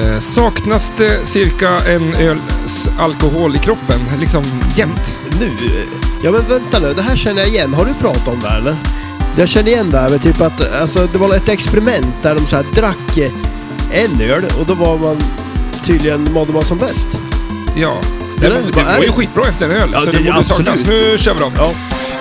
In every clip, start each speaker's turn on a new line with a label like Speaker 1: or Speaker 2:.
Speaker 1: Eh, saknas det cirka en öls alkohol i kroppen, liksom jämt?
Speaker 2: Nu? Ja men vänta nu, det här känner jag igen. Har du pratat om det här eller? Jag känner igen det här med typ att alltså, det var ett experiment där de så här drack eh, en öl och då var man tydligen, mådde man som bäst.
Speaker 1: Ja. Det,
Speaker 2: Eller,
Speaker 1: det,
Speaker 2: vad är
Speaker 1: var ju
Speaker 2: det?
Speaker 1: skitbra efter en öl,
Speaker 2: Ja,
Speaker 1: så
Speaker 2: det-
Speaker 1: det, borde
Speaker 2: absolut.
Speaker 1: saknas. Nu kör vi då.
Speaker 2: Ja.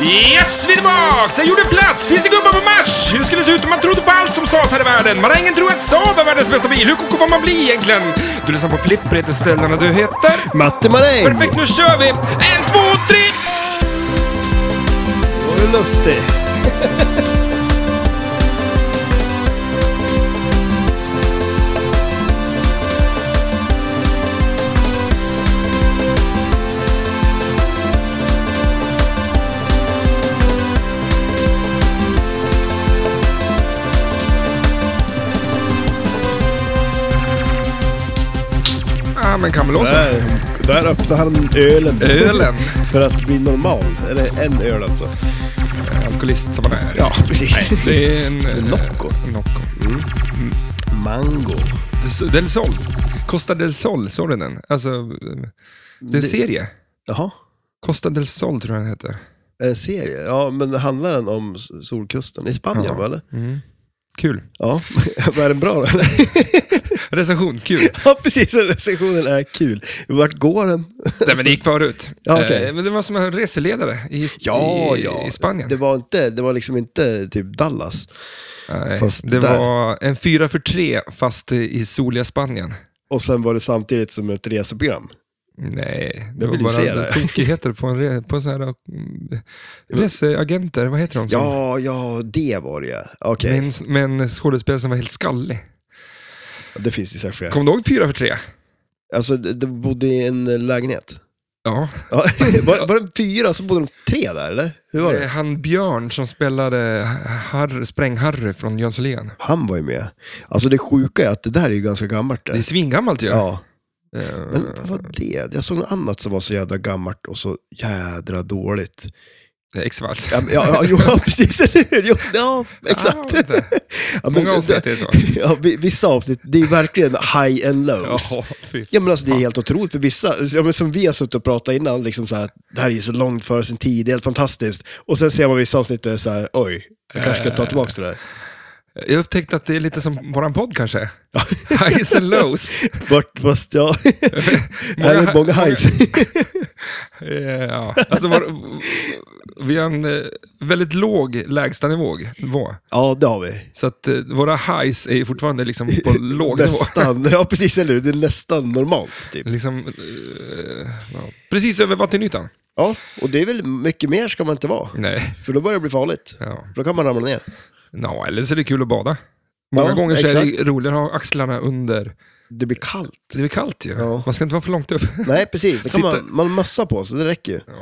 Speaker 1: Yes, vi är tillbaks! Jag gjorde plats! Finns det gubbar på Mars? Hur skulle det se ut om man trodde på allt som sades här i världen? Marängen tror att Saab är världens bästa bil. Hur koko får man bli egentligen? Du lyssnar på Flipper heter ställena du heter.
Speaker 2: Matte Maräng!
Speaker 1: Perfekt, nu kör vi! En, två, tre!
Speaker 2: Var du lustig?
Speaker 1: Ja, Ah, men kan väl också.
Speaker 2: Där, där öppnade han ölen.
Speaker 1: Ölen.
Speaker 2: För att bli normal. Eller en öl alltså.
Speaker 1: Alkoholist som man är.
Speaker 2: Ja, precis.
Speaker 1: Det är en... eh,
Speaker 2: Nocco.
Speaker 1: Nocco.
Speaker 2: Mango.
Speaker 1: Del Sol. Costa del Sol, såg du den? Alltså, eh, det är en serie.
Speaker 2: Jaha.
Speaker 1: Costa del Sol tror jag den heter.
Speaker 2: Är det En serie? Ja, men handlar den om s- Solkusten i Spanien,
Speaker 1: Ja.
Speaker 2: va, eller?
Speaker 1: Kul.
Speaker 2: Ja. Var den bra då, eller?
Speaker 1: Recension, kul.
Speaker 2: Ja, precis. Recensionen är kul. Vart går den?
Speaker 1: Nej, men det gick förut.
Speaker 2: Ja, okej.
Speaker 1: Eh, Men det var som en reseledare i, i, i Spanien.
Speaker 2: Det var, inte, det var liksom inte typ Dallas.
Speaker 1: Nej,
Speaker 2: fast
Speaker 1: det
Speaker 2: där.
Speaker 1: var en fyra för tre fast i soliga Spanien.
Speaker 2: Och sen var det samtidigt som ett reseprogram.
Speaker 1: Nej, det
Speaker 2: Jag
Speaker 1: var
Speaker 2: vill ju se
Speaker 1: bara
Speaker 2: det.
Speaker 1: tokigheter på, en re, på sådana här mm, reseagenter, vad heter de? som-
Speaker 2: Ja, ja, det var det ja. Okej,
Speaker 1: Med en, med en skådespelare som var helt skallig.
Speaker 2: det finns ju säkert fler.
Speaker 1: Kommer du ihåg fyra för tre?
Speaker 2: Alltså, de de bodde i en lägenhet.
Speaker 1: Ja,
Speaker 2: Ja, var, var det fyra så bodde de tre där, eller? Hur var
Speaker 1: Eh,
Speaker 2: det?
Speaker 1: han Björn som spelade Harry, Spräng-Harry från Jönssonligan.
Speaker 2: Han var ju med. Alltså det sjuka är att det där är ju ganska gammalt.
Speaker 1: Det är
Speaker 2: Det.
Speaker 1: svingammalt ju.
Speaker 2: Ja,
Speaker 1: Eh,
Speaker 2: men vad var det? Jag såg något annat som var så jädra gammalt och så jädra dåligt.
Speaker 1: X-Files.
Speaker 2: Ja, men- ja, ja, jo, ja precis, eller hur? Jo, Ja,
Speaker 1: Ah,
Speaker 2: exakt.
Speaker 1: vet du.
Speaker 2: Ja, men-
Speaker 1: Många avsnitt är så.
Speaker 2: Ja, vi- vissa avsnitt, det är verkligen high and lows.
Speaker 1: Jaha, fy.
Speaker 2: Ja men alltså det är helt otroligt för vissa, ja, men som vi har suttit och pratat innan, liksom så här, det här är ju så långt före sin tid, det är helt fantastiskt. Och sen ser man vissa avsnitt där det är så här, oj, jag kanske ska ta tillbaka det där.
Speaker 1: Jag upptäckte att det är lite som våran podd kanske. Highs and lows.
Speaker 2: Vart, fast ja, här är många highs.
Speaker 1: Eh, Ja, alltså vår, vi har en eh, väldigt låg lägstanivå. nivå.
Speaker 2: Ja, det har vi.
Speaker 1: Så att eh, våra highs är ju fortfarande liksom på låg nivå.
Speaker 2: Nästan, ja precis, eller hur? Det är nästan normalt typ.
Speaker 1: Liksom, eh, ja. Precis över vattenytan.
Speaker 2: Ja, och det är väl mycket mer ska man inte vara,
Speaker 1: Nej.
Speaker 2: för då börjar det bli farligt.
Speaker 1: Ja.
Speaker 2: Då kan man ramla ner.
Speaker 1: Nå, eller så är det kul att bada. Många
Speaker 2: Ja,
Speaker 1: gånger så är det roligare att ha axlarna under.
Speaker 2: Det blir kallt.
Speaker 1: Det blir kallt ju.
Speaker 2: Ja.
Speaker 1: Man ska inte vara för långt upp.
Speaker 2: Nej, precis. Det kan
Speaker 1: Sitta-
Speaker 2: man, man har mössa på sig, det räcker ju.
Speaker 1: Ja.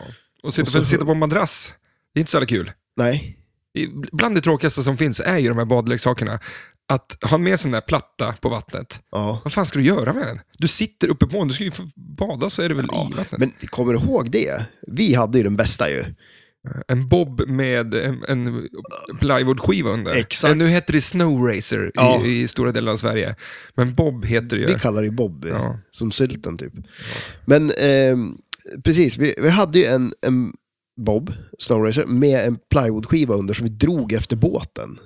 Speaker 1: Och sitta,
Speaker 2: Och så-
Speaker 1: sitta på en madrass, det är inte så jävla kul.
Speaker 2: Nej.
Speaker 1: I- Bland det tråkigaste som finns är ju de här badleksakerna. Att ha med sig den där platta på vattnet.
Speaker 2: Ja.
Speaker 1: Vad fan ska du göra med den? Du sitter uppe på den, du ska ju få bada så är det väl i vattnet.
Speaker 2: Men kommer du ihåg det? Vi hade ju den bästa ju.
Speaker 1: En bob med en, en plywoodskiva under.
Speaker 2: Exakt.
Speaker 1: Eh, Nu heter det Snow Racer
Speaker 2: Ja.
Speaker 1: i, i stora delar av Sverige. Men bob heter det ju.
Speaker 2: Vi kallar det Bobby,
Speaker 1: Ja.
Speaker 2: som sylten typ. Men ehm, precis, vi, vi hade ju en, en Bob, Snow Racer, med en plywoodskiva under som vi drog efter båten.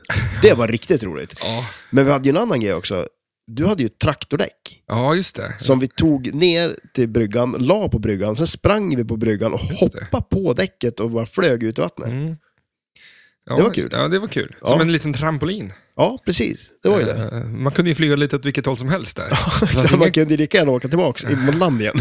Speaker 2: Det var riktigt roligt.
Speaker 1: Ja.
Speaker 2: Men vi hade ju en annan grej också. Du hade ju ett traktordäck
Speaker 1: ja, just det.
Speaker 2: som vi tog ner till bryggan, la på bryggan, sen sprang vi på bryggan och
Speaker 1: Just det.
Speaker 2: hoppade på däcket och bara flög ut i vattnet.
Speaker 1: Mm. Ja,
Speaker 2: Det var kul.
Speaker 1: Ja, det var kul.
Speaker 2: Ja.
Speaker 1: Som en liten trampolin.
Speaker 2: Ja, precis. Det var ju det.
Speaker 1: Eh, Man kunde ju flyga lite åt vilket håll som helst där. Fast
Speaker 2: Så man
Speaker 1: ingen-
Speaker 2: kunde ju lika gärna åka tillbaka in mot land igen.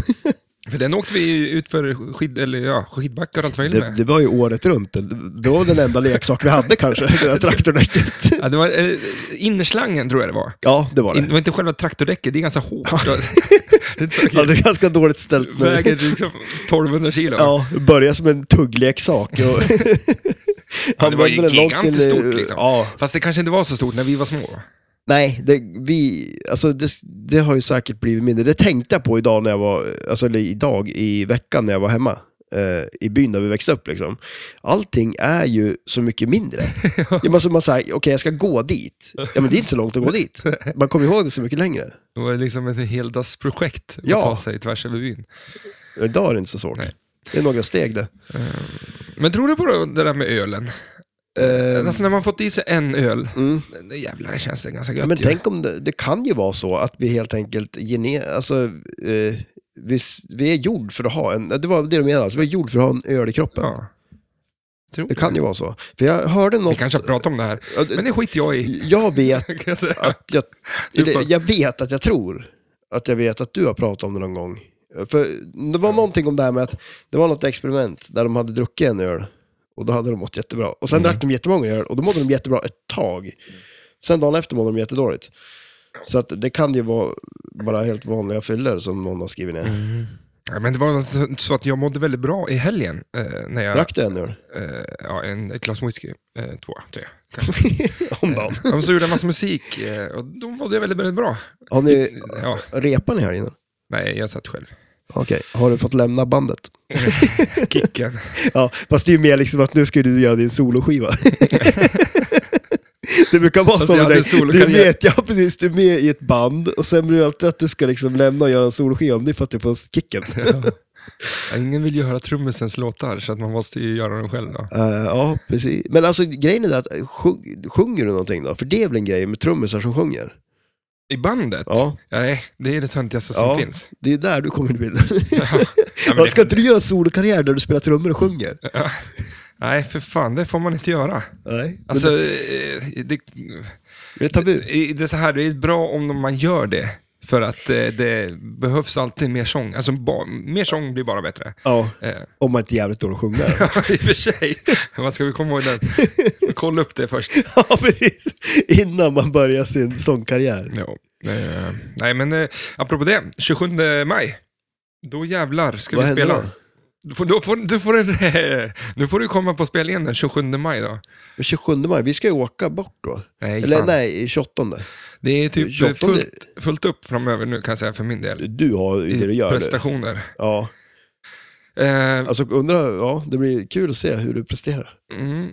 Speaker 1: För den åkte vi ju ut för skid, eller, ja, skidbackar och allt möjligt
Speaker 2: Det,
Speaker 1: med.
Speaker 2: det var ju året runt. Det- Det var den enda leksak vi hade kanske, det där traktordäcket.
Speaker 1: Ja, det var, eh, innerslangen tror jag det var.
Speaker 2: Ja, det var
Speaker 1: In- Det
Speaker 2: det.
Speaker 1: var inte själva traktordäcket, det är ganska hårt. det är inte så
Speaker 2: Ja, det
Speaker 1: kul.
Speaker 2: är ganska dåligt ställt nu.
Speaker 1: väger liksom 1200 kilo.
Speaker 2: Ja, börja som en tuggleksak. Och
Speaker 1: Ja, det var ju
Speaker 2: Använde den långt in i-
Speaker 1: gigantiskt stort liksom.
Speaker 2: Ja,
Speaker 1: Fast det kanske inte var så stort när vi var små.
Speaker 2: nej, det, vi, alltså, det, det har ju säkert blivit mindre. Det tänkte jag på idag när jag var, alltså eller idag i veckan när jag var hemma. eh, i byn där vi växte upp. Liksom. Allting är ju så mycket mindre. ja. men så man säger, okej jag ska gå dit. Ja men det är inte så långt att gå dit. Man kommer ihåg det så mycket längre.
Speaker 1: Det var liksom ett heldagsprojekt
Speaker 2: Ja.
Speaker 1: att ta sig tvärs över byn.
Speaker 2: Idag är det inte så svårt.
Speaker 1: Nej.
Speaker 2: Det är några steg det.
Speaker 1: Men tror du på det där med ölen?
Speaker 2: Eh,
Speaker 1: Alltså när man fått i sig en öl,
Speaker 2: mm.
Speaker 1: det jävlar känns det ganska
Speaker 2: Ja,
Speaker 1: gött
Speaker 2: men
Speaker 1: ju.
Speaker 2: tänk om det, det kan ju vara så att vi helt enkelt gene, alltså, eh, vi, s- vi är gjord för att ha en, det var det de menade, alltså, vi är gjord för att ha en öl i kroppen.
Speaker 1: Ja. Tror
Speaker 2: Det kan ju vara så. För jag hörde
Speaker 1: Vi
Speaker 2: något,
Speaker 1: kanske har pratat om det här,
Speaker 2: Ja, det-
Speaker 1: men det skiter jag i.
Speaker 2: jag vet
Speaker 1: Kan jag säga.
Speaker 2: att jag,
Speaker 1: Du
Speaker 2: eller,
Speaker 1: får-
Speaker 2: jag vet att jag tror att jag vet att du har pratat om det någon gång. För det var någonting om det här med att det var något experiment där de hade druckit en öl och då hade de mått jättebra. Och
Speaker 1: Mm.
Speaker 2: sen drack de jättemånga öl och då mådde de jättebra ett tag. Sen dagen efter mådde de jättedåligt. Så att det kan ju vara bara helt vanliga fyllor som någon har skrivit ner.
Speaker 1: Mm. Ja, men det var så- så att jag mådde väldigt bra i helgen eh, när jag...
Speaker 2: Drack du en öl?
Speaker 1: Eh, ja, en, ett glas whisky. Eh, två, tre kanske.
Speaker 2: om dagen.
Speaker 1: De så gjorde en massa musik eh, och då mådde jag väldigt, väldigt bra.
Speaker 2: Har ni,
Speaker 1: Ja,
Speaker 2: repar ni här inne?
Speaker 1: nej, jag satt själv.
Speaker 2: Okej, har du fått lämna bandet?
Speaker 1: Kicken.
Speaker 2: Ja, fast det är ju mer liksom att nu ska du göra din soloskiva. det brukar vara
Speaker 1: Fast
Speaker 2: så.
Speaker 1: jag
Speaker 2: med
Speaker 1: hade
Speaker 2: dig.
Speaker 1: en
Speaker 2: Du är,
Speaker 1: solokarriär.
Speaker 2: med, ja, precis, du är med i ett band och sen blir det alltid att du ska liksom lämna och göra en soloskiva om det är för att du får kicken.
Speaker 1: Ja, ingen vill ju höra trummisens låtar så att man måste ju göra dem själv. Då.
Speaker 2: Eh, ja, precis. Men alltså grejen är det att sjung, sjunger du någonting då? För det är väl en grej med trummisar som sjunger?
Speaker 1: I bandet?
Speaker 2: Ja,
Speaker 1: Nej, det är det töntigaste som
Speaker 2: Ja.
Speaker 1: finns.
Speaker 2: det är där du kommer in i bilden.
Speaker 1: Ja, men
Speaker 2: Vad Ska
Speaker 1: det,
Speaker 2: inte du göra en solokarriär där du spelar trummor och sjunger?
Speaker 1: nej, för fan, det får man inte göra.
Speaker 2: Nej, men
Speaker 1: Alltså,
Speaker 2: det,
Speaker 1: eh, det,
Speaker 2: det är tabu.
Speaker 1: i- det, är så här, det är bra om man gör det, för att eh, det behövs alltid mer sång. Alltså, ba, mer sång blir bara bättre.
Speaker 2: Ja,
Speaker 1: Eh,
Speaker 2: om man inte är jävligt dålig att sjunga.
Speaker 1: Ja, i och för sig. Man ska väl komma ihåg den. Kolla upp det först.
Speaker 2: ja, precis. Innan man börjar sin sångkarriär.
Speaker 1: Ja. Eh, nej, men eh, apropå det. 27 maj. Då jävlar ska
Speaker 2: Vad
Speaker 1: vi
Speaker 2: händer
Speaker 1: spela.
Speaker 2: då?
Speaker 1: Du får, då får, du får en, nu får du komma på spel igen den 27 maj då.
Speaker 2: Men 27 maj, vi ska ju åka bort då.
Speaker 1: Nej,
Speaker 2: Eller
Speaker 1: fan.
Speaker 2: nej, 28.
Speaker 1: Det är typ
Speaker 2: 28.
Speaker 1: fullt, fullt upp framöver nu kan jag säga för min del.
Speaker 2: Du har ju det du gör. Du.
Speaker 1: prestationer.
Speaker 2: Ja,
Speaker 1: Eh,
Speaker 2: alltså undrar, ja, det blir kul att se hur du presterar
Speaker 1: mm.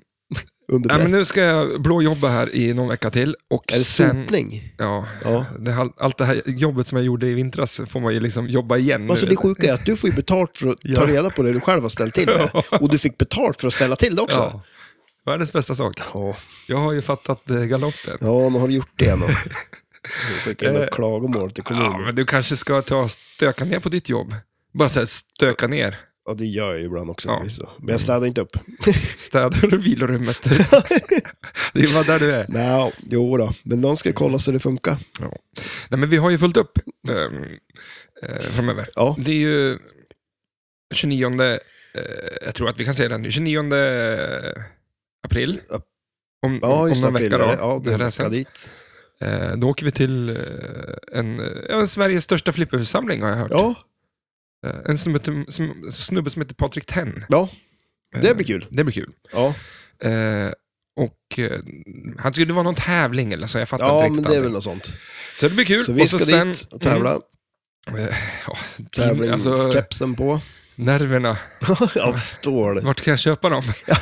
Speaker 2: under
Speaker 1: ja,
Speaker 2: press.
Speaker 1: men nu ska jag blåjobba här i någon vecka till. Och
Speaker 2: Är det
Speaker 1: sen,
Speaker 2: sopning?
Speaker 1: ja,
Speaker 2: Ja.
Speaker 1: det, här- allt det här jobbet som jag gjorde i vintras får man ju liksom jobba igen
Speaker 2: Alltså
Speaker 1: nu.
Speaker 2: det sjuka är att du får ju betalt för att ta
Speaker 1: Ja.
Speaker 2: reda på det du själv har ställt till med. Och du fick betalt för att ställa till det också.
Speaker 1: Ja. Världens bästa sak.
Speaker 2: Ja,
Speaker 1: Jag har ju fattat eh, galoppen.
Speaker 2: ja nu har du gjort det nu. Du skickar in ett klagomål till
Speaker 1: Eh, Ja,
Speaker 2: kommunen.
Speaker 1: men du kanske ska ta och stöka ner på ditt jobb. Bara så här, stöka ner.
Speaker 2: Ja, det gör jag ju ibland också.
Speaker 1: Ja.
Speaker 2: förvisso. Men jag städar inte upp.
Speaker 1: Städar och vilorummet. det är bara där du är.
Speaker 2: Nej, jo då. Men någon ska ju kolla så det funkar.
Speaker 1: Nej, men vi har ju fullt upp ehm, eh, framöver.
Speaker 2: Ja.
Speaker 1: Det är ju 29, eh, jag tror att vi kan säga det nu, 29 april.
Speaker 2: Ap-
Speaker 1: Om,
Speaker 2: Ja,
Speaker 1: om
Speaker 2: just
Speaker 1: någon
Speaker 2: april
Speaker 1: vecka
Speaker 2: är
Speaker 1: då.
Speaker 2: det. Ja, det
Speaker 1: när
Speaker 2: är
Speaker 1: det här
Speaker 2: en vecka
Speaker 1: sänds.
Speaker 2: dit.
Speaker 1: Eh, då åker vi till eh, en, eh, ja, Sveriges största flippersamling har jag hört.
Speaker 2: Ja,
Speaker 1: Eh, En snubbe, till- som, snubbe som heter Patrik Tenn.
Speaker 2: ja,
Speaker 1: Eh,
Speaker 2: det blir kul.
Speaker 1: Det blir kul.
Speaker 2: Ja.
Speaker 1: Eh, och eh, han skulle det var någon tävling eller så, jag fattar
Speaker 2: Ja,
Speaker 1: inte
Speaker 2: men
Speaker 1: riktigt
Speaker 2: det är väl
Speaker 1: allting.
Speaker 2: något sånt.
Speaker 1: Så det blir kul.
Speaker 2: Så vi
Speaker 1: och
Speaker 2: ska
Speaker 1: så sen,
Speaker 2: dit och tävla.
Speaker 1: Mm, ja,
Speaker 2: Tävling,
Speaker 1: alltså,
Speaker 2: skepsen på.
Speaker 1: nerverna,
Speaker 2: Av stål.
Speaker 1: vart kan jag köpa dem?
Speaker 2: Ja,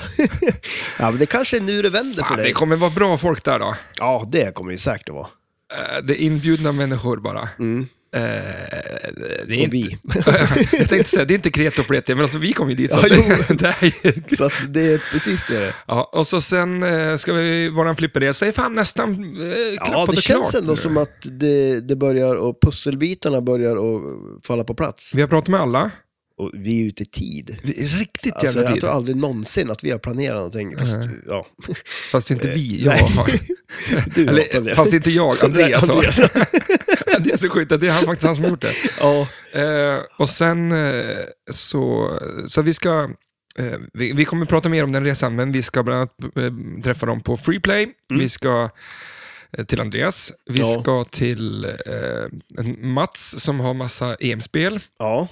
Speaker 2: men det kanske är nu det vänder för
Speaker 1: Fan, det
Speaker 2: dig.
Speaker 1: kommer vara bra folk där då.
Speaker 2: Ja, det kommer ju säkert att vara.
Speaker 1: Eh, Det är inbjudna människor bara.
Speaker 2: Mm.
Speaker 1: Eh, det är
Speaker 2: Och
Speaker 1: inte,
Speaker 2: vi.
Speaker 1: jag tänkte säga, det är inte kreti och pleti, men alltså, vi kom ju dit. Så
Speaker 2: Ja,
Speaker 1: att det, det här är ju
Speaker 2: Så att det är precis det det är.
Speaker 1: Ja, och så sen eh, ska vi, våran flipperresa är fan nästan eh,
Speaker 2: Ja, det
Speaker 1: klart
Speaker 2: känns ändå
Speaker 1: nu.
Speaker 2: som att det, det börjar och pusselbitarna börjar att falla på plats.
Speaker 1: Vi har pratat med alla.
Speaker 2: Och vi är ute i tid.
Speaker 1: Vi är riktigt
Speaker 2: Alltså,
Speaker 1: jävla
Speaker 2: jag
Speaker 1: tid.
Speaker 2: tror aldrig någonsin att vi har planerat någonting. Fast,
Speaker 1: Nej.
Speaker 2: ja,
Speaker 1: Fast inte vi, jag
Speaker 2: Eh, nej.
Speaker 1: har.
Speaker 2: du har
Speaker 1: Eller,
Speaker 2: planerat.
Speaker 1: fast inte jag, Andreas har.
Speaker 2: Andreas.
Speaker 1: Det är så sjukt, att det är han, faktiskt han som gjort det.
Speaker 2: Ja,
Speaker 1: Eh, och sen eh, så, så vi ska, eh, vi, vi kommer prata mer om den resan, men vi ska bland annat eh, träffa dem på Freeplay. Vi ska eh, till Andreas, vi
Speaker 2: Mm. Ja.
Speaker 1: ska till eh, Mats som har massa EM-spel.
Speaker 2: ja.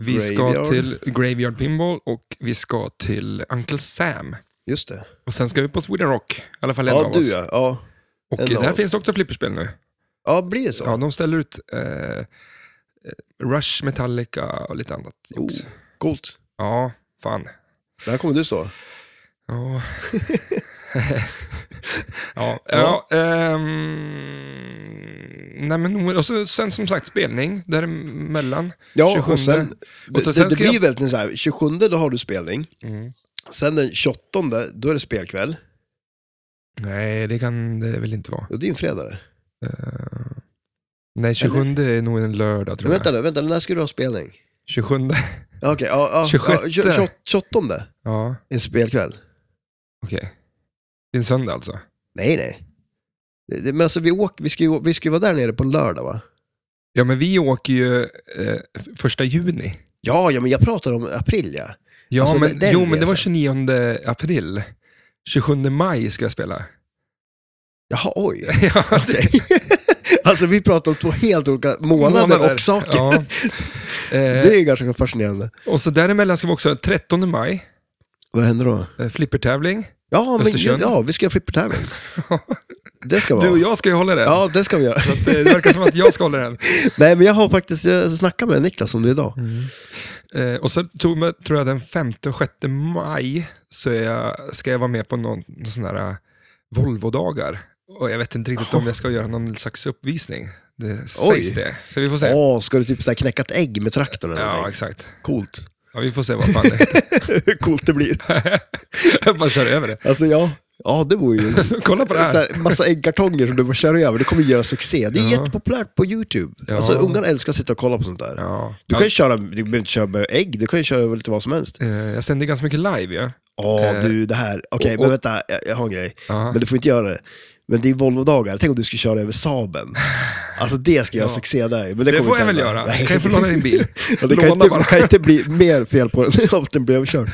Speaker 1: Vi ska
Speaker 2: Graveyard.
Speaker 1: till Graveyard Pinball och vi ska till Uncle Sam.
Speaker 2: just det.
Speaker 1: Och sen ska vi på Sweden Rock, i alla fall en
Speaker 2: Ja,
Speaker 1: av
Speaker 2: du
Speaker 1: oss.
Speaker 2: ja. ja.
Speaker 1: Och
Speaker 2: En av
Speaker 1: där
Speaker 2: oss.
Speaker 1: finns det också flipperspel nu.
Speaker 2: Ja, blir det så?
Speaker 1: Ja, de ställer ut eh, eh, Rush, Metallica och lite annat.
Speaker 2: Oh,
Speaker 1: jox.
Speaker 2: coolt.
Speaker 1: Ja, Fan.
Speaker 2: Där kommer du stå.
Speaker 1: Ja. ja,
Speaker 2: Ja.
Speaker 1: ja. ehm, nej men, och så, sen som sagt spelning däremellan.
Speaker 2: Ja,
Speaker 1: 27.
Speaker 2: och sen,
Speaker 1: Och så
Speaker 2: det,
Speaker 1: sen
Speaker 2: det
Speaker 1: ska
Speaker 2: blir
Speaker 1: jag-
Speaker 2: väldigt så här, 27 då har du spelning,
Speaker 1: Mm.
Speaker 2: sen den 28 då är det spelkväll,
Speaker 1: Nej, det kan det väl inte vara.
Speaker 2: och det är en fredag.
Speaker 1: Eh, nej, 27 är nog en lördag
Speaker 2: Men
Speaker 1: tror
Speaker 2: vänta
Speaker 1: jag.
Speaker 2: nu, vänta nu, när ska du ha spelning?
Speaker 1: 27,
Speaker 2: Ja, Okej, ja, ja,
Speaker 1: 26.
Speaker 2: ja, tjo- tjo- 28 är
Speaker 1: ja,
Speaker 2: en spelkväll.
Speaker 1: okej. Det är en söndag alltså?
Speaker 2: Nej, nej. Det- det- Men alltså vi, åker, vi, ska ju, vi ska ju vara där nere på en lördag va?
Speaker 1: Ja, men vi åker ju eh, f- första juni.
Speaker 2: Ja, ja, men jag pratar om april ja.
Speaker 1: Ja,
Speaker 2: Alltså,
Speaker 1: men,
Speaker 2: den
Speaker 1: jo, men det var
Speaker 2: resan.
Speaker 1: 29 april. 27 maj ska jag spela.
Speaker 2: Jaha, oj.
Speaker 1: ja, det,
Speaker 2: Okej. alltså vi pratar om två helt olika månader, och saker.
Speaker 1: Ja. Eh,
Speaker 2: Det är ju ganska fascinerande.
Speaker 1: Och så däremellan ska vi också, 13 maj,
Speaker 2: Vad händer då?
Speaker 1: eh, flippertävling.
Speaker 2: Ja, men,
Speaker 1: Östersund.
Speaker 2: ja vi ska göra flippertävling. Det ska vara.
Speaker 1: Du och jag ska ju hålla den.
Speaker 2: Ja, det ska vi göra.
Speaker 1: Så att, eh, det verkar som att jag ska hålla den.
Speaker 2: Nej, men jag har faktiskt jag snackat med Niklas om det idag.
Speaker 1: Eh, och så tog, mig- tror jag den 5 och 6 maj så är jag, ska jag vara med på någon, någon sån här eh, Volvo-dagar. Och jag vet inte riktigt om jag ska göra någon slags uppvisning. Det sägs
Speaker 2: Oj.
Speaker 1: det. Så vi får se.
Speaker 2: Åh, ska du typ så här knäcka ett ägg med traktorn eller
Speaker 1: ja,
Speaker 2: någonting?
Speaker 1: exakt.
Speaker 2: Coolt.
Speaker 1: Ja, vi får se vad fan det är.
Speaker 2: Hur coolt det blir.
Speaker 1: Jag bara kör över det.
Speaker 2: Alltså ja, ja det vore ju...
Speaker 1: Kolla på
Speaker 2: Så
Speaker 1: det här.
Speaker 2: här, massa äggkartonger som du bara kör över, det kommer göra succé. Det är
Speaker 1: Ja.
Speaker 2: jättepopulärt på YouTube.
Speaker 1: Ja.
Speaker 2: Alltså ungarna älskar att sitta och kolla på sånt där.
Speaker 1: Ja.
Speaker 2: Du kan ju köra, du behöver inte köra med ägg, du kan ju köra över lite vad som helst.
Speaker 1: Eh, Jag sänder ganska mycket live ja.
Speaker 2: Åh
Speaker 1: Eh,
Speaker 2: du, det här. Okej,
Speaker 1: och-
Speaker 2: men
Speaker 1: och-
Speaker 2: vänta, jag, jag har en grej.
Speaker 1: Ja.
Speaker 2: Men du får inte göra det. Men det är Volvo-dagar, tänk om du skulle köra över Saben. Alltså det ska göra
Speaker 1: Ja.
Speaker 2: succé där. Men det
Speaker 1: Det
Speaker 2: kommer
Speaker 1: får jag
Speaker 2: inte
Speaker 1: väl
Speaker 2: hända.
Speaker 1: göra.
Speaker 2: Nej.
Speaker 1: Jag kan ju få låna din bil.
Speaker 2: Ja, det kan
Speaker 1: Låna
Speaker 2: inte,
Speaker 1: bara.
Speaker 2: kan inte bli mer fel på den av att den blir överkörd.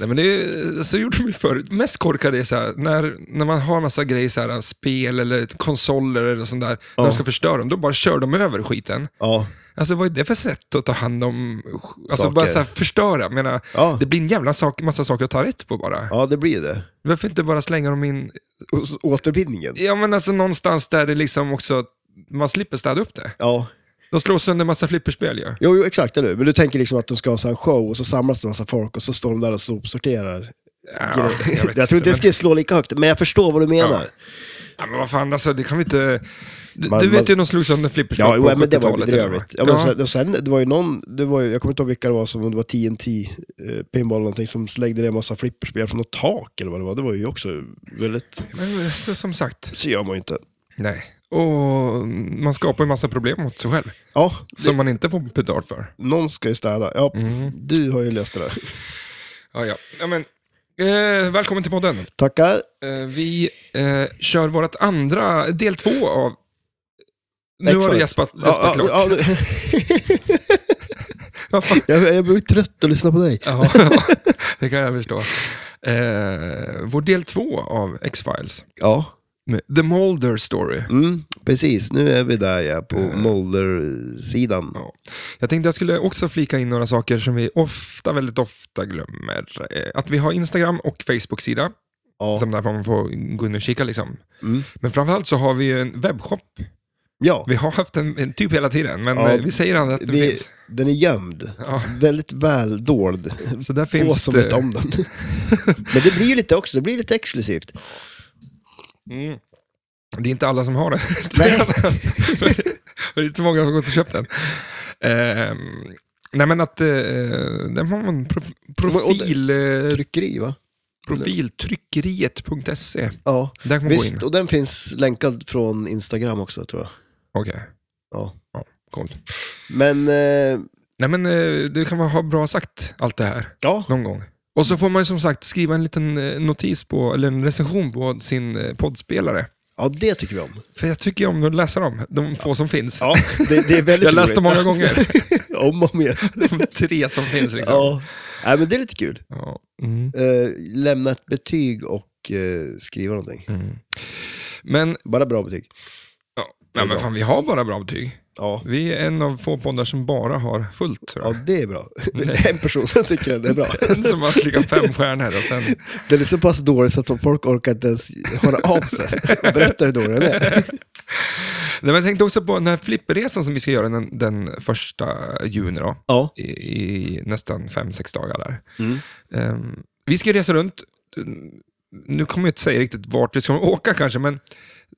Speaker 1: Nej, men det, är- så gjorde de ju förut. Mest korkade är så här, när, när man har massa grejer, så här, spel eller konsoler eller sånt där,
Speaker 2: Ja.
Speaker 1: när de ska förstöra dem, då bara kör de över skiten.
Speaker 2: Ja,
Speaker 1: Alltså vad är det för sätt att ta hand om, alltså
Speaker 2: Saker.
Speaker 1: bara så här, förstöra. Jag menar,
Speaker 2: ja.
Speaker 1: det blir en jävla sak, massa saker att ta rätt på bara.
Speaker 2: ja det blir ju det.
Speaker 1: Varför inte bara slänga dem in,
Speaker 2: Och så Återvinningen.
Speaker 1: ja men alltså någonstans där det liksom också, man slipper städa upp det.
Speaker 2: Ja,
Speaker 1: De slår sönder massa flipperspel ju. Ja.
Speaker 2: jo, jo exakt. Eller? hur? Men du tänker liksom att de ska ha så här en show och så samlas det en massa folk och så står de där och sopsorterar.
Speaker 1: jag
Speaker 2: grejer.
Speaker 1: vet
Speaker 2: jag tror inte
Speaker 1: men-
Speaker 2: det ska slå lika högt, men jag förstår vad du menar.
Speaker 1: Ja, men vad fan, alltså, det kan vi inte... Du,
Speaker 2: Man-
Speaker 1: du vet
Speaker 2: man-
Speaker 1: ju de slog sönder flipperspel
Speaker 2: Ja,
Speaker 1: på
Speaker 2: jo, men det var ju
Speaker 1: 70-talet eller vad?
Speaker 2: bedrövligt. Ja, men Sen, och sen, det var ju någon, det var ju, jag kommer inte ihåg vilka det var, som om det var TNT, eh, pinball eller någonting, som slängde ner en massa flipperspel från något tak eller vad det var. Det var ju också väldigt,
Speaker 1: Men eh, så, som sagt,
Speaker 2: så gör man ju inte.
Speaker 1: nej. Och man skapar ju massa problem mot sig själv,
Speaker 2: Ja, det, Mm.
Speaker 1: som Mm. man inte får betalt för.
Speaker 2: någon ska ju städa. Ja, du har ju löst det där.
Speaker 1: Ja, ja. ja men, eh, välkommen till podden.
Speaker 2: Tackar.
Speaker 1: Eh, vi eh, kör vårt andra, del två av... Nu har
Speaker 2: Exakt.
Speaker 1: du gäspat, gäspat
Speaker 2: Ja,
Speaker 1: klart.
Speaker 2: ja, ja,
Speaker 1: Vad fan?
Speaker 2: jag, jag blir trött att lyssna på dig.
Speaker 1: Ja, det kan jag förstå. Eh, vår del två av X-Files,
Speaker 2: Ja,
Speaker 1: med The Mulder Story.
Speaker 2: mm, precis. Nu är vi där ja, på
Speaker 1: Eh.
Speaker 2: Molder-sidan.
Speaker 1: Ja. Jag tänkte jag skulle också flika in några saker som vi ofta, väldigt ofta glömmer. Eh, Att vi har Instagram och Facebook-sida,
Speaker 2: Ja.
Speaker 1: som där man får gå in och kika. Liksom.
Speaker 2: Mm.
Speaker 1: Men framförallt så har vi ju en webbshop.
Speaker 2: ja,
Speaker 1: Vi har haft en, en typ hela tiden, men
Speaker 2: Ja,
Speaker 1: eh, vi säger aldrig att den
Speaker 2: vi,
Speaker 1: finns.
Speaker 2: den är gömd.
Speaker 1: Ja,
Speaker 2: Väldigt väl dold.
Speaker 1: så där
Speaker 2: Få
Speaker 1: finns
Speaker 2: som
Speaker 1: det.
Speaker 2: vet om den. Men det blir ju lite också, det blir lite exklusivt.
Speaker 1: Mm. Det är inte alla som har det.
Speaker 2: Nej.
Speaker 1: det är inte många som har gått och köpt den. Ehm, nej, men att eh, den har man pro, profil, eh,
Speaker 2: Tryckeri va?
Speaker 1: profiltryckeriet.se.
Speaker 2: Ja,
Speaker 1: Där kan man gå in.
Speaker 2: visst. Och den finns länkad från Instagram också tror jag.
Speaker 1: Okej.
Speaker 2: Ja.
Speaker 1: Coolt.
Speaker 2: Men, eh,
Speaker 1: Nej men eh, det kan man ha bra sagt allt det här
Speaker 2: ja.
Speaker 1: någon gång. Och så får man ju som sagt skriva en liten eh, notis på, eller en recension på sin eh, poddspelare.
Speaker 2: ja, det tycker vi om.
Speaker 1: För jag tycker ju om att läsa dem, de få som finns.
Speaker 2: Ja, det, det är väldigt
Speaker 1: jag läste
Speaker 2: roligt.
Speaker 1: dem många gånger,
Speaker 2: om och om igen.
Speaker 1: de tre som finns liksom. Ja.
Speaker 2: Ja. Nej, men det är lite kul.
Speaker 1: Mm.
Speaker 2: Eh, lämna ett betyg och eh, skriva någonting.
Speaker 1: Mm. Men,
Speaker 2: Bara bra betyg.
Speaker 1: ja, nej, men fan, vi har bara bra betyg.
Speaker 2: Ja.
Speaker 1: Vi är en av få poddar som bara har fullt. tror
Speaker 2: Ja,
Speaker 1: jag.
Speaker 2: det är bra. En person som tycker att det är bra.
Speaker 1: En som har klickat fem stjärnor och sen
Speaker 2: Den är så pass dålig så att folk orkar inte ens höra av sig och berätta hur dålig den är.
Speaker 1: Nej, men jag tänkte också på den här flipperresan som vi ska göra den, den första juni då,
Speaker 2: Ja.
Speaker 1: i, i nästan fem, sex dagar där.
Speaker 2: Mm.
Speaker 1: Ehm, vi ska ju resa runt. Nu kommer jag inte säga riktigt vart vi ska åka kanske, men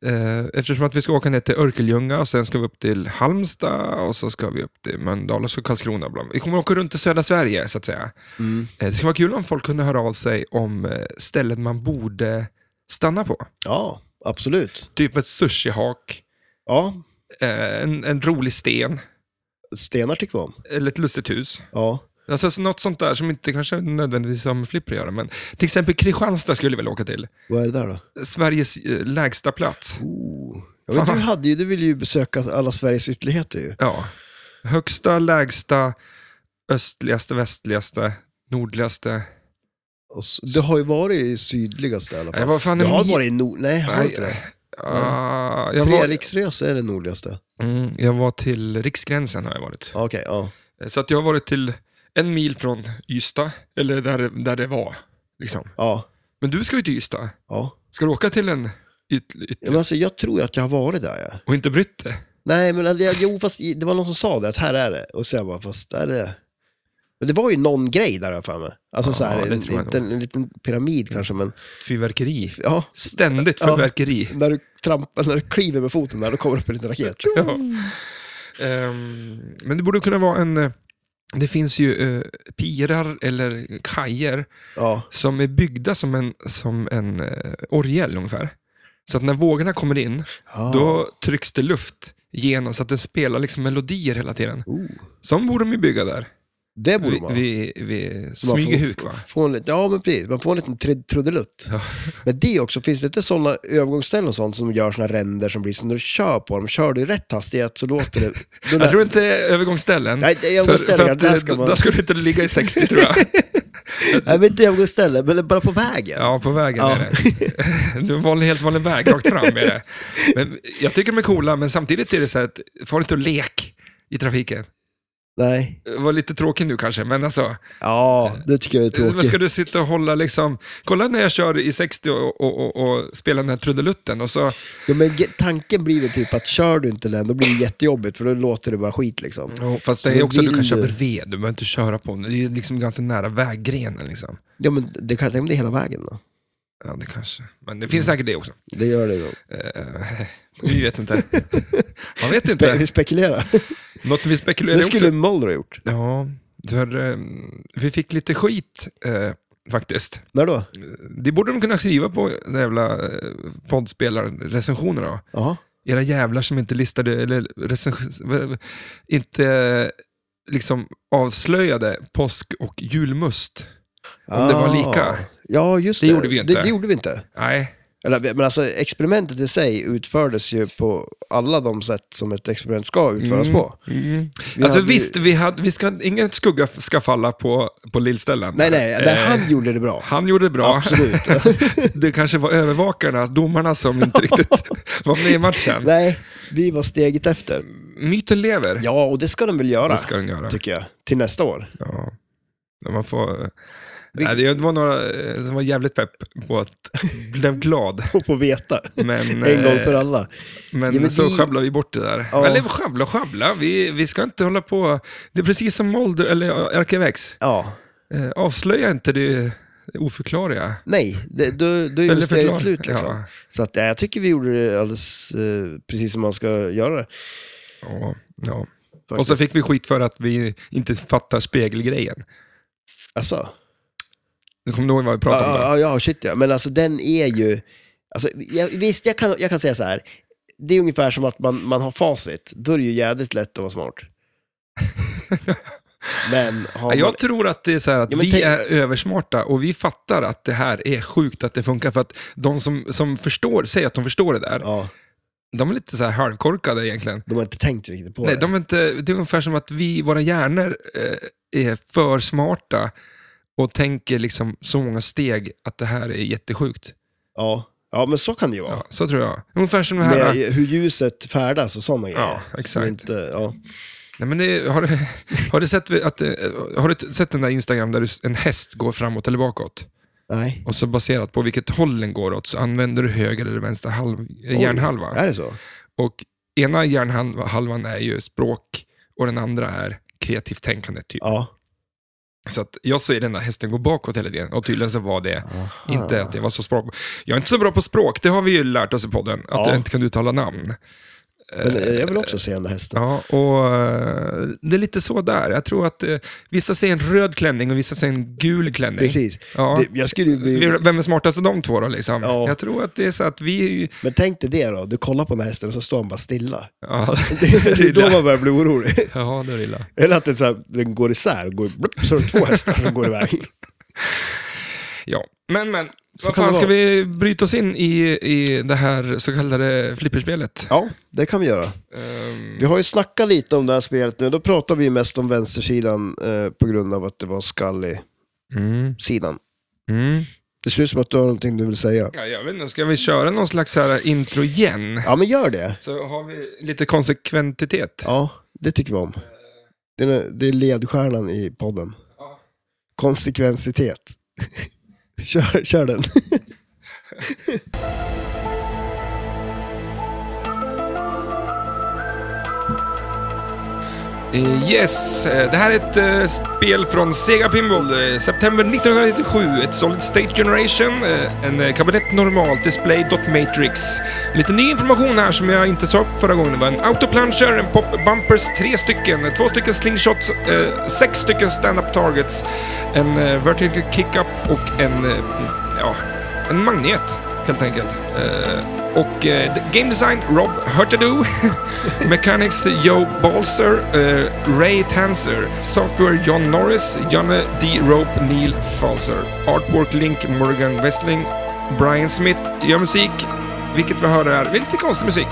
Speaker 1: eh, eftersom att vi ska åka ner till Örkelljunga och sen ska vi upp till Halmstad och så ska vi upp till Mölndal och så Karlskrona. Bland. Vi kommer åka runt i södra Sverige så att säga.
Speaker 2: Mm.
Speaker 1: Eh, det skulle vara kul om folk kunde höra av sig om eh, ställen man borde stanna på.
Speaker 2: Ja, absolut.
Speaker 1: Typ ett sushihak,
Speaker 2: Ja,
Speaker 1: eh, en, en rolig sten
Speaker 2: stenar tycker vi om.
Speaker 1: eller ett lustigt hus.
Speaker 2: Ja.
Speaker 1: Alltså så något sånt där som inte kanske nödvändigtvis har med flipper att göra, men till exempel Kristianstad skulle jag vilja åka till.
Speaker 2: Vad är det där då?
Speaker 1: Sveriges eh, lägsta plats.
Speaker 2: Oh. Ja, men du, hade ju, du ville ju besöka alla Sveriges ytterligheter ju.
Speaker 1: Ja. Högsta, lägsta, östligaste, västligaste, nordligaste.
Speaker 2: Och s- Du har ju varit i sydligaste i alla
Speaker 1: Jag
Speaker 2: fall.
Speaker 1: var fan
Speaker 2: Du
Speaker 1: en
Speaker 2: har
Speaker 1: mi-
Speaker 2: varit i nord... Nej, har du
Speaker 1: Nej,
Speaker 2: inte det? Mm.
Speaker 1: ah, jag, var,
Speaker 2: Treriksrös är det nordligaste.
Speaker 1: mm, jag var till Riksgränsen har jag varit.
Speaker 2: Ja, Okej, ja.
Speaker 1: Så att jag har varit till en mil från Ystad, eller där, där det var. Liksom.
Speaker 2: Ja,
Speaker 1: Men du ska ju till Ystad.
Speaker 2: ja.
Speaker 1: Ska du åka till en yt, yt,
Speaker 2: Ja, Men alltså, jag tror ju att jag har varit där. Ja.
Speaker 1: och inte brytt dig?
Speaker 2: Nej, men alltså, jag, jo, fast i- det var någon som sa det, att här är det. Och så jag bara, fast där är det. Men det var ju någon grej där har jag för mig. Alltså
Speaker 1: Ja,
Speaker 2: så här,
Speaker 1: det
Speaker 2: en,
Speaker 1: tror jag
Speaker 2: inte en, en liten pyramid kanske, men
Speaker 1: Fyrverkeri.
Speaker 2: ja.
Speaker 1: Ständigt
Speaker 2: Ja. Mm.
Speaker 1: fyrverkeri.
Speaker 2: När du, trampar, när du kliver med foten där, då kommer det upp en liten raket.
Speaker 1: Ja. Ehm, men det borde kunna vara en... eh, Det finns ju eh, pirar eller kajer
Speaker 2: Ja,
Speaker 1: som är byggda som en, som en eh, orgel ungefär. Så att när vågorna kommer in,
Speaker 2: ja.
Speaker 1: då trycks det luft genom så att den spelar liksom melodier hela tiden.
Speaker 2: Oh.
Speaker 1: Som borde de ju bygga där.
Speaker 2: Det borde
Speaker 1: Vi,
Speaker 2: man.
Speaker 1: vi, vi
Speaker 2: Så man får-
Speaker 1: Smygehuk va?
Speaker 2: Får en, liten- ja, men precis. Man får en liten trid- trudelutt.
Speaker 1: Ja.
Speaker 2: Men det också, finns det inte sådana övergångsställen och sånt som gör sådana ränder som blir så när du kör på dem, kör du i rätt hastighet så låter det... Då
Speaker 1: Jag tror inte det är övergångsställen.
Speaker 2: Nej, det är
Speaker 1: för, för
Speaker 2: övergångsställen.
Speaker 1: att,
Speaker 2: Där ska
Speaker 1: eh,
Speaker 2: man...
Speaker 1: där ska du inte ligga i 60 tror jag.
Speaker 2: Nej, men inte övergångsställen, men bara på vägen.
Speaker 1: Ja, på vägen
Speaker 2: Ja.
Speaker 1: är det. Det var en helt vanlig väg, rakt fram är det. Men jag tycker de är coola, men samtidigt är det så här att, far inte och lek i trafiken.
Speaker 2: Nej.
Speaker 1: Det var lite tråkig nu kanske, men alltså.
Speaker 2: Ja, det tycker jag är
Speaker 1: Men
Speaker 2: tråkigt.
Speaker 1: ska du sitta och hålla liksom, kolla när jag kör i 60 och, och, och, och spelar den här trudelutten och så,
Speaker 2: Ja, men ge- tanken blir väl typ att kör du inte den, då blir det jättejobbigt för då låter det bara skit liksom.
Speaker 1: Ja, fast det
Speaker 2: Så
Speaker 1: är också, du
Speaker 2: vill
Speaker 1: kan
Speaker 2: du.
Speaker 1: köra bredvid, du behöver inte köra på den. Det är ju liksom ganska nära väggrenen liksom.
Speaker 2: Ja, men det kan tänk om det är hela vägen då.
Speaker 1: Ja, det kanske. Men det finns
Speaker 2: Mm.
Speaker 1: säkert det också.
Speaker 2: Det gör det då.
Speaker 1: Eh, vi vet inte. Man vet
Speaker 2: Spe-
Speaker 1: inte.
Speaker 2: vi spekulerar.
Speaker 1: Något vi spekulerar
Speaker 2: Det
Speaker 1: också-
Speaker 2: skulle Mulder ha gjort.
Speaker 1: Ja, för eh, vi fick lite skit eh, faktiskt.
Speaker 2: När då?
Speaker 1: Det borde de kunna skriva på de jävla eh, poddspelarrecensionerna.
Speaker 2: Ja.
Speaker 1: Era jävlar som inte listade, eller recens- inte eh, liksom avslöjade påsk och julmust. Om det var lika.
Speaker 2: Ah. Ja, just det.
Speaker 1: Det gjorde vi ju inte.
Speaker 2: Det, det gjorde vi inte.
Speaker 1: Nej,
Speaker 2: Eller, men alltså, experimentet i sig utfördes ju på alla de sätt som ett experiment ska utföras på.
Speaker 1: Mm.
Speaker 2: Vi
Speaker 1: alltså
Speaker 2: hade ju-
Speaker 1: visst, vi hade, vi ska, ingen skugga f- ska falla på, på lillställan.
Speaker 2: Nej, nej, nej,
Speaker 1: Eh,
Speaker 2: han gjorde det bra.
Speaker 1: han gjorde det bra.
Speaker 2: Absolut.
Speaker 1: Det kanske var övervakarna, domarna, som inte riktigt var med i matchen.
Speaker 2: nej, vi var steget efter.
Speaker 1: Myten lever.
Speaker 2: Ja, och det ska de väl göra,
Speaker 1: Det ska den göra.
Speaker 2: tycker jag, till nästa år.
Speaker 1: Ja. Ja, Man får...
Speaker 2: Vi-
Speaker 1: Nej, det var några eh, som var jävligt pepp på att blev glad.
Speaker 2: Och få veta,
Speaker 1: Men,
Speaker 2: en gång
Speaker 1: eh,
Speaker 2: för alla.
Speaker 1: men,
Speaker 2: Ja, men
Speaker 1: så
Speaker 2: vi-
Speaker 1: sjabblade vi bort det där.
Speaker 2: Ja.
Speaker 1: Eller sjabbla och sjabbla, vi, vi ska inte hålla på. Det är precis som Molder, eller Arkivex.
Speaker 2: Ja,
Speaker 1: Eh, avslöja inte det oförklarliga.
Speaker 2: nej, det, då, då är ju
Speaker 1: Eller
Speaker 2: steget
Speaker 1: förklara.
Speaker 2: slut. Liksom.
Speaker 1: Ja.
Speaker 2: Så att, ja, jag tycker vi gjorde det alldeles eh, precis som man ska göra det.
Speaker 1: Ja, ja. Och
Speaker 2: faktiskt.
Speaker 1: så fick vi skit för att vi inte fattar spegelgrejen.
Speaker 2: Alltså.
Speaker 1: Du kommer ihåg vad vi pratade om? Där?
Speaker 2: Ja, ja, ja, shit ja. Men alltså den är ju... Alltså, jag, visst, jag kan, jag kan säga så här. Det är ungefär som att man, man har facit. Då är det ju jädrigt lätt att vara smart. Men har
Speaker 1: Ja,
Speaker 2: man...
Speaker 1: jag tror att det är så här att
Speaker 2: Ja, men
Speaker 1: vi
Speaker 2: tänk-
Speaker 1: är översmarta och vi fattar att det här är sjukt att det funkar. För att de som, som förstår, säger att de förstår det där,
Speaker 2: Ja,
Speaker 1: de är lite så här halvkorkade egentligen.
Speaker 2: de har inte tänkt riktigt på
Speaker 1: Nej,
Speaker 2: det.
Speaker 1: de är inte, det är ungefär som att vi, våra hjärnor eh, är för smarta och tänker liksom så många steg att det här är jättesjukt.
Speaker 2: Ja. ja, men så kan det ju vara.
Speaker 1: Ja, så tror jag. Ungefär som det här...
Speaker 2: Med hur ljuset färdas och sådana grejer. Som
Speaker 1: exakt.
Speaker 2: inte, ja.
Speaker 1: Nej, men det, har, du- har, du sett, att, eh, har du sett den där Instagram där du- en häst går framåt eller bakåt?
Speaker 2: Nej.
Speaker 1: Och så baserat på vilket håll den går åt så använder du höger eller vänster halv, eh,
Speaker 2: Oj,
Speaker 1: hjärnhalva.
Speaker 2: Är det så?
Speaker 1: Och ena hjärnhalvan är ju språk och den andra är kreativt tänkande. Typ.
Speaker 2: Ja.
Speaker 1: Så att jag ser den där hästen gå bakåt hela tiden och tydligen så var det
Speaker 2: Aha.
Speaker 1: inte att jag var så språk. Jag är inte så bra på språk, det har vi ju lärt oss i podden, att
Speaker 2: Ja.
Speaker 1: jag inte kan uttala namn.
Speaker 2: Men eh, jag vill också se den där hästen.
Speaker 1: Ja, och eh, det är lite så där. Jag tror att eh, vissa säger en röd klänning och vissa säger en gul klänning.
Speaker 2: Precis.
Speaker 1: Ja.
Speaker 2: Det, jag skulle ju bli...
Speaker 1: Vi- Vem är smartast av de två då? Liksom?
Speaker 2: Ja.
Speaker 1: Jag tror att det är så att vi... är ju-
Speaker 2: Men tänk dig det då, du kollar på den här hästen och så står han bara stilla.
Speaker 1: Ja,
Speaker 2: Det är då
Speaker 1: illa.
Speaker 2: man börjar bli orolig.
Speaker 1: Ja, det är illa.
Speaker 2: Eller att den, så här, den går isär, och går, blup, så är det två hästar som går iväg.
Speaker 1: Ja, men men.
Speaker 2: Så
Speaker 1: vad
Speaker 2: kan
Speaker 1: fan
Speaker 2: det
Speaker 1: ska
Speaker 2: vara.
Speaker 1: vi bryta oss in i, i det här så kallade flipperspelet?
Speaker 2: Ja, det kan vi göra.
Speaker 1: Ehm,
Speaker 2: Vi har ju snackat lite om det här spelet nu, då pratar vi mest om vänstersidan eh, på grund av att det var skallig-sidan.
Speaker 1: mm, mm.
Speaker 2: Det ser ut som att du har någonting du vill säga.
Speaker 1: Ja, jag vet inte, ska vi köra någon slags så här intro igen?
Speaker 2: Ja, men gör det.
Speaker 1: Så har vi lite konsekventitet.
Speaker 2: Ja, det tycker vi om. Det är, det är ledstjärnan i podden.
Speaker 1: Ja.
Speaker 2: Konsekvensitet. kör, kör den.
Speaker 1: Eh, Yes, eh, det här är ett eh, spel från Sega Pinball. eh, September 1997, ett Solid State Generation, eh, en eh, kabinett normal display dot matrix. Lite ny information här som jag inte sa upp förra gången. Det var en autoplancher, en pop bumpers, tre stycken, eh, två stycken slingshots, eh, sex stycken stand-up targets, en eh, vertical kick-up och en, eh, ja, en magnet helt enkelt. Eh, Och eh, game design Rob Hurtado, mechanics Joe Balser, eh, Ray Tanser, software John Norris, Janne D. Rope, Neil Falser, artwork Link Morgan Westling, Brian Smith gör musik, vilket vi hör här, Det är lite konstig musik.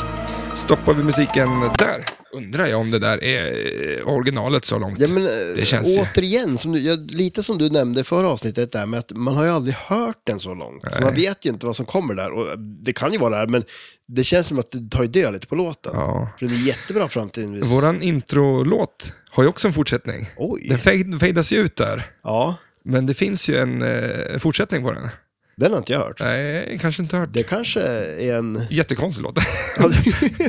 Speaker 1: Stoppar vi musiken där? Undrar jag om det där är eh, originalet så långt.
Speaker 2: Ja, men, eh,
Speaker 1: Det känns ju-
Speaker 2: återigen, som du, ja, lite som du nämnde i förra avsnittet, där med att man har ju aldrig hört den så långt. Så
Speaker 1: Nej.
Speaker 2: man vet ju inte vad som kommer där. Och eh, det kan ju vara där, men det känns som att det tar ju död lite på låten.
Speaker 1: Ja.
Speaker 2: För den är jättebra fram till en viss...
Speaker 1: Våran introlåt har ju också en fortsättning.
Speaker 2: Oj!
Speaker 1: Den fade- fadeas ju ut där.
Speaker 2: Ja,
Speaker 1: Men det finns ju en eh, fortsättning på den.
Speaker 2: den har inte jag hört.
Speaker 1: Nej, kanske inte hört.
Speaker 2: Det kanske är en...
Speaker 1: Jättekonstig låt.
Speaker 2: Ja,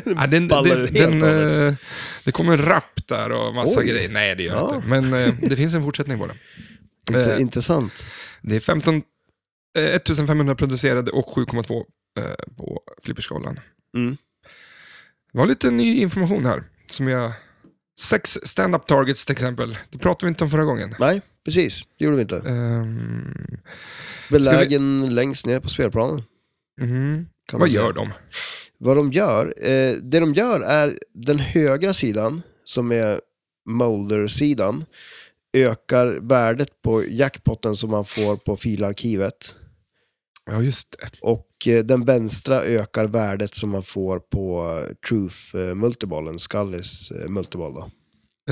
Speaker 1: Ja, den,
Speaker 2: ballar
Speaker 1: det,
Speaker 2: helt
Speaker 1: den,
Speaker 2: och hållet.
Speaker 1: eh, det kommer en rap där och massa
Speaker 2: Oj.
Speaker 1: grejer. Nej, det gör
Speaker 2: Ja.
Speaker 1: inte. Men eh, det finns en fortsättning på den.
Speaker 2: Int-
Speaker 1: eh,
Speaker 2: Intressant.
Speaker 1: Det är 15, eh, 1500 producerade och 7,2 eh, på flipperskalan.
Speaker 2: Mm.
Speaker 1: Det var lite ny information här. Som jag, sex stand-up targets till exempel. Det pratade vi inte om förra gången.
Speaker 2: Nej, precis. Det gjorde vi inte.
Speaker 1: Ehm,
Speaker 2: Belägen längst ner på spelplanen.
Speaker 1: mhm. Vad
Speaker 2: kan man säga.
Speaker 1: gör de?
Speaker 2: Vad de gör, eh, det de gör är den högra sidan, som är Molder-sidan, ökar värdet på jackpotten som man får på filarkivet.
Speaker 1: Ja, just det.
Speaker 2: Och eh, den vänstra ökar värdet som man får på eh, Truth eh, multibollen, Scullys eh, multiboll. Då.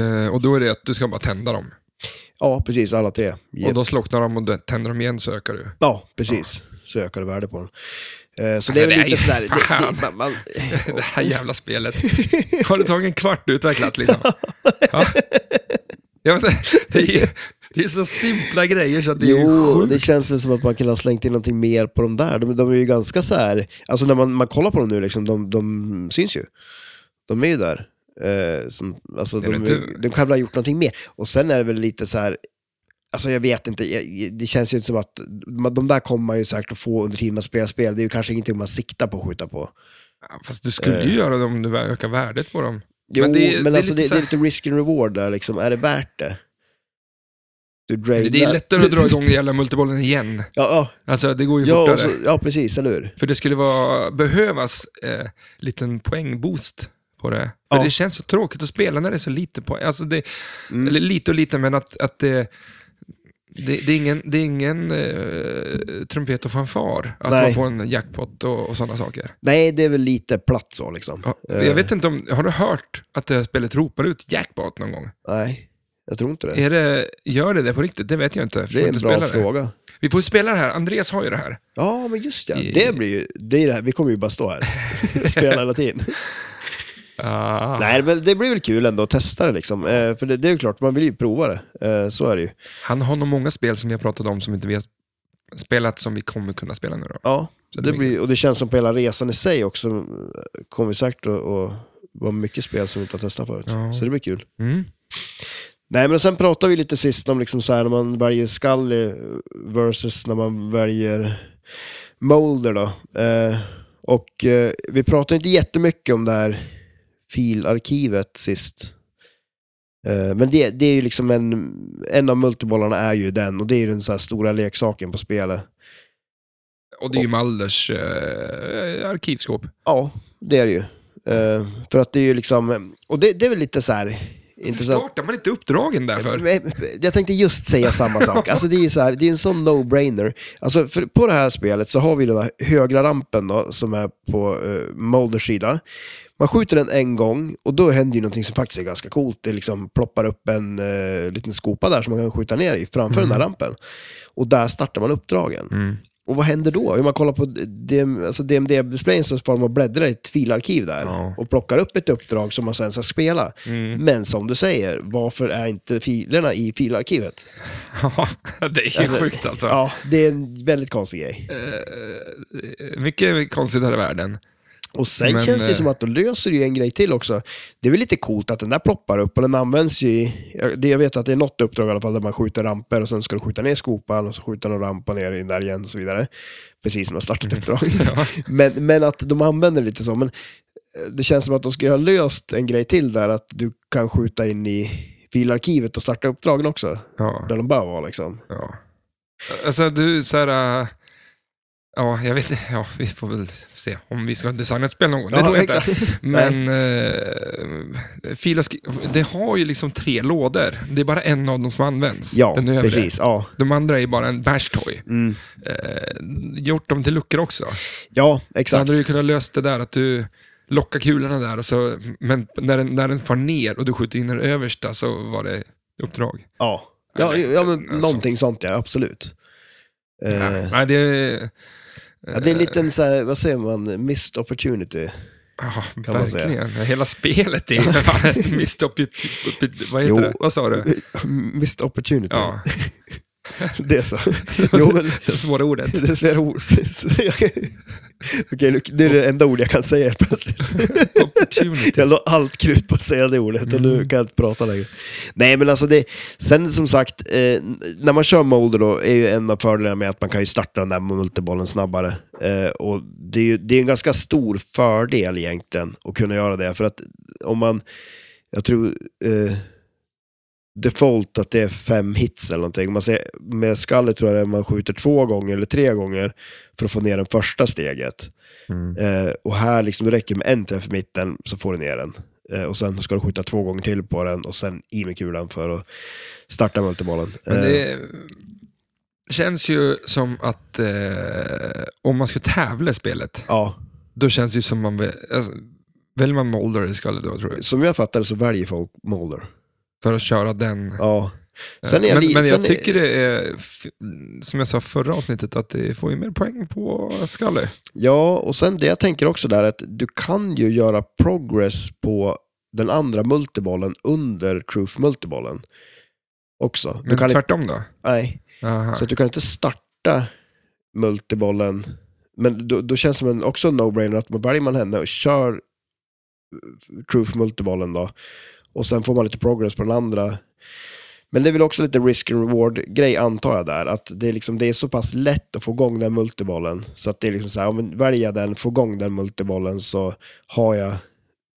Speaker 1: Eh, och då är det att du ska bara tända dem.
Speaker 2: Ja, precis, alla tre. Ge-
Speaker 1: Och då slocknar de och du tänder dem igen så ökar du.
Speaker 2: Ja, precis. Så ökar det värde på den. Eh,
Speaker 1: Alltså,
Speaker 2: Så det är
Speaker 1: det
Speaker 2: väl
Speaker 1: är
Speaker 2: lite
Speaker 1: ju-
Speaker 2: sådär... Det,
Speaker 1: fan.
Speaker 2: det, man, man,
Speaker 1: Det här jävla spelet. Har det tagit en kvart utvecklat liksom? Ja. Ja, men, det, är, ju- det är så simpla grejer så att det är ju
Speaker 2: jo,
Speaker 1: sjukt.
Speaker 2: det känns väl som att man kunde ha slängt in någonting mer på de där. De, de är ju ganska så här... Alltså när man, man kollar på dem nu, liksom, de, de syns ju. De är ju där. Eh, som, alltså,
Speaker 1: Det är
Speaker 2: de,
Speaker 1: inte-
Speaker 2: är- de kan väl ha gjort någonting mer. Och sen är det väl lite så här... Alltså jag vet inte, jag, det känns ju inte som att... man- De där kommer man ju säkert att få under tiden man spelar spel. Det är ju kanske ingenting man siktar på att skjuta på.
Speaker 1: Ja, Fast du skulle
Speaker 2: Eh.
Speaker 1: ju göra det om du ökar värdet på dem.
Speaker 2: Jo, men,
Speaker 1: det är- det är
Speaker 2: alltså,
Speaker 1: lite
Speaker 2: det,
Speaker 1: så
Speaker 2: det är
Speaker 1: här-
Speaker 2: lite risk and reward där liksom. Är det värt det? Du
Speaker 1: Det, det är lättare att dra igång jävla multibollen igen.
Speaker 2: Ja,
Speaker 1: Alltså det går
Speaker 2: ja,
Speaker 1: ju
Speaker 2: ja,
Speaker 1: fortare.
Speaker 2: och så, ja precis, eller hur?
Speaker 1: För det skulle vara, behövas eh, liten poängboost på det. För
Speaker 2: Ja.
Speaker 1: det känns så tråkigt att spela när det är så lite poäng. Alltså det,
Speaker 2: Mm.
Speaker 1: Eller lite och lite, men att, att det, det, det är ingen, det är ingen eh, trumpet och fanfar. Att
Speaker 2: Nej.
Speaker 1: man får en jackpot och, och sådana saker.
Speaker 2: Nej, det är väl lite platt så liksom.
Speaker 1: Ja,
Speaker 2: Eh.
Speaker 1: jag vet inte om, har du hört att det här spelet ropar ut jackpot någon gång?
Speaker 2: Nej, jag tror inte det.
Speaker 1: Är det, gör det det på riktigt? Det vet jag inte. eftersom
Speaker 2: Det är
Speaker 1: jag
Speaker 2: en
Speaker 1: inte
Speaker 2: bra
Speaker 1: spelar det.
Speaker 2: fråga.
Speaker 1: Vi får ju spela det här. Andreas har ju det här.
Speaker 2: Ja, men just ja.
Speaker 1: I-
Speaker 2: Det blir ju, det är det här. Vi kommer ju bara stå här och spela hela tiden.
Speaker 1: Ah.
Speaker 2: Nej, men det blir väl kul ändå att testa det liksom. Eh, för det, det är ju klart, man vill ju prova det. Eh, så är det ju.
Speaker 1: Han har nog många spel som vi har pratat om som inte vi har spelat som vi kommer kunna spela nu då.
Speaker 2: Ja,
Speaker 1: Så
Speaker 2: det
Speaker 1: det blir-
Speaker 2: blir, och det känns som på hela resan i sig också eh, kommer vi säkert att, att var mycket spel som vi inte har testat förut.
Speaker 1: Ja.
Speaker 2: Så det blir kul.
Speaker 1: Mm.
Speaker 2: Nej, men sen pratade vi lite sist om liksom så här, när man väljer Scully versus när man väljer Molder. Då. Eh, och eh, vi pratade inte jättemycket om det här filarkivet sist. Eh, men det, det är ju liksom en, en av multibollarna är ju den och det är ju den så här stora leksaken på spelet.
Speaker 1: Och det är ju Malders eh, arkivskåp.
Speaker 2: Ja, det är det ju. Eh, för att det är ju liksom, och det, det är väl lite så här intressant.
Speaker 1: Startar man inte uppdragen därför?
Speaker 2: Men- Eh, Jag tänkte just säga samma sak. Alltså det är ju så här, det är en sån no-brainer. Alltså för på det här spelet så har vi den här högra rampen då, som är på uh, Molders sida. Man skjuter den en gång och då händer ju någonting som faktiskt är ganska coolt. Det liksom ploppar upp en eh, liten skopa där som man kan skjuta ner i framför den här rampen. Och där startar man uppdragen.
Speaker 1: Mm.
Speaker 2: Och vad händer då? Om man kollar på DM, alltså DMD-displayen så får man bläddra i ett filarkiv där
Speaker 1: Ja.
Speaker 2: och plockar upp ett uppdrag som man sen ska spela.
Speaker 1: Mm.
Speaker 2: Men som du säger, varför är inte filerna i filarkivet?
Speaker 1: Ja, det är ju sjukt alltså.
Speaker 2: Ja, det är en väldigt konstig grej.
Speaker 1: Eh, mycket konstigt här i världen.
Speaker 2: Och sen
Speaker 1: Men,
Speaker 2: känns det
Speaker 1: eh,
Speaker 2: som att då löser du ju en grej till också. Det är väl lite coolt att den där ploppar upp och den används ju i, jag- det- jag vet att det är något uppdrag i alla fall där man skjuter ramper och sen ska du skjuta ner skopan och så skjuter någon rampa ner i den där igen och så vidare. Precis som man startat uppdrag.
Speaker 1: Mm. Ja.
Speaker 2: Men, men att de använder det lite så. Men eh, det känns som att de skulle ha löst en grej till där, att du kan skjuta in i filarkivet och starta uppdragen också.
Speaker 1: Ja,
Speaker 2: Där de bör vara liksom.
Speaker 1: ja. Alltså du, så här... eh, Ja, jag vet inte. Ja, vi får väl se om vi ska designa ett spel någon gång. Det
Speaker 2: Ja,
Speaker 1: tror jag inte.
Speaker 2: exakt.
Speaker 1: Men eh, filask- det har ju liksom tre lådor. Det är bara en av dem som används.
Speaker 2: Ja,
Speaker 1: den övre.
Speaker 2: precis. Ja.
Speaker 1: De andra är bara en bash-toy.
Speaker 2: Mm.
Speaker 1: Eh, gjort dem till luckor också.
Speaker 2: ja,
Speaker 1: Så
Speaker 2: exakt.
Speaker 1: hade du ju kunnat löst det där att du lockar kulorna där, och så, men när den, när den far ner och du skjuter in den översta så var det uppdrag.
Speaker 2: Ja, ja, ja men
Speaker 1: Alltså.
Speaker 2: någonting sånt ja, absolut. Eh,
Speaker 1: Ja, Nej, det, är-
Speaker 2: ja, det är en liten, så här, vad säger man, missed opportunity.
Speaker 1: eh, ja,
Speaker 2: kan man säga.
Speaker 1: verkligen. Hela spelet är ju fan ett missed opportunity. Vad heter
Speaker 2: Jo.
Speaker 1: det? Vad sa du?
Speaker 2: missed opportunity.
Speaker 1: Ja,
Speaker 2: Det är så. Jo, men
Speaker 1: det svåra ordet.
Speaker 2: det är flera ord. Okej, nu- det är det enda ord jag kan säga helt plötsligt.
Speaker 1: Opportunity.
Speaker 2: Jag la allt krut på att säga det ordet och nu kan jag inte prata längre. Nej men alltså det, sen som sagt, eh, när man kör Molder då är ju en av fördelarna med att man kan ju starta den där multibollen snabbare. Eh, och det är ju det är en ganska stor fördel egentligen att kunna göra det. För att om man, jag tror eh, default att det är fem hits eller någonting. Man ser, med skallet tror jag det är man skjuter två gånger eller tre gånger för att få ner den första steget.
Speaker 1: Mm.
Speaker 2: Eh, och här liksom, det räcker det med en träff i mitten så får du ner den. Eh, och sen ska du skjuta två gånger till på den och sen i med kulan för att starta multibollen.
Speaker 1: Men
Speaker 2: Eh,
Speaker 1: det känns ju som att eh, om man ska tävla i spelet,
Speaker 2: ja,
Speaker 1: då känns det ju som man... vä- Alltså, väljer man Molder eller Skalle då, tror jag?
Speaker 2: som jag fattar det så väljer folk Molder.
Speaker 1: För att köra den eh,
Speaker 2: Ja. Sen är jag
Speaker 1: men,
Speaker 2: li-
Speaker 1: men jag
Speaker 2: sen är-
Speaker 1: tycker det är, f- som jag sa förra avsnittet, att det får ju mer poäng på Scully.
Speaker 2: Ja, och sen det jag tänker också där är att du kan ju göra progress på den andra multibollen under truth multibollen också. Du
Speaker 1: Men
Speaker 2: kan, inte-
Speaker 1: tvärtom då?
Speaker 2: nej,
Speaker 1: Aha.
Speaker 2: så att du kan inte starta multibollen. Men då, då känns det som en, också en no-brainer att man väljer man henne och kör eh, truth multibollen då. Och sen får man lite progress på den andra. Men det är väl också lite risk and reward-grej antar jag där. Att det är, liksom, det är så pass lätt att få igång den multibollen. Så att det är liksom så här, om jag väljer den, får igång den multibollen så har jag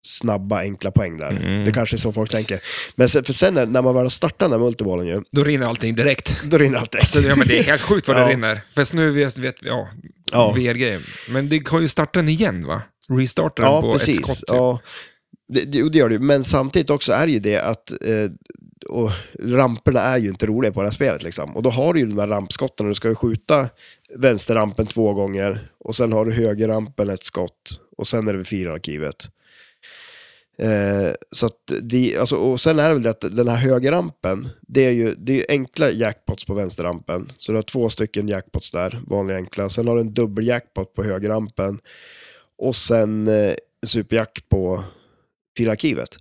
Speaker 2: snabba, enkla poäng där.
Speaker 1: Mm.
Speaker 2: Det kanske är så folk tänker. Men sen, för sen när, när man väl startar den här multibollen ju,
Speaker 1: Då rinner allting direkt.
Speaker 2: då rinner allt direkt.
Speaker 1: Så, Alltså, ja, men det är helt sjukt vad det
Speaker 2: Ja.
Speaker 1: rinner. Fast nu vet, vet vi, ja,
Speaker 2: Ja.
Speaker 1: VR-grejen. Men det kan ju starta den igen va? Restarta den på ett skott. typ.
Speaker 2: Ja, det, det, jo, det gör det ju. Men samtidigt också är det ju det att eh, och ramperna är ju inte roliga på det här spelet. Liksom. Och då har du ju de där rampskotten och du ska ju skjuta vänsterrampen två gånger och sen har du högerrampen ett skott och sen är det vid fyrarkivet. Eh, så att det, alltså, och sen är det väl det att den här högerrampen, det är ju det är ju enkla jackpots på vänsterrampen. Så du har två stycken jackpots där, vanliga enkla. Sen har du en dubbel jackpot på högerrampen och sen eh, superjack på filarkivet.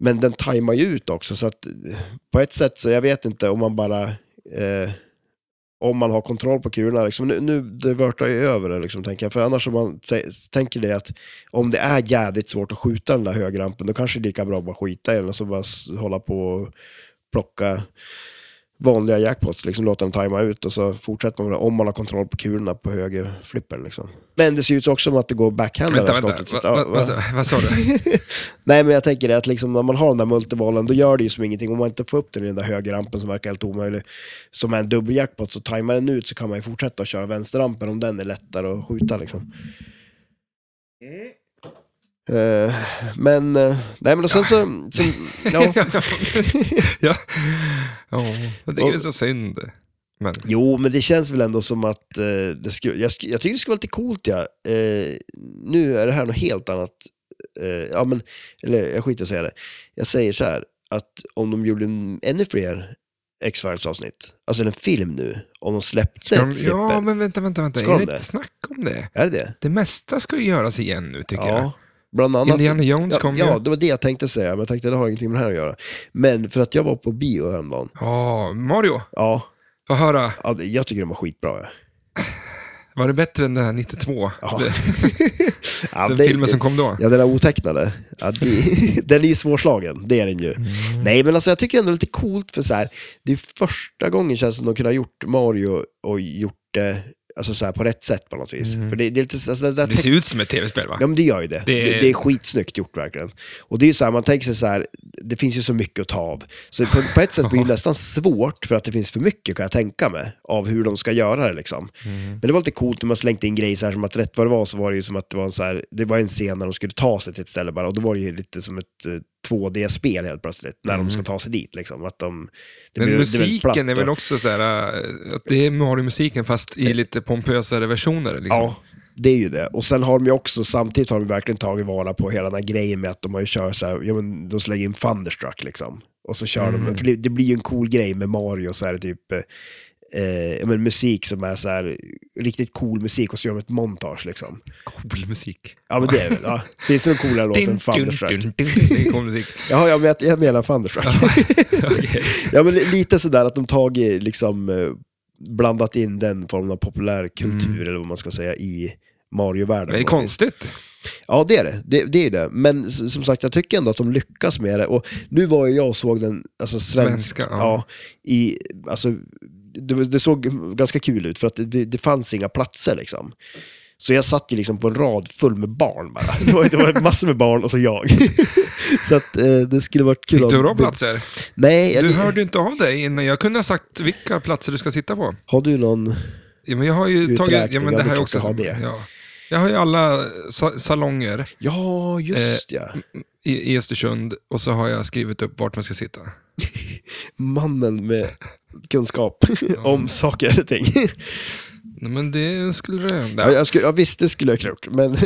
Speaker 2: Men den tajmar ju ut också, så att eh, på ett sätt så jag vet inte om man bara eh, Om man har kontroll på kulorna. Liksom. Nu, nu det vörtar ju över det, liksom, tänker jag. För annars om man t- tänker det att om det är jävligt svårt att skjuta den där högrampen, då kanske det är lika bra att bara skita i den och så bara s- hålla på och plocka vanliga jackpots, liksom låta den tajma ut och så fortsätter man med det om man har kontroll på kulorna på höger flippen. Liksom. Men det ser ut också som att det går backhand
Speaker 1: Vänta,
Speaker 2: det här
Speaker 1: vänta.
Speaker 2: skottet.
Speaker 1: Va, va,
Speaker 2: Ja, va?
Speaker 1: vad sa- vad sa du?
Speaker 2: Nej, men jag tänker det att liksom, när man har den där multibollen, då gör det ju som ingenting. Om man inte får upp den i den där högerrampen som verkar helt omöjlig, som är en dubbeljackpot, så tajmar den ut så kan man ju fortsätta att köra vänsterrampen om den är lättare att skjuta. Liksom. Eh, men, eh, nej men och sen så, som, ja,
Speaker 1: ja. ja. Jag tycker det är så synd. Men,
Speaker 2: Jo, men det känns väl ändå som att eh, det skulle, jag, sku- jag tycker det skulle vara lite coolt ja. Eh, nu är det här något helt annat. Eh, ja, men, eller jag skiter i att säga det. Jag säger så här, att om de gjorde en, ännu fler X-Files avsnitt, alltså en film nu, om de släppte
Speaker 1: ska de,
Speaker 2: flipper.
Speaker 1: ja, men vänta, vänta, vänta.
Speaker 2: Ska
Speaker 1: Är
Speaker 2: de
Speaker 1: det
Speaker 2: det?
Speaker 1: inte snack om det?
Speaker 2: Är det det?
Speaker 1: Det mesta ska ju göras igen nu, tycker
Speaker 2: Ja, bland
Speaker 1: jag.
Speaker 2: annat.
Speaker 1: Indiana Jones
Speaker 2: ja,
Speaker 1: kom ju.
Speaker 2: ja, det var det jag tänkte säga, men jag tänkte det har ingenting med det här att göra. Men för att jag var på bio häromdagen,
Speaker 1: Ja, Mario.
Speaker 2: ja,
Speaker 1: Få höra.
Speaker 2: ja, det- jag tycker de var skitbra. Ja.
Speaker 1: Var det bättre än den här 92?
Speaker 2: Ja.
Speaker 1: Det-
Speaker 2: Ja,
Speaker 1: den
Speaker 2: det-
Speaker 1: filmen som kom då?
Speaker 2: Ja, den där otecknade. Ja, det, den är ju svårslagen, det är den ju. Nej, men alltså jag tycker ändå det är lite coolt för så här, det är första gången känns det som de kunde ha gjort Mario och gjort det alltså så här, på rätt sätt på något vis. För det, det är lite, alltså, det där
Speaker 1: Det ser ut som ett tv-spel, va?
Speaker 2: Ja, men det gör ju det.
Speaker 1: Det-
Speaker 2: Det, det, är skitsnyggt gjort verkligen. Och det är ju så här, man tänker sig så här, det finns ju så mycket att ta av. Så på, på ett sätt blir det nästan svårt för att det finns för mycket, kan jag tänka mig, av hur de ska göra det liksom.
Speaker 1: Mm.
Speaker 2: Men det var lite coolt när man slängde in grejer så här, som att rätt vad det var så var det ju som att det var en, så här, det var en scen när de skulle ta sig till ett ställe bara, och då var det ju lite som ett eh, 2D-spel helt plötsligt, när de ska ta sig dit liksom. Att de, det
Speaker 1: Mm. Men
Speaker 2: blir- det blir väldigt platt
Speaker 1: musiken är
Speaker 2: och-
Speaker 1: väl också så här, äh, att det är Mario-musiken fast i lite pompösare versioner. Liksom.
Speaker 2: Ja, det är ju det. Och sen har de ju också, samtidigt har de verkligen tagit vara på hela den här grejen med att de har ju kört så här, ja men de slänger in Thunderstruck liksom. Och så kör
Speaker 1: Mm.
Speaker 2: de, för det, det blir ju en cool grej med Mario, så här typ, eh, eh, ja, men musik som är så här, riktigt cool musik och så gör de ett montage liksom.
Speaker 1: Cool musik.
Speaker 2: Ja men det är det väl, ja. Finns det någon coolare låt än Thunderstruck?
Speaker 1: dun, dun. Det är cool musik.
Speaker 2: Ja, jag, men, jag menar Thunderstruck.
Speaker 1: Okej.
Speaker 2: Ja, men lite sådär att de tagit, liksom, eh, blandat in den formen av populärkultur, eller vad man ska säga, i Mario-världen.
Speaker 1: Mm. Det är
Speaker 2: på något vis.
Speaker 1: konstigt.
Speaker 2: Ja, det är det. Det, det är det. Men s- som sagt, jag tycker ändå att de lyckas med det. Och nu var ju jag och såg den alltså, svensk,
Speaker 1: Svenska, ja.
Speaker 2: ja. i, alltså, det, var- det såg ganska kul ut, för att det, det fanns inga platser liksom. Så jag satt ju liksom på en rad full med barn bara. Det var, det var massor med barn och så jag. så att eh, det skulle varit kul.
Speaker 1: Fick
Speaker 2: om-
Speaker 1: du bra platser?
Speaker 2: Nej, jag,
Speaker 1: Du hörde ju inte av dig innan. Jag kunde ha sagt vilka platser du ska sitta på.
Speaker 2: har du någon...
Speaker 1: Ja, men jag har ju
Speaker 2: Uträkning,
Speaker 1: tagit... Ja, men
Speaker 2: ja,
Speaker 1: det
Speaker 2: det
Speaker 1: här är
Speaker 2: är
Speaker 1: också...
Speaker 2: klart du har
Speaker 1: som-
Speaker 2: det.
Speaker 1: Ja. Jag har ju alla sa salonger
Speaker 2: Ja, just ja.
Speaker 1: i, i Östersund och så har jag skrivit upp vart man ska sitta.
Speaker 2: Mannen med kunskap om saker och ting.
Speaker 1: Nej, Men det skulle det...
Speaker 2: Ja,
Speaker 1: Nej.
Speaker 2: jag skulle, ja, visst, det skulle jag kunna gjort, men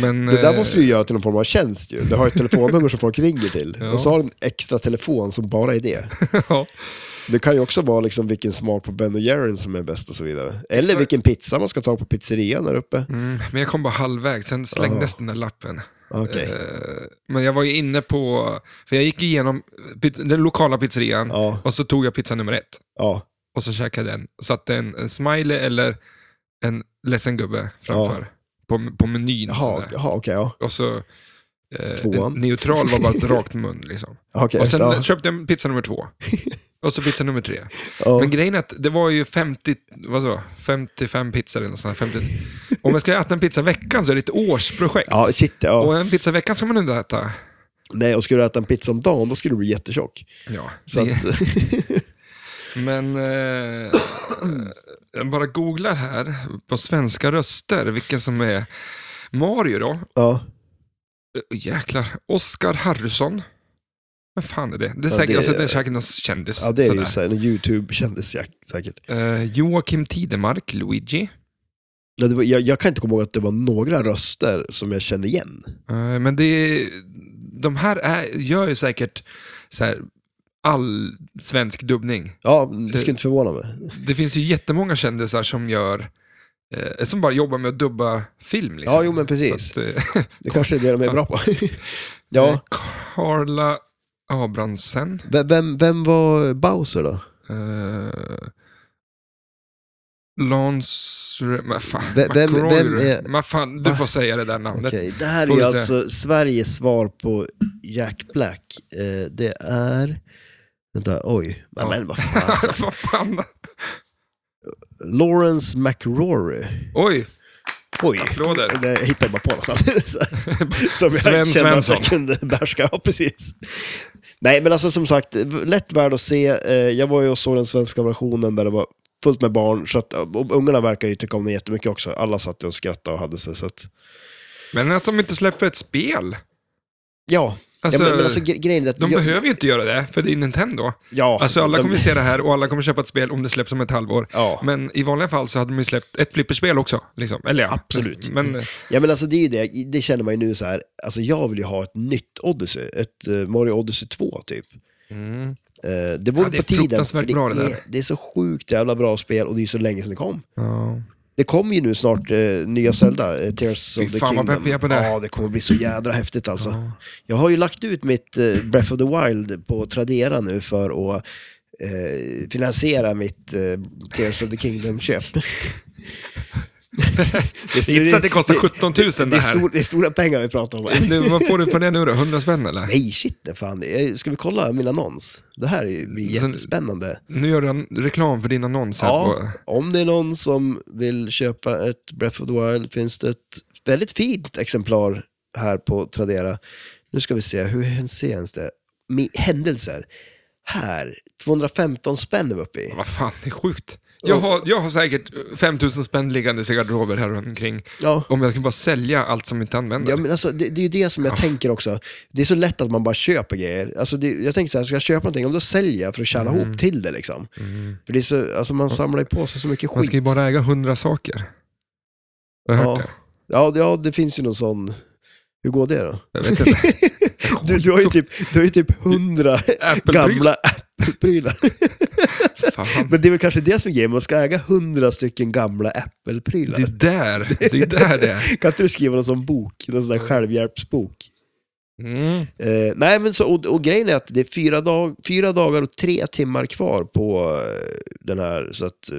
Speaker 1: Men,
Speaker 2: det där
Speaker 1: eh,
Speaker 2: måste du ju göra till någon form av tjänst ju. Du har ju ett telefonnummer som folk ringer till.
Speaker 1: Ja.
Speaker 2: Och så har du en extra telefon som bara är det.
Speaker 1: eh, ja.
Speaker 2: Det kan ju också vara liksom vilken smak på Ben Jerryn som är bäst och så vidare. Eller
Speaker 1: Exakt.
Speaker 2: vilken pizza man ska ta på pizzerian där uppe.
Speaker 1: Mm, men jag kom bara halvvägs, sen slängdes den där lappen.
Speaker 2: Ah, Okej.
Speaker 1: Eh, Men jag var ju inne på, för jag gick igenom pit- den lokala pizzerian
Speaker 2: Ja,
Speaker 1: och så tog jag pizza nummer ett
Speaker 2: ja,
Speaker 1: och så käkade jag den. Satte en, en smiley eller en ledsen gubbe framför på, på menyn. Och,
Speaker 2: jaha,
Speaker 1: sådär.
Speaker 2: jaha okej, ja.
Speaker 1: och så eh,
Speaker 2: Tvåan.
Speaker 1: neutral var bara ett rakt mun. Liksom.
Speaker 2: Ah, Okej,
Speaker 1: Och sen
Speaker 2: ja,
Speaker 1: köpte jag pizza nummer två. Och så pizza nummer tre.
Speaker 2: ja.
Speaker 1: Men grejen är att det var ju 50, vad så, 55 pizzor eller något sånt. här, 50. Om jag ska äta en pizza i veckan så är det ett årsprojekt.
Speaker 2: ja, shit ja.
Speaker 1: Och en pizza i veckan ska man inte äta.
Speaker 2: Nej, och skulle du äta en pizza om dagen, då skulle du bli jättetjock.
Speaker 1: Ja,
Speaker 2: Så
Speaker 1: det-
Speaker 2: att,
Speaker 1: Men eh, jag bara googlar här på svenska röster vilken som är Mario då.
Speaker 2: ja.
Speaker 1: Eh, Jäklar, Oscar Harrison. Vad fan är det? Det är
Speaker 2: Ja,
Speaker 1: säkert,
Speaker 2: det-
Speaker 1: alltså, det är säkert någon kändis.
Speaker 2: ja, det är ju
Speaker 1: sådär.
Speaker 2: så här, en YouTube-kändis säk- säkert.
Speaker 1: Eh, Joakim Tidemark, Luigi.
Speaker 2: Nej, det var, jag, jag kan inte komma ihåg att det var några röster som jag kände igen.
Speaker 1: Eh, men det är, de här är, gör ju säkert så här, all svensk dubbning.
Speaker 2: Ja, det skulle inte förvåna mig.
Speaker 1: Det finns ju jättemånga kändisar som gör eh, som bara jobbar med att dubba film. Liksom.
Speaker 2: Ja, jo, men precis.
Speaker 1: Så att, eh,
Speaker 2: Det kanske är det de är bra på. ja,
Speaker 1: Carla Eh, Abrahamsen.
Speaker 2: ve- vem, vem var Bowser då?
Speaker 1: Eh, Lance... men Fan,
Speaker 2: Vem- vem-
Speaker 1: McRoy,
Speaker 2: vem är- Ah.
Speaker 1: men fan, du får säga det där namnet.
Speaker 2: Okej, det här
Speaker 1: Får
Speaker 2: är
Speaker 1: vi
Speaker 2: ju
Speaker 1: se.
Speaker 2: alltså Sveriges svar på Jack Black. Eh, det är... Vänta, oj.
Speaker 1: Ja.
Speaker 2: Men vad fan alltså.
Speaker 1: Vad fan?
Speaker 2: Lawrence McRory.
Speaker 1: Oj,
Speaker 2: Oj.
Speaker 1: applåder.
Speaker 2: Det hittade jag bara på något annat. Så- Som
Speaker 1: Sven
Speaker 2: jag kände att
Speaker 1: Svensson.
Speaker 2: jag kunde behärska. Ja, precis. Nej, men alltså som sagt, lätt värd att se. Eh, Jag var ju och såg den svenska versionen där det var fullt med barn. Så att, och ungarna verkar ju tycka om den jättemycket också. Alla satt ju och skrattade och hade sig. Så att,
Speaker 1: Men att de inte släpper ett spel.
Speaker 2: ja,
Speaker 1: Alltså,
Speaker 2: ja men, men alltså gre- grejen är att...
Speaker 1: de
Speaker 2: jag,
Speaker 1: behöver ju inte göra det, för det är Nintendo.
Speaker 2: ja,
Speaker 1: Alltså alla
Speaker 2: de-
Speaker 1: kommer se det här och alla kommer köpa ett spel om det släpps om ett halvår.
Speaker 2: Ja.
Speaker 1: Men i vanliga fall så hade de ju släppt ett flipperspel också. Liksom. Eller ja,
Speaker 2: Absolut.
Speaker 1: Men, eh,
Speaker 2: Ja men alltså det är ju det, det känner man ju nu så här, alltså jag vill ju ha ett nytt Odyssey, ett eh, Mario Odyssey 2 typ.
Speaker 1: mm.
Speaker 2: Eh, det vore
Speaker 1: Ja, det är
Speaker 2: på tiden,
Speaker 1: fruktansvärt
Speaker 2: för det,
Speaker 1: bra det där.
Speaker 2: är, det är så sjukt jävla bra spel och det är ju så länge sedan det kom.
Speaker 1: ja.
Speaker 2: Det kommer ju nu snart eh, nya Zelda, eh, Tears
Speaker 1: Fy
Speaker 2: of the
Speaker 1: fan, vad
Speaker 2: Kingdom.
Speaker 1: pepp vi är på det.
Speaker 2: Ja, det kommer bli så jädra häftigt alltså.
Speaker 1: Ja.
Speaker 2: Jag har ju lagt ut mitt eh, Breath of the Wild på Tradera nu för att eh, finansiera mitt eh, Tears of the Kingdom-köp.
Speaker 1: Det är inte så att det kostar 17 000 det
Speaker 2: Det
Speaker 1: här.
Speaker 2: är, stor, det är stora pengar vi pratar om. här.
Speaker 1: Nu, vad får du för det nu då? 100 spänn eller?
Speaker 2: Nej, shit, det fan. Eh, Ska vi kolla min annons? Det här är- blir
Speaker 1: Sen-
Speaker 2: jättespännande.
Speaker 1: Nu gör du en reklam för din annons här.
Speaker 2: Ja,
Speaker 1: På...
Speaker 2: om det är någon som vill köpa ett Breath of the Wild finns det ett väldigt fint exemplar här på Tradera. Nu ska vi se, hur ser ens det? Mi- Händelser. Här, 215 spänn är vi uppe i.
Speaker 1: Vad fan, det är sjukt. Jag har, jag har säkert 5000 spänn liggandes i garderober här runt omkring.
Speaker 2: Ja.
Speaker 1: Om jag skulle bara sälja allt som inte använder.
Speaker 2: Ja, men alltså, det, det är ju det som jag tänker också. Det är så lätt att man bara köper grejer. Alltså, det, jag tänker så här, ska jag köpa någonting, om då säljer jag för att
Speaker 1: Mm.
Speaker 2: tjäna ihop till det. Liksom. För det är så, alltså, man samlar ju på sig så mycket
Speaker 1: Man
Speaker 2: skit.
Speaker 1: ska ju bara äga 100 saker. Har du hört
Speaker 2: Ja.
Speaker 1: det?
Speaker 2: Ja, det- ja, det finns ju någon sån... Hur går det då?
Speaker 1: Jag vet inte.
Speaker 2: Du, du, har, ju typ, du har ju typ hundra
Speaker 1: Apple-prylar.
Speaker 2: gamla Apple-prylar.
Speaker 1: Mm. Fan.
Speaker 2: Men det är väl kanske det som är grejen, man ska äga hundra stycken gamla
Speaker 1: Det är
Speaker 2: Apple-prylar.
Speaker 1: där det är. Där det är.
Speaker 2: Kan inte du skriva någon sån bok, någon sån där självhjälpsbok?
Speaker 1: Mm.
Speaker 2: Eh, nej, men så, och, och grejen är att det är fyra, dag, fyra dagar och tre timmar kvar på eh, den här, så att... eh,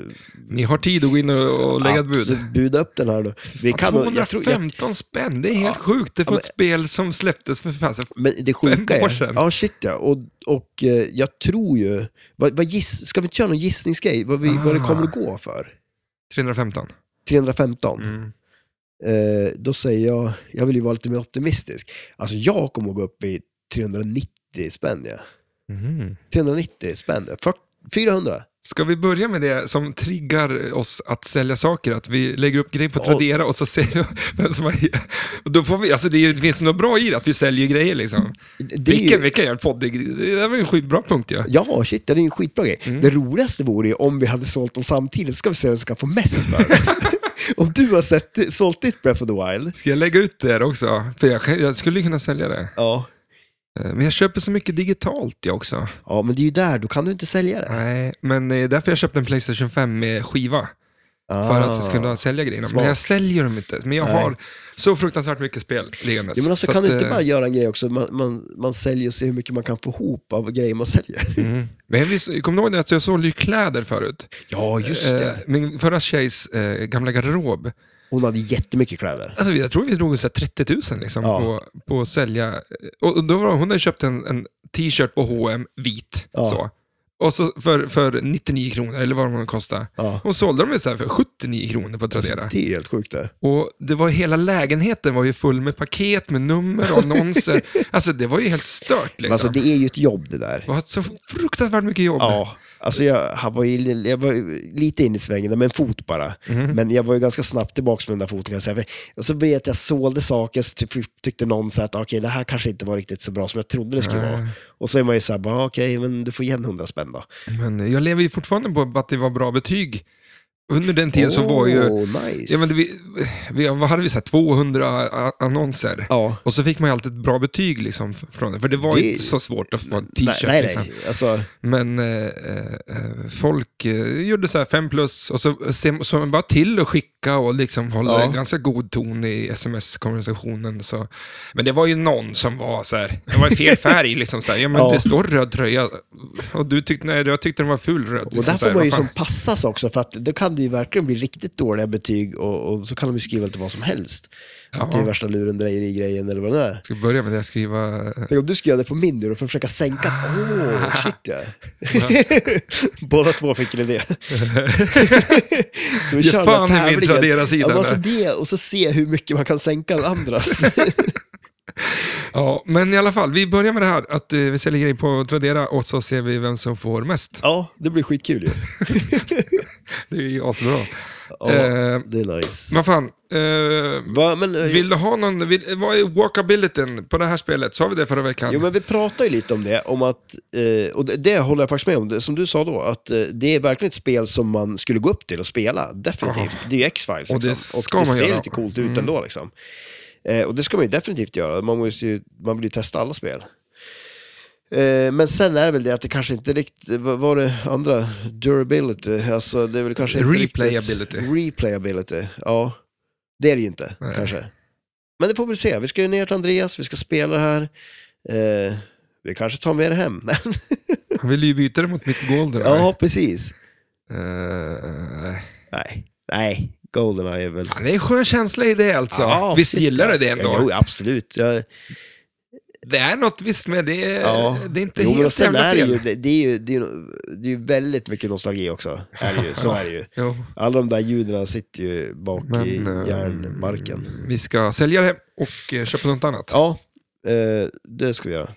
Speaker 1: Ni har tid att gå in och, och lägga ett bud.
Speaker 2: absolut, Buda upp den här då. Vi kan, nog- jag tror, jag,
Speaker 1: 215 spänn, det är helt sjukt. Det var
Speaker 2: men-
Speaker 1: ett spel som släpptes för fasen.
Speaker 2: Men det sjuka
Speaker 1: Fem år
Speaker 2: är...
Speaker 1: sedan.
Speaker 2: Ja, shit ja. Och, och eh, jag tror ju... Vad, vad giss, ska vi inte köra någon gissningsgrej? Vad, vi, vad det
Speaker 1: Ah.
Speaker 2: kommer att gå för?
Speaker 1: 315.
Speaker 2: 315.
Speaker 1: Mm.
Speaker 2: Eh, då säger jag... Jag vill ju vara lite mer optimistisk. Alltså jag kommer att gå upp i 390 spänn, ja.
Speaker 1: Mhm.
Speaker 2: 390 spänn. ja. Fyrt- 400.
Speaker 1: Ska vi börja med det som triggar oss att sälja saker? Att vi lägger upp grejer på
Speaker 2: Ja.
Speaker 1: Tradera och så ser vi vem som har... Och Då får vi, alltså det är- det finns något bra i det, att vi säljer grejer liksom.
Speaker 2: Det, det är
Speaker 1: Vilken,
Speaker 2: ju,
Speaker 1: vilken jävla podd. Det det var ju en skitbra punkt ju. Ja.
Speaker 2: ja, shit, det är ju en skitbra grej.
Speaker 1: Mm.
Speaker 2: Det roligaste vore ju om vi hade sålt dem samtidigt, så ska vi se vem som kan få mest för det. Om du har sett, sålt ditt Breath of the Wild,
Speaker 1: Ska jag lägga ut det här också? För jag, kan- jag skulle ju kunna sälja det.
Speaker 2: ja.
Speaker 1: Eh, Men jag köper så mycket digitalt jag också.
Speaker 2: ja, men det är ju där, då kan du inte sälja det.
Speaker 1: Nej, men det är därför jag köpte en Playstation 5 med skiva. För
Speaker 2: Ah.
Speaker 1: att jag kunna sälja grejerna.
Speaker 2: smart.
Speaker 1: Men jag säljer dem inte. Men jag
Speaker 2: Nej.
Speaker 1: har så fruktansvärt mycket spel liggandes.
Speaker 2: Ja, men alltså,
Speaker 1: Så
Speaker 2: kan
Speaker 1: att,
Speaker 2: du inte
Speaker 1: eh,
Speaker 2: bara göra en grej också, man, man, man säljer och ser hur mycket man kan få ihop av grejer man säljer?
Speaker 1: Mm. Men jag visst, kom du ihåg det att jag sålde ju kläder förut?
Speaker 2: Ja,
Speaker 1: Eh, min förra tjejs eh, gamla garderob.
Speaker 2: Hon hade jättemycket kläder.
Speaker 1: Alltså, jag tror vi drog så här 30 000 liksom,
Speaker 2: Ja.
Speaker 1: på, på att sälja. Eh, Och och då var, hon hade köpt en, en t-shirt på H&M vit.
Speaker 2: Ja.
Speaker 1: Så. Och så för, för 99 kronor, eller vad de kostade.
Speaker 2: Ja.
Speaker 1: Hon sålde dem ju så här för 79 kronor på Tradera.
Speaker 2: Det är helt sjukt det.
Speaker 1: Och det var hela lägenheten var ju full med paket, med nummer och annonser. alltså det var ju helt stört liksom.
Speaker 2: Alltså, det är ju ett jobb det där.
Speaker 1: Det var så fruktansvärt mycket jobb.
Speaker 2: Ja, alltså jag, han var ju, jag var ju lite in i svängen där med en fot bara. Men jag var ju ganska snabbt tillbaka med den där foten kan jag säga. För- Och så blev det att jag sålde saker, så typ, tyckte någon så här att okej, det här kanske inte var riktigt så bra som jag trodde det skulle
Speaker 1: Nej.
Speaker 2: vara. Och så är man ju så här, bara, okej, men du får igen 100 spänn då.
Speaker 1: Men jag lever ju fortfarande på att det var bra betyg. Under den tiden så var ju...
Speaker 2: Åh, nice.
Speaker 1: Ja, men det, vi, vi, vad hade vi? Så här, 200 a- annonser.
Speaker 2: Ja.
Speaker 1: Och så fick man ju alltid ett bra betyg liksom, från det. För det var
Speaker 2: Det-
Speaker 1: inte så svårt att få en
Speaker 2: Nej,
Speaker 1: t-shirt.
Speaker 2: nej,
Speaker 1: liksom.
Speaker 2: nej. Alltså,
Speaker 1: Men eh, eh, folk eh, gjorde så här 5 plus och så ser- såg man bara till att skicka och liksom håller
Speaker 2: Ja.
Speaker 1: en ganska god ton i sms-konversationen. Så. Men det var ju någon som var så här, det var ju fel färg liksom. Så här, ja men
Speaker 2: Ja.
Speaker 1: det står röd tröja och du tyckte, nej jag tyckte den var ful röd.
Speaker 2: och där
Speaker 1: så här,
Speaker 2: får man ju
Speaker 1: liksom vad fan.
Speaker 2: som passas också, för att då kan det ju verkligen bli riktigt dåliga betyg och, och så kan de ju skriva lite vad som helst. Att det är
Speaker 1: Ja,
Speaker 2: värsta lurendrejeri-grejen eller vad det är.
Speaker 1: ska vi börja med det? Skriva... eh,
Speaker 2: Tänk om du skulle göra det på min nu då för att försöka sänka...
Speaker 1: Ah.
Speaker 2: Åh, shit ja. Båda två fick en idé. Vi
Speaker 1: Ge
Speaker 2: kör den här
Speaker 1: fan i min
Speaker 2: tävlingen. Ja,
Speaker 1: Tradera-sida.
Speaker 2: men alltså
Speaker 1: där.
Speaker 2: det och så se hur mycket man kan sänka den andras.
Speaker 1: Ja, men i alla fall, vi börjar med det här att eh, vi säljer grejer på Tradera och så ser vi vem som får mest.
Speaker 2: ja, det blir skitkul ju.
Speaker 1: Det är ju asbra.
Speaker 2: Ja,
Speaker 1: Eh,
Speaker 2: det är nice.
Speaker 1: Men fan, eh,
Speaker 2: Va, men, eh,
Speaker 1: vill du ha någon, vill, vad är walkabilityn på det här spelet? Sa vi det förra veckan?
Speaker 2: Jo, men vi pratade ju lite om det, om att, eh, och det, det håller jag faktiskt med om, det, som du sa då, att eh, det är verkligen ett spel som man skulle gå upp till och spela, definitivt. Det är ju X-Files,
Speaker 1: Och det
Speaker 2: liksom.
Speaker 1: ska
Speaker 2: och det
Speaker 1: man
Speaker 2: ser
Speaker 1: göra. Mm.
Speaker 2: lite coolt ut ändå. Liksom. Eh, och det ska man ju definitivt göra, man, måste ju, man vill ju testa alla spel. Eh, Men sen är det väl det att det kanske inte riktigt, vad var det andra? Durability, alltså det är väl kanske inte
Speaker 1: Replayability.
Speaker 2: Riktigt, replayability, ja. Det är det ju inte,
Speaker 1: Nej.
Speaker 2: kanske. Men det får vi se. Vi ska ju ner till Andreas, vi ska spela det här. Eh, vi kanske tar med det hem. Nej.
Speaker 1: Han ville ju byta det mot mitt Golden.
Speaker 2: ja, precis.
Speaker 1: Eh,
Speaker 2: Nej, nej. Goldeneye är väl...
Speaker 1: fan, det är en skön känsla i det alltså.
Speaker 2: Ja,
Speaker 1: visst
Speaker 2: shit,
Speaker 1: gillar
Speaker 2: ja.
Speaker 1: du det ändå?
Speaker 2: Ja, jo, absolut. Jag,
Speaker 1: Det är något visst med det.
Speaker 2: ja.
Speaker 1: Eh, Det är inte
Speaker 2: jo, men och
Speaker 1: helt
Speaker 2: sen
Speaker 1: jävla
Speaker 2: är det,
Speaker 1: fel.
Speaker 2: ju, det, det är ju, det är ju, det är ju väldigt mycket nostalgi också. Är det ju, så är det ju.
Speaker 1: Jo,
Speaker 2: Alla de där ljuden sitter ju bak i
Speaker 1: Men, eh,
Speaker 2: hjärnbarken.
Speaker 1: vi ska sälja det och eh, köpa något annat.
Speaker 2: Ja, eh, det ska vi göra.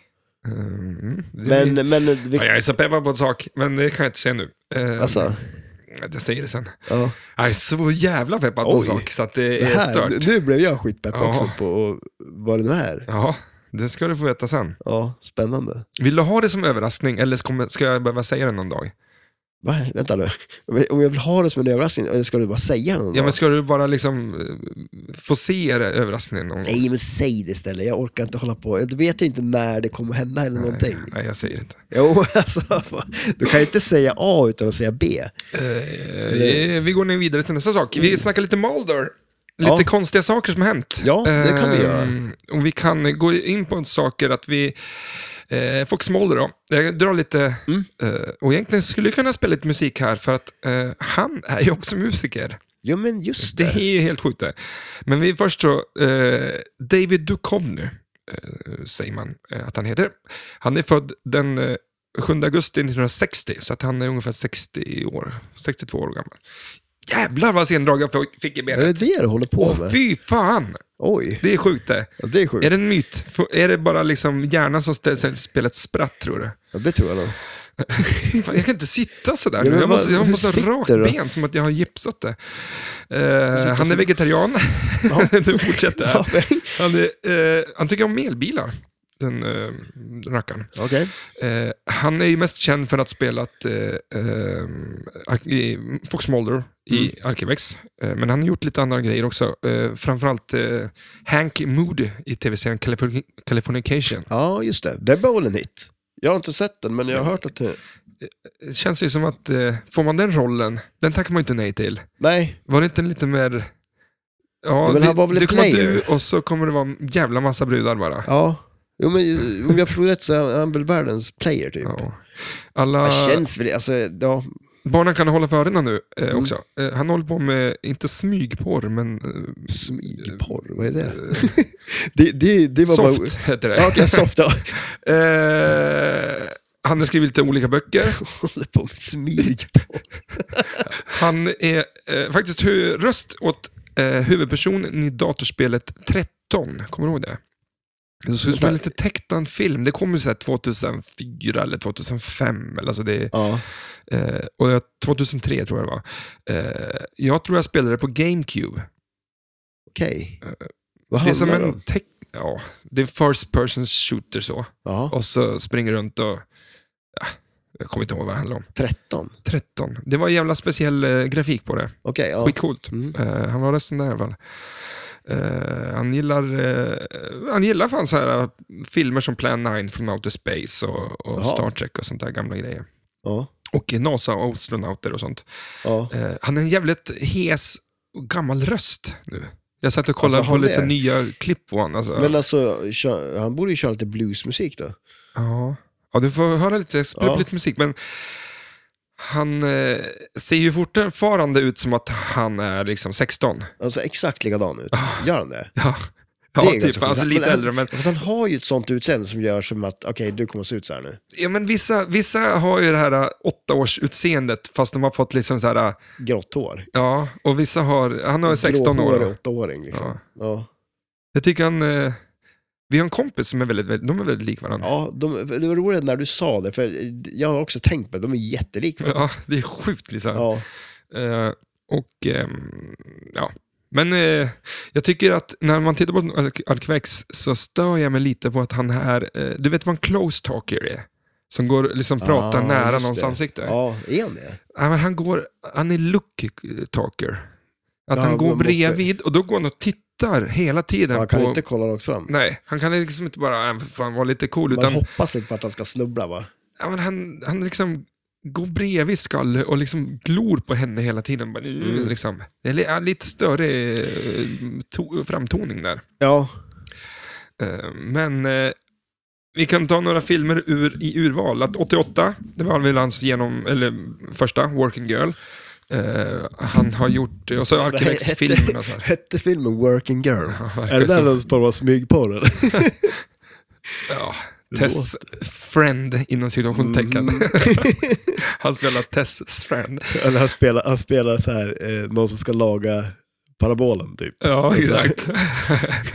Speaker 1: Mm, det
Speaker 2: Men,
Speaker 1: blir...
Speaker 2: men
Speaker 1: ja,
Speaker 2: vi,
Speaker 1: jag är så peppad på en sak, men det kan jag inte säga nu. Eh,
Speaker 2: alltså,
Speaker 1: Jag säger det sen.
Speaker 2: ja.
Speaker 1: Jag är så jävla peppad på en
Speaker 2: Oj.
Speaker 1: sak, så att det
Speaker 2: Det
Speaker 1: är
Speaker 2: här,
Speaker 1: stört.
Speaker 2: nu- nu blev jag skitpepp
Speaker 1: Ja.
Speaker 2: också på och, vad det nu är.
Speaker 1: Ja, det ska du få veta sen.
Speaker 2: Ja, spännande.
Speaker 1: Vill du ha det som överraskning, eller ska- ska jag behöva säga det någon dag?
Speaker 2: Va? Vänta nu. Om jag- Om jag vill ha det som en överraskning, eller ska du bara säga det någon
Speaker 1: Ja,
Speaker 2: dag?
Speaker 1: men ska du bara liksom eh, få se det, överraskningen någon gång?
Speaker 2: Nej, men säg det istället. Jag orkar inte hålla på. Jag vet ju inte när det kommer hända eller någonting.
Speaker 1: Nej, jag säger inte.
Speaker 2: Jo, alltså, fan. du kan ju inte säga A utan att säga B.
Speaker 1: Eh, vi går nu vidare till nästa sak. Vi snackar lite Mulder. Lite
Speaker 2: Mm. Ja.
Speaker 1: konstiga saker som har hänt.
Speaker 2: Ja, det kan vi
Speaker 1: Eh,
Speaker 2: göra.
Speaker 1: Och vi kan gå in på saker att vi... Eh, Fox Mulder då. Jag drar lite...
Speaker 2: Mm.
Speaker 1: Eh, och egentligen skulle jag kunna spela lite musik här för att eh, han är ju också musiker.
Speaker 2: Jo, men just
Speaker 1: Det
Speaker 2: det.
Speaker 1: är ju helt sjukt det. Men vi först så, eh, David Duchovny, eh, säger man eh, att han heter. Han är född den eh, 7 augusti 1960, så att han är ungefär 60 år, 62 år gammal. Jävlar vad sen drag jag f- fick i
Speaker 2: Är
Speaker 1: benet.
Speaker 2: det det du håller på
Speaker 1: Åh
Speaker 2: med?
Speaker 1: fy fan,
Speaker 2: Oj,
Speaker 1: det är sjukt det.
Speaker 2: ja, det är sjukt.
Speaker 1: Är det en myt? F- Är det bara liksom hjärnan som ställer sig- spelar ett spratt tror du?
Speaker 2: Ja, det tror jag nog.
Speaker 1: Fan, jag kan inte sitta sådär
Speaker 2: Ja,
Speaker 1: nu.
Speaker 2: men
Speaker 1: Jag
Speaker 2: vad-
Speaker 1: måste, jag
Speaker 2: hur
Speaker 1: måste ha
Speaker 2: sitter
Speaker 1: rakt
Speaker 2: du då?
Speaker 1: ben som att jag har gipsat det. Eh, han är
Speaker 2: som-
Speaker 1: vegetarian.
Speaker 2: Ja.
Speaker 1: nu fortsätter jag.
Speaker 2: Ja, men-
Speaker 1: Han, är, eh, han tycker om elbilar, den eh, rackaren.
Speaker 2: Okej.
Speaker 1: Eh, han är ju mest känd för att ha spelat eh, eh, Ar- i Fox Mulder i
Speaker 2: Mm.
Speaker 1: Arkivex. Eh, men han har gjort lite andra grejer också. Eh, framförallt eh, Hank Moody i tv-serien Californi- Californication.
Speaker 2: Ja, just det. Det var väl en hit. Jag har inte sett den, men jag har hört att det...
Speaker 1: Det känns ju som att eh, får man den rollen, den tackar man ju inte nej till.
Speaker 2: Nej,
Speaker 1: Var det inte lite mer... Ja,
Speaker 2: men
Speaker 1: det-
Speaker 2: han var väl
Speaker 1: det
Speaker 2: en
Speaker 1: kommer
Speaker 2: player?
Speaker 1: Du, och så kommer det vara en jävla massa brudar bara.
Speaker 2: ja. Jo, men ju- om jag förstod rätt så är han väl världens player, typ.
Speaker 1: Ja. Alla
Speaker 2: Det känns väl, alltså, ja.
Speaker 1: barnen kan hålla för öronen nu eh,
Speaker 2: Mm.
Speaker 1: också. Eh, han håller på med, inte smygporr, men eh,
Speaker 2: Smygporr, vad är det? det, det, det var bara...
Speaker 1: soft heter det.
Speaker 2: Ja, okej, soft, ja.
Speaker 1: Eh, han har skrivit lite olika böcker.
Speaker 2: Håller på med
Speaker 1: Typ.
Speaker 2: smygporr.
Speaker 1: Han är eh, faktiskt hu- röst åt eh, huvudpersonen i datorspelet 13. Kommer du ihåg det? Det såg ut som en lite tecknad film. Det kom ju så här 2004 eller 2005. Eller alltså det,
Speaker 2: Ja,
Speaker 1: eh, och jag, 2003 tror jag det var. Eh, jag tror jag spelade det på GameCube.
Speaker 2: okej. Vad
Speaker 1: Eh, Det är som
Speaker 2: handlar det
Speaker 1: en
Speaker 2: om?
Speaker 1: teck... Ja, det är first person shooter så.
Speaker 2: Ja,
Speaker 1: Och så springer runt och... Ja, jag kommer inte ihåg vad det handlar om.
Speaker 2: 13.
Speaker 1: 13. Det var en jävla speciell eh, grafik på det.
Speaker 2: Okej, ja.
Speaker 1: Skitcoolt.
Speaker 2: Mm.
Speaker 1: Eh, han var rösten där i alla fall. Eh, han, gillar, eh, han gillar fan så här eh, filmer som Plan 9 från Outer Space och, och
Speaker 2: Jaha.
Speaker 1: Star Trek och sånt där gamla grejer.
Speaker 2: Ja,
Speaker 1: Och NASA och astronauter och sånt.
Speaker 2: ja.
Speaker 1: Eh, han är en jävligt hes och gammal röst nu. Jag satt och kollade
Speaker 2: Alltså,
Speaker 1: på
Speaker 2: han
Speaker 1: lite
Speaker 2: är-
Speaker 1: nya klipp på honom. Alltså.
Speaker 2: Men alltså, kö- han borde ju köra lite bluesmusik då.
Speaker 1: Ja. ja, du får höra lite, spela upp
Speaker 2: Ja.
Speaker 1: lite musik. Men Han eh, ser ju fortfarande ut som att han är liksom 16.
Speaker 2: Han ser Alltså, exakt likadan ut. Gör han det?
Speaker 1: Ja, Ah. ja
Speaker 2: Det är ganska
Speaker 1: typ.
Speaker 2: sjukt.
Speaker 1: Alltså lite
Speaker 2: Men-
Speaker 1: äldre, men
Speaker 2: Fast han har ju ett sånt utseende som gör som att, okej, du kommer se ut så här nu.
Speaker 1: Ja, men vissa, vissa har ju det här eh, åttaårsutseendet, fast de har fått liksom så här,
Speaker 2: Grått hår.
Speaker 1: ja, och vissa har, han har 16 år.
Speaker 2: Gråhårig
Speaker 1: då.
Speaker 2: åttaåring liksom. Ja.
Speaker 1: Jag tycker han, eh, vi har en kompis som är väldigt, väldigt de är väldigt lik varandra.
Speaker 2: Ja, de, det var roligt när du sa det, för jag har också tänkt på det, de är jättelika.
Speaker 1: Ja, det är sjukt liksom.
Speaker 2: Ja.
Speaker 1: Eh, och, ehm, ja. Men eh, jag tycker att när man tittar på Al- Alkvex så stör jag mig lite på att han är, eh, du vet vad en close talker är? Som går liksom pratar
Speaker 2: Ah,
Speaker 1: nära
Speaker 2: just
Speaker 1: någons
Speaker 2: det.
Speaker 1: ansikte.
Speaker 2: ja, är han det?
Speaker 1: Ja, men han, går, han är look talker. Att
Speaker 2: Ja,
Speaker 1: han går
Speaker 2: man måste-
Speaker 1: bredvid och då går han och tittar hela tiden.
Speaker 2: Man kan
Speaker 1: på...
Speaker 2: inte kolla rakt fram.
Speaker 1: Nej, han kan liksom inte bara "Äh, för fan, vara lite cool,
Speaker 2: Man
Speaker 1: utan
Speaker 2: hoppas inte på att han ska snubbla va?
Speaker 1: ja, men han, han liksom går bredvid Skalle och liksom glor på henne hela tiden. Bara,
Speaker 2: Mm.
Speaker 1: liksom. Det är li- ja, lite större eh, to- framtoning där.
Speaker 2: Ja,
Speaker 1: Eh, Men eh, vi kan ta några filmer ur, i urval. Att 88, det var väl hans genom, eller, första, Working Girl. Eh, han har gjort, och så
Speaker 2: vad hette-
Speaker 1: Arkivex-filmerna. så här.
Speaker 2: hette filmen Working Girl?
Speaker 1: Ja,
Speaker 2: Är
Speaker 1: verkar
Speaker 2: det där
Speaker 1: som-
Speaker 2: någon form av smygporr eller?
Speaker 1: Ja, Tess Friend inom situationstecken.
Speaker 2: Mm.
Speaker 1: Han spelar Tess Friend.
Speaker 2: Eller han spelar, han spelar så här, eh, någon som ska laga parabolen typ.
Speaker 1: Ja,
Speaker 2: Exakt.
Speaker 1: exakt.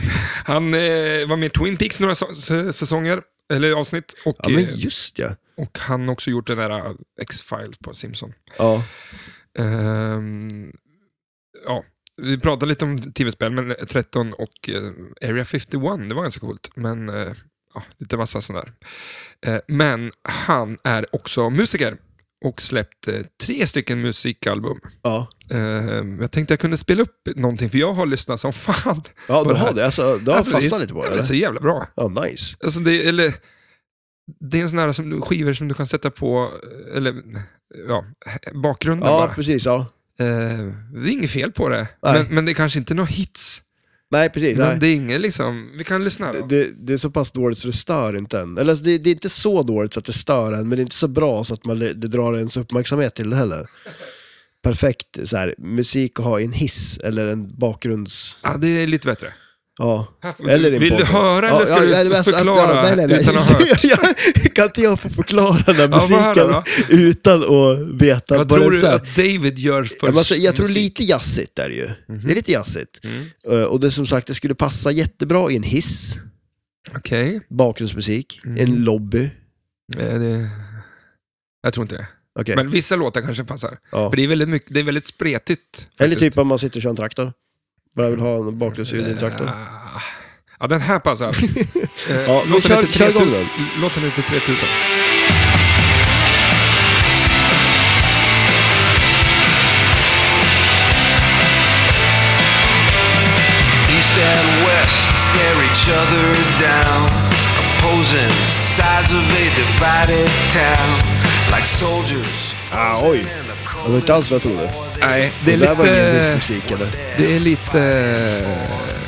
Speaker 1: Han eh, var med i Twin Peaks några så- s- säsonger, eller avsnitt. Och,
Speaker 2: Ja men
Speaker 1: eh,
Speaker 2: just ja.
Speaker 1: och han har också gjort den där eh, X-Files på Simpson.
Speaker 2: Ja,
Speaker 1: Ehm, ja, vi pratade lite om tv-spel, men 13 och eh, Area 51, det var ganska coolt. Men eh, ja, lite massa sådana där. Eh, men han är också musiker och släppte tre stycken musikalbum.
Speaker 2: ja.
Speaker 1: Ehm, jag tänkte jag kunde spela upp någonting, för jag har lyssnat som fan.
Speaker 2: ja du
Speaker 1: det här.
Speaker 2: har det? Alltså, du har
Speaker 1: Alltså,
Speaker 2: fastnat
Speaker 1: är-
Speaker 2: lite på
Speaker 1: ja,
Speaker 2: det?
Speaker 1: det är så
Speaker 2: Eller?
Speaker 1: jävla bra.
Speaker 2: Ja, nice.
Speaker 1: Alltså det, eller, det är en sån här som, du- skivor som du kan sätta på, eller ja, bakgrunden
Speaker 2: Ja,
Speaker 1: bara.
Speaker 2: precis. Ja.
Speaker 1: Eh, det är inget fel på det,
Speaker 2: Nej.
Speaker 1: men, men det är kanske inte några hits.
Speaker 2: Nej, precis. Nej.
Speaker 1: Men det är inget liksom, vi kan lyssna då.
Speaker 2: Det, det är så pass dåligt så det stör inte en. Eller alltså, det, det är inte så dåligt så att det stör en, men det är inte så bra så att man, det drar ens uppmärksamhet till det heller. Perfekt så här, musik att ha i en hiss eller en bakgrunds...
Speaker 1: Ja, det är lite bättre.
Speaker 2: Ja.
Speaker 1: Här får-
Speaker 2: Eller din
Speaker 1: Vill du
Speaker 2: podcast.
Speaker 1: höra eller ska
Speaker 2: ja,
Speaker 1: du
Speaker 2: men alltså,
Speaker 1: förklara
Speaker 2: ja, nej, nej, nej.
Speaker 1: utan att höra?
Speaker 2: Jag- kan inte jag få förklara den här
Speaker 1: Ja, vad är det
Speaker 2: musiken utan att veta
Speaker 1: Vad
Speaker 2: vad
Speaker 1: tror
Speaker 2: den
Speaker 1: du
Speaker 2: säger?
Speaker 1: att David gör först?
Speaker 2: Ja, men alltså, jag tror
Speaker 1: musik? Mhm.
Speaker 2: lite jazzigt är det ju. Det är lite jazzigt.
Speaker 1: Mm.
Speaker 2: Eh, Och det är som sagt, det skulle passa jättebra i en hiss,
Speaker 1: Okej.
Speaker 2: bakgrundsmusik,
Speaker 1: Mm.
Speaker 2: en lobby.
Speaker 1: Eh, det- Jag tror inte det.
Speaker 2: Okej.
Speaker 1: Men vissa låtar kanske passar.
Speaker 2: Ja.
Speaker 1: För det är väldigt, mycket, det är väldigt spretigt. Faktiskt.
Speaker 2: Eller typ om man sitter och kör en traktor. Bara vill ha en bakgrundsljud i en traktor.
Speaker 1: Ah. Ja, den här passar. Eh,
Speaker 2: Ja, men
Speaker 1: låten
Speaker 2: kör-
Speaker 1: heter
Speaker 2: kör igång
Speaker 1: 3000. Låten heter 3000.
Speaker 3: East and West stare each other down. Opposing sides of a divided town. Like soldiers.
Speaker 2: Ah, oj. Det var inte alls vad jag trodde.
Speaker 1: Nej, det är
Speaker 2: Det där var ingen
Speaker 1: lite...
Speaker 2: hissmusik eller?
Speaker 1: Det är lite...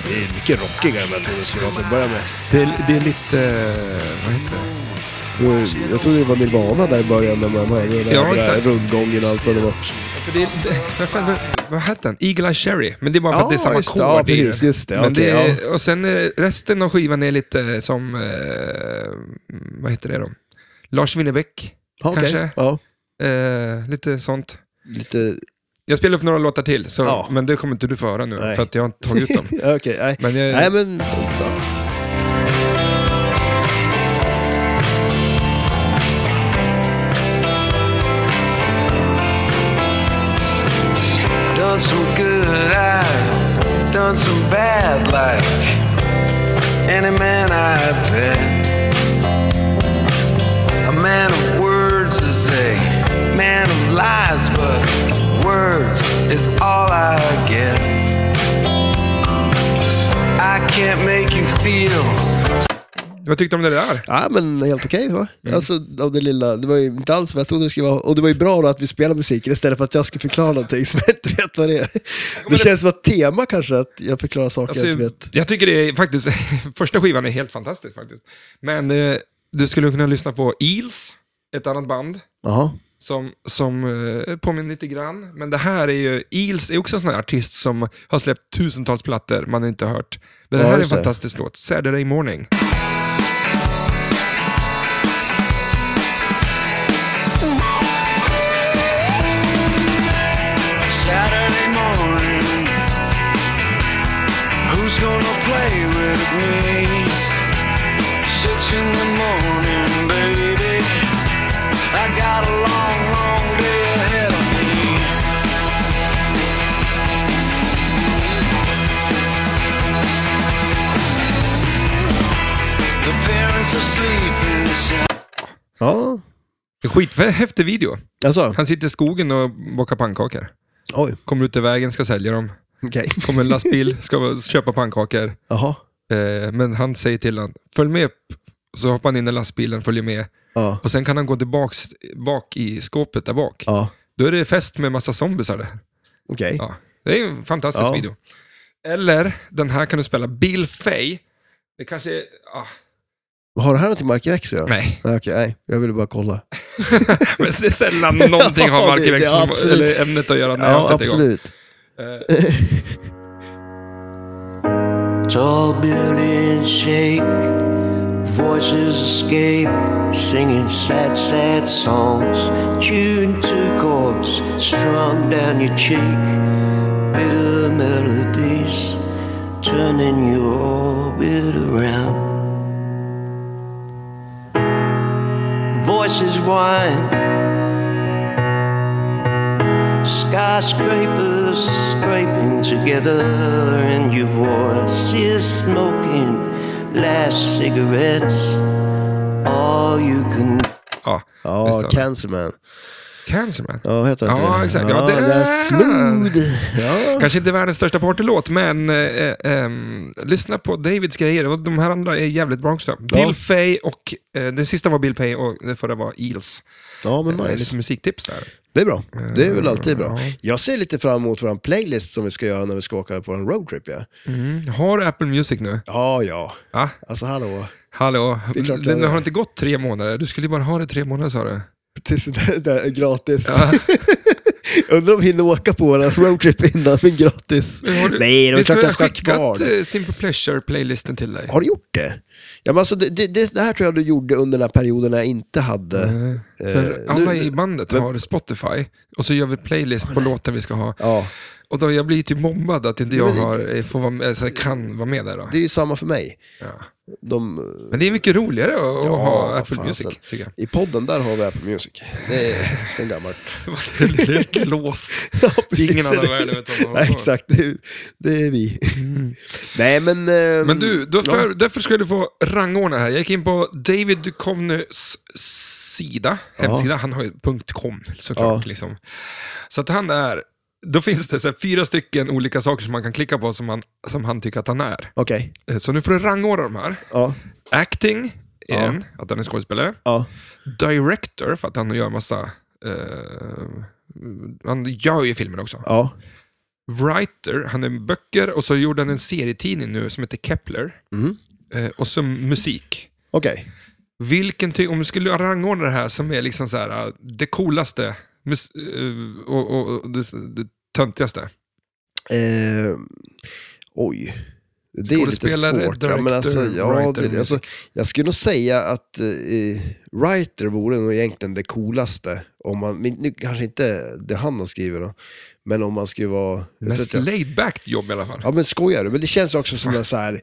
Speaker 2: Det är mycket rockigare än vad jag trodde det skulle vara till att börja med.
Speaker 1: Det är, det är lite... Vad heter det?
Speaker 2: Och Jag trodde det var Nirvana där i början när man hörde den där
Speaker 1: Ja,
Speaker 2: jävla
Speaker 1: exakt.
Speaker 2: rundgången och allt vad det var.
Speaker 1: För det, är, det vad, fan, vad, vad hette den? Eagle Eye Cherry. Men det är bara för att det är
Speaker 2: Ja,
Speaker 1: samma
Speaker 2: just det.
Speaker 1: ackord.
Speaker 2: Ja,
Speaker 1: i den.
Speaker 2: precis, just det.
Speaker 1: Men
Speaker 2: Okej,
Speaker 1: är, Och sen är, resten av skivan är lite som... Eh, vad heter det då? Lars Winnerbäck,
Speaker 2: Ja, okej.
Speaker 1: kanske.
Speaker 2: Ja,
Speaker 1: Eh, lite sånt.
Speaker 2: lite...
Speaker 1: Jag spelar upp några låtar till, så,
Speaker 2: Ja.
Speaker 1: men det kommer inte du få höra nu,
Speaker 2: Nej.
Speaker 1: för att jag har inte tagit ut dem.
Speaker 2: Okej, nej.
Speaker 1: Men jag,
Speaker 2: Nej men... fan.
Speaker 3: Done some good, I've done some bad, like any man I bet. A man of words is a man of lies, but words is all I get. I can't make you feel
Speaker 1: Vad tyckte du om det där?
Speaker 2: Ja men helt okej va?
Speaker 1: Mm.
Speaker 2: Alltså av det lilla, det var ju inte alls vad jag trodde det skulle vara. Och det var ju bra då att vi spelade musiken istället för att jag skulle förklara någonting som jag inte vet vad det är. Det känns som att tema kanske, att jag förklarar saker
Speaker 1: Alltså,
Speaker 2: jag inte vet.
Speaker 1: jag tycker det är faktiskt, första skivan är helt fantastisk faktiskt. Men eh, du skulle kunna lyssna på Eels, ett annat band.
Speaker 2: Jaha,
Speaker 1: som, som eh, påminner lite grann. Men det här är ju, Eels är också en sån här artist som har släppt tusentals plattor man inte har hört. Men det
Speaker 2: Ja,
Speaker 1: här är en
Speaker 2: just det.
Speaker 1: fantastisk låt, Saturday Morning.
Speaker 3: Saturday morning. Who's gonna play with me? Six in the morning, baby. I got a long, long day ahead of me. The parents are sleeping sound.
Speaker 2: Ja,
Speaker 1: Skithäftig video.
Speaker 2: alltså.
Speaker 1: Han sitter i skogen och bakar pannkakor.
Speaker 2: Oj,
Speaker 1: Kommer ut i vägen, ska sälja dem.
Speaker 2: okej.
Speaker 1: Kommer en lastbil, ska köpa pannkakor.
Speaker 2: Jaha.
Speaker 1: Eh, men han säger till honom, följ med upp. Så hoppar han in i lastbilen, följer med.
Speaker 2: Ja.
Speaker 1: Och sen kan han gå tillbaks bak i skåpet där bak.
Speaker 2: Ja,
Speaker 1: Då är det fest med massa zombisar där.
Speaker 2: okej.
Speaker 1: Ja. Det är en fantastisk
Speaker 2: Ja.
Speaker 1: video. Eller, den här kan du spela, Bill Fay. Det kanske är... Ah,
Speaker 2: Har det här något med Mark X att göra?
Speaker 1: nej,
Speaker 2: Nej, Okej, nej. Jag ville bara kolla.
Speaker 1: men det är sällan någonting har
Speaker 2: Ja,
Speaker 1: Mark
Speaker 2: det- det-
Speaker 1: Lex som-
Speaker 2: absolut.
Speaker 1: eller ämnet att göra när jag
Speaker 2: Ja,
Speaker 1: sätter igång.
Speaker 2: absolut.
Speaker 1: Eh,
Speaker 4: Tall buildings shake, voices escape, singing sad, sad songs. Tuned to chords strung down your cheek, bitter melodies turning your orbit around. Voices whine, Skyscrapers scraping together, and your voice is smoking last cigarettes. All you can
Speaker 1: ja,
Speaker 2: Ja,
Speaker 1: visst.
Speaker 2: Cancerman.
Speaker 1: Cancerman.
Speaker 2: Ja, vad heter han?
Speaker 1: Ja, exakt. Ja,
Speaker 2: det
Speaker 1: det-
Speaker 2: är smooth. Ja.
Speaker 1: Kanske inte världens största partylåt, men eh, eh, ehm, lyssna på Davids grejer. Och de här andra är jävligt bra också.
Speaker 2: Ja.
Speaker 1: Bill Fay och... Eh, den sista var Bill Fay och den förra var Eels.
Speaker 2: ja, men
Speaker 1: Eh, Lite
Speaker 2: nice.
Speaker 1: musiktips där.
Speaker 2: Det är bra. Det är väl alltid bra.
Speaker 1: Eh, Ja.
Speaker 2: Jag ser lite fram emot vår playlist som vi ska göra när vi ska åka på en roadtrip. Ja,
Speaker 1: Mm. Har du Apple Music nu?
Speaker 2: ja. ja.
Speaker 1: Ja.
Speaker 2: Alltså hallå.
Speaker 1: Hallå,
Speaker 2: Det är klart
Speaker 1: det
Speaker 2: det är.
Speaker 1: har inte gått tre månader? Du skulle ju bara ha det tre månader sa du.
Speaker 2: Tills det där är gratis.
Speaker 1: Ja.
Speaker 2: Undrar om vi hinner åka på vår roadtrip innan, men gratis.
Speaker 1: Men har du-
Speaker 2: Nej, det är
Speaker 1: Visst
Speaker 2: klart
Speaker 1: har
Speaker 2: jag
Speaker 1: jag
Speaker 2: ska ha kvar
Speaker 1: skickat
Speaker 2: det.
Speaker 1: eh, Simple Pleasure-playlisten till dig?
Speaker 2: Har du gjort det? Ja, men alltså, det, det- det, det här tror jag du gjorde under den här perioden när jag inte hade...
Speaker 1: Eh, För
Speaker 2: eh,
Speaker 1: alla
Speaker 2: nu-
Speaker 1: i bandet
Speaker 2: men-
Speaker 1: har Spotify och så gör vi playlist på låten vi ska ha.
Speaker 2: Ja,
Speaker 1: Och då jag blir ju typ mobbad att inte jag
Speaker 2: Men-
Speaker 1: har, eh, får vara med, alltså, kan vara med där. Då.
Speaker 2: det är ju samma för mig.
Speaker 1: Ja.
Speaker 2: De,
Speaker 1: Men det är mycket roligare att, att
Speaker 2: Ja,
Speaker 1: ha
Speaker 2: vad
Speaker 1: Apple
Speaker 2: fasen.
Speaker 1: Music, tycker jag.
Speaker 2: I podden, där har vi Apple Music. Det är sen gammalt.
Speaker 1: det är helt låst.
Speaker 2: ja,
Speaker 1: Det är ingen annan värld vet du, om man har
Speaker 2: Nej,
Speaker 1: kvar.
Speaker 2: exakt. Det är, det är vi. Nej, men... eh,
Speaker 1: Men du, då
Speaker 2: ja.
Speaker 1: för, därför ska du få rangordna här. Jag gick in på David Duchovnys sida, hemsida. Han har ju .com såklart.
Speaker 2: Ja.
Speaker 1: Liksom. Så att han är, då finns det så här fyra stycken olika saker som man kan klicka på som han, som han tycker att han är.
Speaker 2: Okej.
Speaker 1: Eh, Så nu får du rangordna de här.
Speaker 2: Ja.
Speaker 1: Acting, är en, att han är skådespelare.
Speaker 2: Ja.
Speaker 1: Director, för att han gör massa... Eh, han gör ju filmer också.
Speaker 2: Ja.
Speaker 1: Writer, han är böcker och så gjorde han en serietidning nu som heter Kepler.
Speaker 2: Mm.
Speaker 1: Eh, och så musik.
Speaker 2: Okej.
Speaker 1: Vilken ty- om du skulle rangordna det här som är liksom så här, eh, det coolaste mus- eh, och, och, och det, det töntigaste?
Speaker 2: Eh, oj. Det är lite
Speaker 1: Skådespelare,
Speaker 2: svårt. ja, men alltså,
Speaker 1: director,
Speaker 2: ja,
Speaker 1: writer,
Speaker 2: det, alltså, jag skulle nog säga att eh, writer vore nog egentligen det coolaste. Om man, men nu kanske inte det han har skrivit då, men om man skulle vara... jag vet
Speaker 1: Mest
Speaker 2: inte.
Speaker 1: laid back jobb i alla fall.
Speaker 2: Ja men skojar du? Men det känns ju också som en så här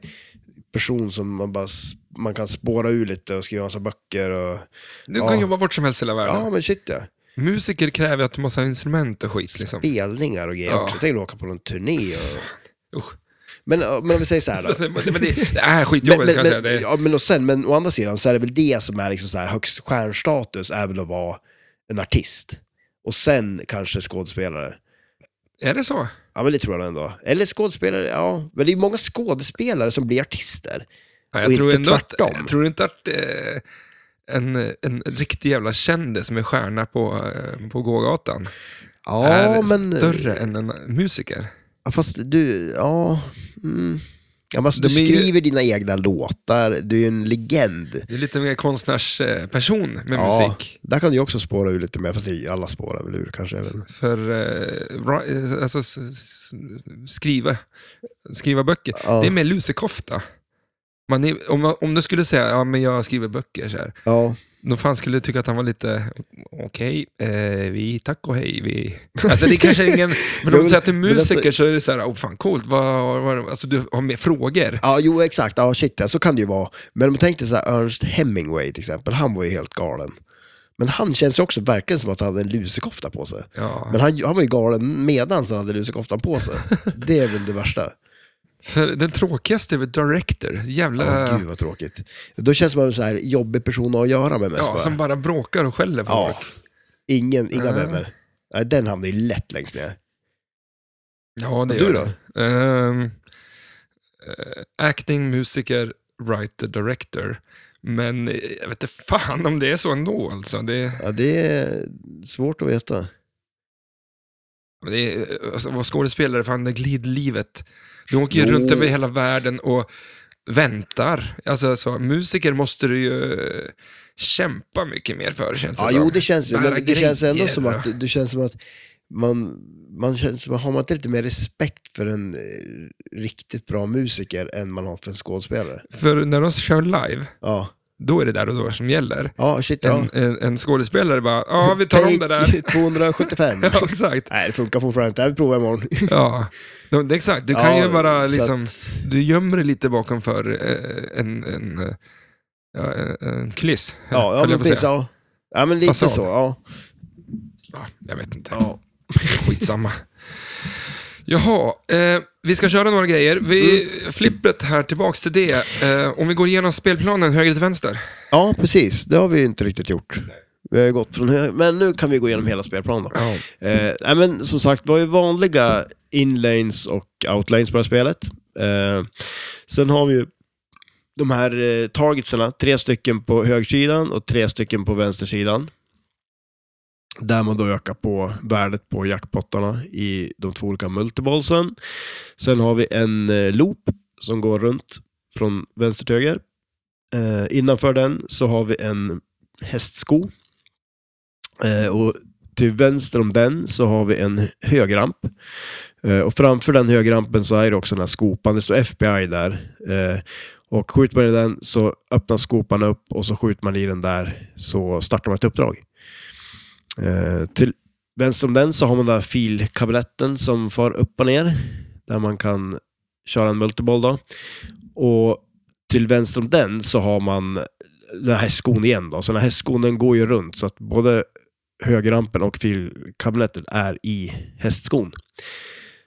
Speaker 2: person som man bara s- man kan spåra ur lite och skriva massa böcker och...
Speaker 1: Du kan
Speaker 2: ja.
Speaker 1: jobba vart som helst i hela världen.
Speaker 2: Ja men shit ja.
Speaker 1: Musiker kräver att du måste ha instrument och skit. Liksom.
Speaker 2: Spelningar och grejer
Speaker 1: Ja.
Speaker 2: också. Tänk att åka på någon turné och...
Speaker 1: Usch.
Speaker 2: Men, ja, men om vi säger så här då.
Speaker 1: Men det, det är
Speaker 2: Men,
Speaker 1: skitjobbigt
Speaker 2: men,
Speaker 1: kan jag säga.
Speaker 2: men,
Speaker 1: Det,
Speaker 2: ja, men, och sen, men å andra sidan så är det väl det som är liksom så här högst stjärnstatus, är väl att vara en artist. Och sen kanske skådespelare.
Speaker 1: Är det så?
Speaker 2: Ja, men det tror jag ändå. Eller skådespelare, ja. Men det är många skådespelare som blir artister.
Speaker 1: Ja,
Speaker 2: Och
Speaker 1: jag, tror
Speaker 2: inte
Speaker 1: ändå att,
Speaker 2: tvärtom.
Speaker 1: jag tror inte att eh, en, en riktig jävla kändis med stjärna på, eh, på gågatan
Speaker 2: Ja,
Speaker 1: är
Speaker 2: men...
Speaker 1: större än en musiker.
Speaker 2: Ja, Fast du, ja. Mm. Ja, men alltså, du
Speaker 1: De är ju-
Speaker 2: skriver dina egna låtar, du är ju en legend.
Speaker 1: Det är lite mer konstnärsperson med
Speaker 2: Ja,
Speaker 1: musik.
Speaker 2: där kan du ju också spåra ur lite mer, fast det- alla spårar väl ur kanske. Även.
Speaker 1: för eh, ra- eh, alltså, s- s- skriva, skriva böcker.
Speaker 2: Ja.
Speaker 1: Det är mer lusekofta. Man är, om, man- om du skulle säga ja, men jag skriver böcker, så här,
Speaker 2: Ja,
Speaker 1: då fan skulle du tycka att han var lite, okej, eh, vi tack och hej. Vi. Alltså det är kanske ingen, men om
Speaker 2: men-
Speaker 1: du säger att du är
Speaker 2: men alltså-
Speaker 1: musiker så är det så här, oh, fan coolt, vad, vad, alltså du har mer frågor.
Speaker 2: ja jo exakt, ja, shit, ja, så kan det ju vara. Men om man tänkte så här, Ernst Hemingway till exempel, han var ju helt galen. Men han känns ju också verkligen som att han hade en lusekofta på sig.
Speaker 1: Ja.
Speaker 2: Men han, han var ju galen medan han hade lusekoftan på sig. Det är väl det värsta.
Speaker 1: För den tråkigaste är väl Director, jävla,
Speaker 2: Åh, gud vad tråkigt. Då känns man som en jobbig person att göra med mest.
Speaker 1: ja,
Speaker 2: bara.
Speaker 1: som bara bråkar och skäller på
Speaker 2: Ja.
Speaker 1: folk.
Speaker 2: Ingen, inga
Speaker 1: Ja.
Speaker 2: vänner. Nej, den hamnar ju lätt längst ner.
Speaker 1: Ja, det
Speaker 2: Och du
Speaker 1: gör
Speaker 2: då?
Speaker 1: det. Ehm, eh, acting, musiker, writer, director. Men eh, jag vet inte fan om det är så ändå alltså. Det,
Speaker 2: Ja, det är svårt att veta.
Speaker 1: det är, alltså vad skådespelare, fan det glidlivet. Du åker ju
Speaker 2: Jo.
Speaker 1: runt över hela världen och väntar. Alltså så, musiker måste du ju eh, kämpa mycket mer för känns det
Speaker 2: Ja,
Speaker 1: som.
Speaker 2: jo, det känns ju.
Speaker 1: Bära
Speaker 2: Men det känns ändå
Speaker 1: grejer,
Speaker 2: som
Speaker 1: ja.
Speaker 2: att, du känns som att man, man känns, som- har man inte lite mer respekt för en eh, riktigt bra musiker än man har för en skådespelare?
Speaker 1: För när de kör live,
Speaker 2: Ja,
Speaker 1: då är det där och då som gäller.
Speaker 2: ja shit ja.
Speaker 1: En, en, en skådespelare bara, ja vi tar om det där.
Speaker 2: Take 275.
Speaker 1: Ja, exakt.
Speaker 2: Nej, det funkar fortfarande inte. Vi provar imorgon.
Speaker 1: Ja, de, det, exakt. Du kan
Speaker 2: Ja,
Speaker 1: ju bara
Speaker 2: så
Speaker 1: liksom,
Speaker 2: att-
Speaker 1: du gömmer dig lite bakom för eh, en, en, eh, ja, en, en kuliss.
Speaker 2: Ja, ja
Speaker 1: höll jag
Speaker 2: men
Speaker 1: på att
Speaker 2: precis.
Speaker 1: säga.
Speaker 2: Ja. ja, men lite
Speaker 1: Fasad.
Speaker 2: så. Ja.
Speaker 1: Ja, jag vet inte. Skitsamma. Jaha, eh, vi ska köra några grejer. Vi,
Speaker 2: Mm.
Speaker 1: Flippret här, tillbaks till det. Eh, om vi går igenom spelplanen höger till vänster.
Speaker 2: ja, precis. Det har vi ju inte riktigt gjort. Vi har ju gått från hö- Men nu kan vi gå igenom hela spelplanen. då.
Speaker 1: Ja.
Speaker 2: Eh, nej, men som sagt, det var ju vanliga inlanes och outlanes på det här spelet. Eh, sen har vi ju de här eh, targetserna, tre stycken på högersidan och tre stycken på vänstersidan. Där man då ökar på värdet på jackpottarna i de två olika multiballsen. Sen har vi en eh, loop som går runt från vänster till höger. Eh, innanför den så har vi en hästsko. Eh, och till vänster om den så har vi en högramp. Eh, och framför den högrampen så är det också den här skopan. Det står FBI där. Eh, och skjuter man i den så öppnas skopan upp och så skjuter man i den där så startar man ett uppdrag. Eh, till vänster om den så har man den här filkabinetten som far upp och ner. Där man kan köra en multiboll då. Och till vänster om den så har man den här hästskon igen då. Så den här hästskon den går ju runt så att både högerrampen och filkabinettet är i hästskon.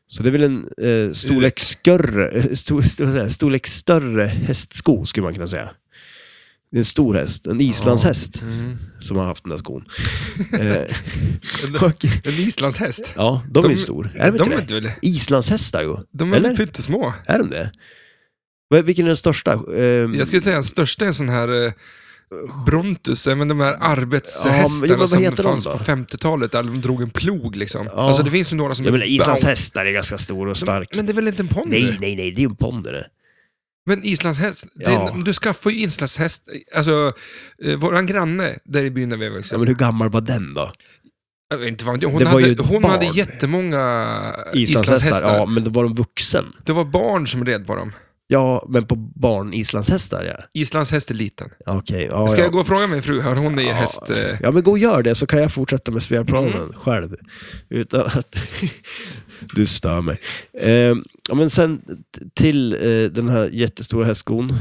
Speaker 2: Så det är väl en eh, storlek, större, eh, stor, stor, vad säger jag, storlek större hästsko skulle man kunna säga. Det är en stor häst, en islandshäst
Speaker 1: Mm.
Speaker 2: som har haft den där skon. eh,
Speaker 1: En,
Speaker 2: och,
Speaker 1: en islandshäst.
Speaker 2: ja, de, är
Speaker 1: De-
Speaker 2: ju stor. Är de inte
Speaker 1: de, är
Speaker 2: det?
Speaker 1: inte väl,
Speaker 2: Islandshästar ju.
Speaker 1: de är väl
Speaker 2: Eller?
Speaker 1: pyttesmå.
Speaker 2: Är de det? Vad- Vilken är den största? Ehm,
Speaker 1: Jag skulle säga den största är en sån här eh, Brontus, eh, men de här
Speaker 2: Ja, men- jo,
Speaker 1: arbetshästarna
Speaker 2: men vad
Speaker 1: som
Speaker 2: heter de
Speaker 1: fanns
Speaker 2: då?
Speaker 1: på 50-talet, där de drog en plog liksom.
Speaker 2: Ja.
Speaker 1: Alltså det finns ju några som...
Speaker 2: jag
Speaker 1: är
Speaker 2: menar, Islands hästar är ganska stor och stark.
Speaker 1: Men det är väl inte en ponny?
Speaker 2: nej, nej, nej, det är ju en ponny det.
Speaker 1: Men islandshäst,
Speaker 2: Ja.
Speaker 1: det, du skaffar ju islandshäst, alltså eh, våran granne där i byn där vi växte
Speaker 2: Ja,
Speaker 1: upp,
Speaker 2: men hur gammal var den då?
Speaker 1: jag vet inte vad hon, hon,
Speaker 2: det var ju
Speaker 1: hade,
Speaker 2: ett
Speaker 1: hon
Speaker 2: barn.
Speaker 1: hade jättemånga
Speaker 2: Islandshästar,
Speaker 1: islandshästar.
Speaker 2: ja, men då var de vuxen.
Speaker 1: Det var barn som red på dem.
Speaker 2: Ja, men på barn islandshästar, ja.
Speaker 1: Islandshäst är liten.
Speaker 2: Ja, Okej, ja,
Speaker 1: Ska
Speaker 2: ja.
Speaker 1: jag gå och fråga min fru här, hon är
Speaker 2: Ja.
Speaker 1: häst... Eh, Mm.
Speaker 2: Ja, men gå och gör det så kan jag fortsätta med spelplanen själv. Utan att du stör mig. Ehm, ja, men sen t- till eh, den här jättestora hästskon,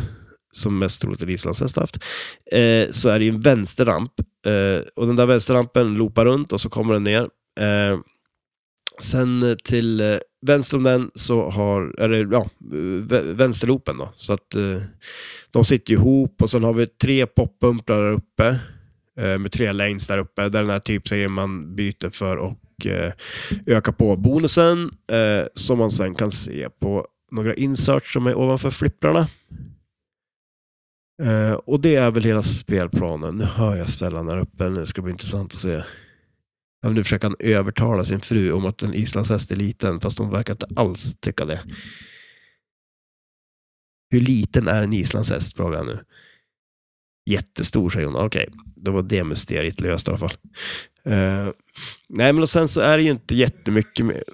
Speaker 2: som mest troligt en islandshäst har haft, eh, så är det ju en vänsterramp. Eh, och den där vänsterrampen loopar runt och så kommer den ner. Eh, sen eh, till eh, vänster om den så har, eller ja, eh, vä- vänsterloopen då. Så att eh, de sitter ju ihop och sen har vi tre poppumprar där uppe eh, med tre lanes där uppe, där den här typserien man byter för och eh, öka på bonusen eh, som man sen kan se på några inserts som är ovanför flipprarna. Eh, och det är väl hela spelplanen. Nu hör jag Stellan där uppe, nu ska det bli intressant att se. Ja, men Nu försöker han övertala sin fru om att en islandshäst är liten, fast hon verkar inte alls tycka det. Hur liten är en islandshäst? frågar jag nu. Jättestor, säger hon. Okej, då var det mysteriet löst i alla fall. Eh, nej, men och sen så är det ju inte jättemycket mer.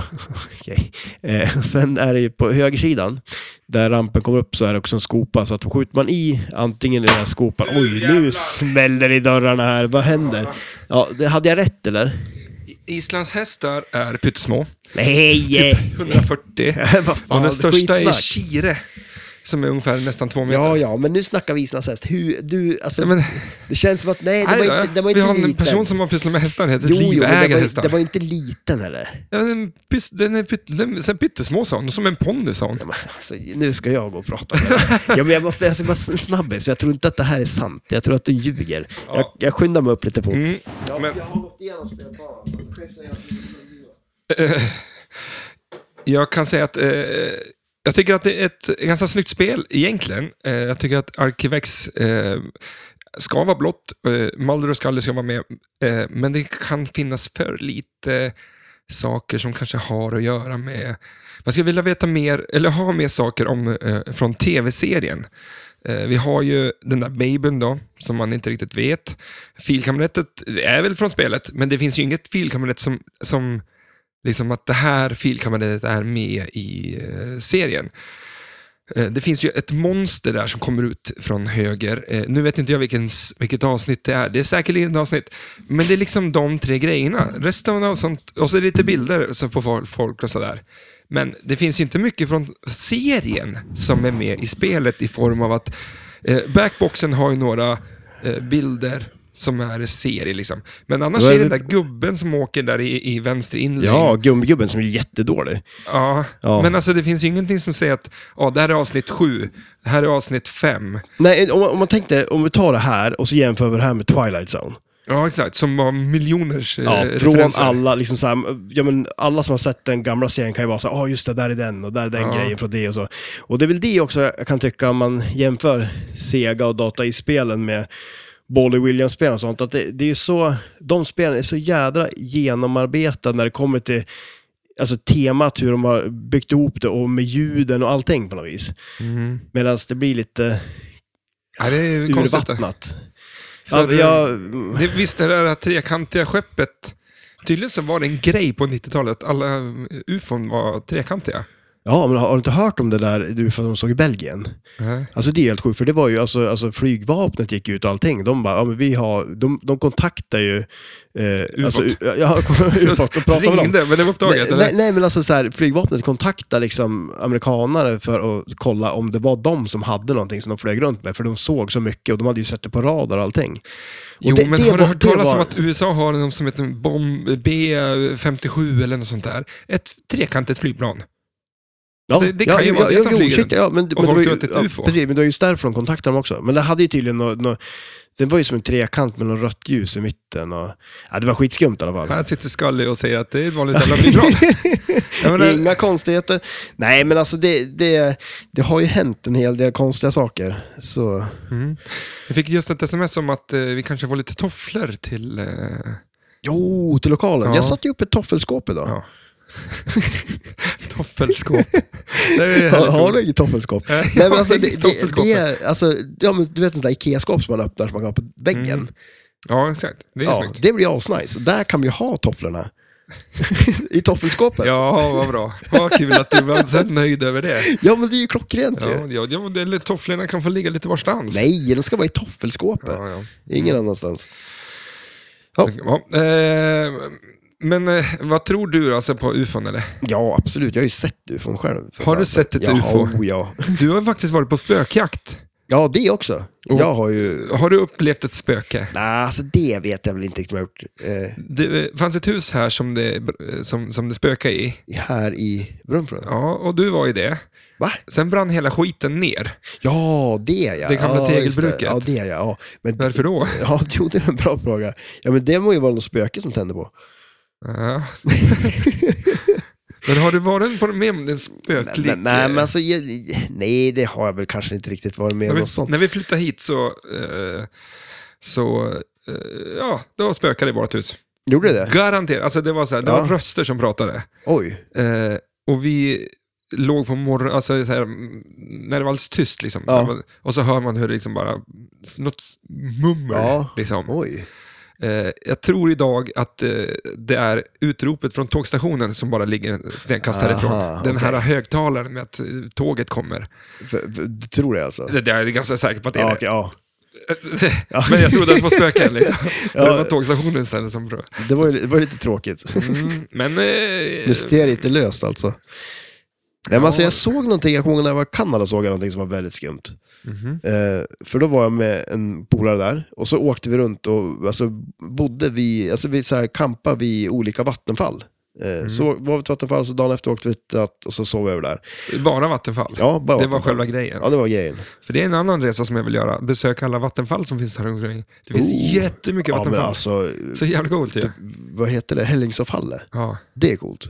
Speaker 2: Okej. Eh, sen är det ju på högersidan, där rampen kommer upp, så är det också en skopa. Så att skjuter man i antingen i den här skopan... Oj, nu smäller det i dörrarna här. Vad händer? Ja, det, hade jag rätt eller?
Speaker 1: Islands hästar är pyttesmå,
Speaker 2: Nej!
Speaker 1: 140.
Speaker 2: Vad fan,
Speaker 1: Typ. och den största är
Speaker 2: skitsnack.
Speaker 1: Chire, som är ungefär nästan två meter.
Speaker 2: Ja, ja, men nu snackar vi islandshäst. Hur, du, alltså,
Speaker 1: Ja, men,
Speaker 2: det känns som att, nej, det
Speaker 1: nej,
Speaker 2: var inte, det var
Speaker 1: vi
Speaker 2: inte
Speaker 1: har en
Speaker 2: liten.
Speaker 1: person som har pysslat med hästar, ett
Speaker 2: jo,
Speaker 1: liv,
Speaker 2: jo, men det
Speaker 1: äger
Speaker 2: var,
Speaker 1: hästar.
Speaker 2: det var inte liten heller.
Speaker 1: Ja, den, pys- den är pytt- den, så här pyttesmå sa hon, som en ponny sa hon.
Speaker 2: Ja, men, Alltså, nu ska jag gå och prata med dig. ja, men jag måste, jag ska bara en snabbis, för jag tror inte att det här är sant. Jag tror att du ljuger. Jag, jag skyndar mig upp lite fort.
Speaker 1: Mm. men-
Speaker 2: Jag har gått igenom spelplanen.
Speaker 1: Jag kan säga att eh, jag tycker att det är ett ganska snyggt spel egentligen. Eh, jag tycker att Arkivex eh, ska vara blått, eh, Mulder och Scully ska vara med, eh, men det kan finnas för lite saker som kanske har att göra med... Man skulle vilja veta mer, eller ha mer saker om, eh, från tv-serien. Eh, vi har ju den där babyn då, som man inte riktigt vet. Filkabinettet är väl från spelet, men det finns ju inget filkabinett som, som liksom att det här filkabinettet är med i eh, serien. Eh, Det finns ju ett monster där som kommer ut från höger. Eh, Nu vet inte jag vilken, s- vilket avsnitt det är. Det är säkerligen ett avsnitt. Men det är liksom de tre grejerna. Resten av sånt, och så är det lite bilder så på fol- folk och sådär. Men det finns ju inte mycket från serien som är med i spelet i form av att eh, backboxen har ju några eh, bilder som är serie liksom. Men annars
Speaker 2: Då är
Speaker 1: är det
Speaker 2: det-
Speaker 1: den där gubben som åker där i, i vänster inlägg.
Speaker 2: Ja, gummigubben som är jättedålig.
Speaker 1: Ja,
Speaker 2: Ja.
Speaker 1: men alltså det finns ju ingenting som säger att ja, det här är avsnitt sju, det här är avsnitt fem.
Speaker 2: Nej, om, man- om man tänkte, om vi tar det här och så jämför vi det här med Twilight Zone.
Speaker 1: Ja, exakt. Som var miljoners eh,
Speaker 2: Ja, från
Speaker 1: referenser.
Speaker 2: alla, liksom så här, ja, men alla som har sett den gamla serien kan ju vara så här, ah just det, där är den och där är den
Speaker 1: Ja.
Speaker 2: grejen från det och så. Och det är väl det också jag kan tycka om man jämför Sega och Data i spelen med Bolly Williams-spelen och sånt, att det, det är ju så, de spelen är så jädra genomarbetade när det kommer till alltså temat, hur de har byggt ihop det och med ljuden och allting på något vis.
Speaker 1: Mm.
Speaker 2: Medan det blir lite
Speaker 1: Ja, det är ju konstigt. det.
Speaker 2: urvattnat. Ja,
Speaker 1: För, eh,
Speaker 2: jag,
Speaker 1: Det, visst, det där trekantiga skeppet. Tydligen så var det en grej på 90-talet att alla eh, ufon var trekantiga.
Speaker 2: ja, men har har du inte hört om det där du för de såg i Belgien?
Speaker 1: Nej.
Speaker 2: Alltså det är helt sjukt, för det var ju alltså, alltså flygvapnet gick ut och allting. De bara, ja men vi har, de, de kontaktar ju... Eh,
Speaker 1: Ufot.
Speaker 2: Alltså, ja, ufot och pratar med dem.
Speaker 1: Ringde, men det var upptaget.
Speaker 2: Nej,
Speaker 1: eller?
Speaker 2: nej, nej men alltså så här, flygvapnet kontaktade liksom amerikanare för att kolla om det var de som hade någonting som de flög runt med. För de såg så mycket och de hade ju sett det på radar och allting. Och
Speaker 1: jo,
Speaker 2: det-
Speaker 1: men
Speaker 2: det
Speaker 1: har du
Speaker 2: var-
Speaker 1: hört
Speaker 2: det
Speaker 1: talas
Speaker 2: var-
Speaker 1: om att USA har något som heter en bomb B57 eller något sånt där? Ett trekantigt flygplan.
Speaker 2: Ja,
Speaker 1: Alltså, det kan ju vara det som flyger runt.
Speaker 2: ja, men, men
Speaker 1: folk
Speaker 2: det var ju,
Speaker 1: tror att det är ett
Speaker 2: ja,
Speaker 1: UFO.
Speaker 2: Precis, men det var ju därför de kontaktade dem också. Men det hade ju tydligen nå, nå, Det var ju som en trekant med något rött ljus i mitten. Och, ja, det var skitskumt i alla fall.
Speaker 1: Här sitter Scully och säger att det är ett vanligt jävla flygplan. Jag menar,
Speaker 2: Inga konstigheter. Nej, men alltså det, det, det har ju hänt en hel del konstiga saker. Så,
Speaker 1: Mm. Jag fick just ett sms om att eh, vi kanske får lite tofflor till... Eh,
Speaker 2: jo, till lokalen.
Speaker 1: Ja.
Speaker 2: Jag satte ju upp ett toffelskåp idag.
Speaker 1: ja. Toffelskåp. Det är ett
Speaker 2: Har,
Speaker 1: härligt Eh,
Speaker 2: har
Speaker 1: ord.
Speaker 2: du inget toffelskåp?
Speaker 1: Nej, jag
Speaker 2: Nej, men
Speaker 1: har
Speaker 2: alltså,
Speaker 1: inget
Speaker 2: det, det,
Speaker 1: toffelskåp.
Speaker 2: det är, alltså, ja, men du vet en sån där Ikea-skåp som man öppnar som man kan ha på väggen.
Speaker 1: Mm, Ja, exakt. Det är
Speaker 2: ja,
Speaker 1: snyggt.
Speaker 2: det blir asnice. Där kan vi ha tofflorna. I toffelskåpet. Ja.
Speaker 1: Ja, vad bra. Vad kul att du var så nöjd över det.
Speaker 2: men det är ju klockrent ju.
Speaker 1: Ja, ja, ja, men det- eller tofflorna kan få ligga lite varstans.
Speaker 2: Nej, de ska vara i toffelskåpet.
Speaker 1: Ja, ja.
Speaker 2: Ingen annanstans.
Speaker 1: Ja, eh, men eh, vad tror du alltså på ufon eller?
Speaker 2: Ja, absolut. Jag har ju sett ufon själv. för
Speaker 1: Har du
Speaker 2: fan.
Speaker 1: sett ett
Speaker 2: ja,
Speaker 1: UFO?
Speaker 2: Oh, ja.
Speaker 1: Du har ju faktiskt varit på spökjakt.
Speaker 2: ja, det också.
Speaker 1: Oh.
Speaker 2: Jag har ju...
Speaker 1: Har du upplevt ett spöke?
Speaker 2: Nej, alltså det vet jag väl inte riktigt om jag har gjort. Eh,
Speaker 1: Det eh, fanns ett hus här som det, eh, som, som det spökade i.
Speaker 2: eh, här i Brunflund.
Speaker 1: Ja, och du var ju det.
Speaker 2: Va?
Speaker 1: Sen brann hela skiten ner.
Speaker 2: Ja, det är jag.
Speaker 1: Det gamla
Speaker 2: ja, just
Speaker 1: tegelbruket.
Speaker 2: det. Ja, det är jag. Ja. Men,
Speaker 1: Varför då?
Speaker 2: Ja, jo, det är en bra fråga. Ja, men det må ju vara något spöke som tände på.
Speaker 1: Ja. Men har du varit på med om en spöklig...
Speaker 2: Nej, nej, men alltså, jag, nej, det har jag väl kanske inte riktigt varit med
Speaker 1: när
Speaker 2: om
Speaker 1: vi,
Speaker 2: något sånt.
Speaker 1: när vi flyttade hit så... eh, så eh, ja, då spökade det i vårt hus.
Speaker 2: Gjorde det?
Speaker 1: Garanterat. Alltså det var så här, det
Speaker 2: Ja.
Speaker 1: var röster som pratade.
Speaker 2: Oj.
Speaker 1: Eh, och vi... låg på morgonen, alltså så här, mm, när det var alldeles tyst liksom.
Speaker 2: Ja.
Speaker 1: När man- Och så hör man hur det liksom bara, s- något s- mummel
Speaker 2: Ja.
Speaker 1: liksom.
Speaker 2: Oj.
Speaker 1: Eh, jag tror idag att eh, det är utropet från tågstationen som bara ligger en snedkast
Speaker 2: Aha,
Speaker 1: härifrån. Den här högtalaren med att eh, tåget kommer.
Speaker 2: För, för, du tror det alltså?
Speaker 1: Det, det är jag ganska säker på att det är
Speaker 2: Ja,
Speaker 1: det.
Speaker 2: okej, ja. Ja.
Speaker 1: Men jag trodde att det var spöken. Liksom.
Speaker 2: Ja.
Speaker 1: Det var tågstationen istället som bröt.
Speaker 2: Det var ju det var lite tråkigt.
Speaker 1: Mm, men... Eh,
Speaker 2: Mysteriet är löst alltså. Nej, men
Speaker 1: Ja.
Speaker 2: alltså jag såg någonting, jag kommer ihåg när jag var i Kanada såg jag någonting som var väldigt skumt.
Speaker 1: mhm.
Speaker 2: Eh, för då var jag med en polare där och så åkte vi runt och alltså, bodde vi, alltså vi så här, kampade vid olika vattenfall. Eh,
Speaker 1: Mm.
Speaker 2: Så var vi till vattenfall, så dagen efter åkte vi till att, och så sov vi över där.
Speaker 1: Bara Vattenfall.
Speaker 2: Ja, bara
Speaker 1: det var
Speaker 2: vattenfall.
Speaker 1: själva grejen.
Speaker 2: Ja, det var grejen.
Speaker 1: För det är en annan resa som jag vill göra. Besöka alla vattenfall som finns här omkring. Det finns
Speaker 2: Oh.
Speaker 1: jättemycket
Speaker 2: Ja, men
Speaker 1: vattenfall.
Speaker 2: alltså,
Speaker 1: Så jävla coolt ju.
Speaker 2: vad heter det? Hällingsåfallet.
Speaker 1: Ja.
Speaker 2: Det är coolt.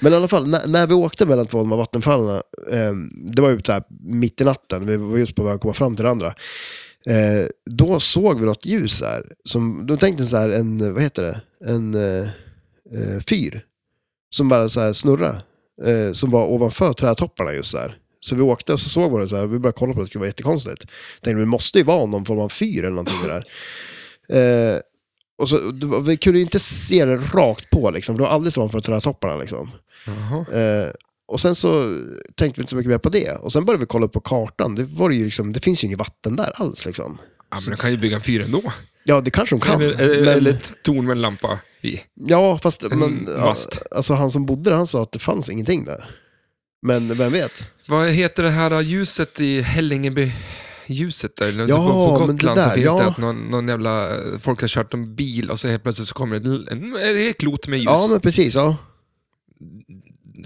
Speaker 2: Men i alla fall, när, när vi åkte mellan två av de här vattenfallen, eh, det var ju så här mitt i natten, vi var just på väg att komma fram till det andra. Eh, då såg vi något ljus här, som, då tänkte jag så här, en, vad heter det, en eh, eh, fyr som bara så här snurra eh, som var ovanför trädtopparna just där. Så vi åkte och så såg vi det så här, vi började kolla på det, det skulle vara jättekonstigt. Tänkte vi måste ju vara någon form av fyr eller någonting där. Eh, och så, det var- vi kunde ju inte se det rakt på liksom, för det var alldeles ovanför trädtopparna liksom.
Speaker 1: Jaha.
Speaker 2: Eh, och sen så tänkte vi inte så mycket mer på det. Och sen började vi kolla upp på kartan, det, var det ju liksom, det finns ju inget vatten där alls liksom.
Speaker 1: Ja, men de kan ju bygga en fyr ändå.
Speaker 2: Ja, det kanske de kan.
Speaker 1: eller, eller,
Speaker 2: men-
Speaker 1: eller ett torn med en lampa i.
Speaker 2: Ja, fast men,
Speaker 1: mast.
Speaker 2: alltså, han som bodde där han sa att det fanns ingenting där. Men vem vet?
Speaker 1: Vad heter det här ljuset i Hällingeby? Ljuset där, eller
Speaker 2: Ja,
Speaker 1: på, på
Speaker 2: men
Speaker 1: Gotland
Speaker 2: det där,
Speaker 1: så finns
Speaker 2: ja.
Speaker 1: det att någon, någon jävla, eh, folk har kört en bil och så helt plötsligt så kommer det en, en, en klot med ljus.
Speaker 2: Ja, men precis. Ja.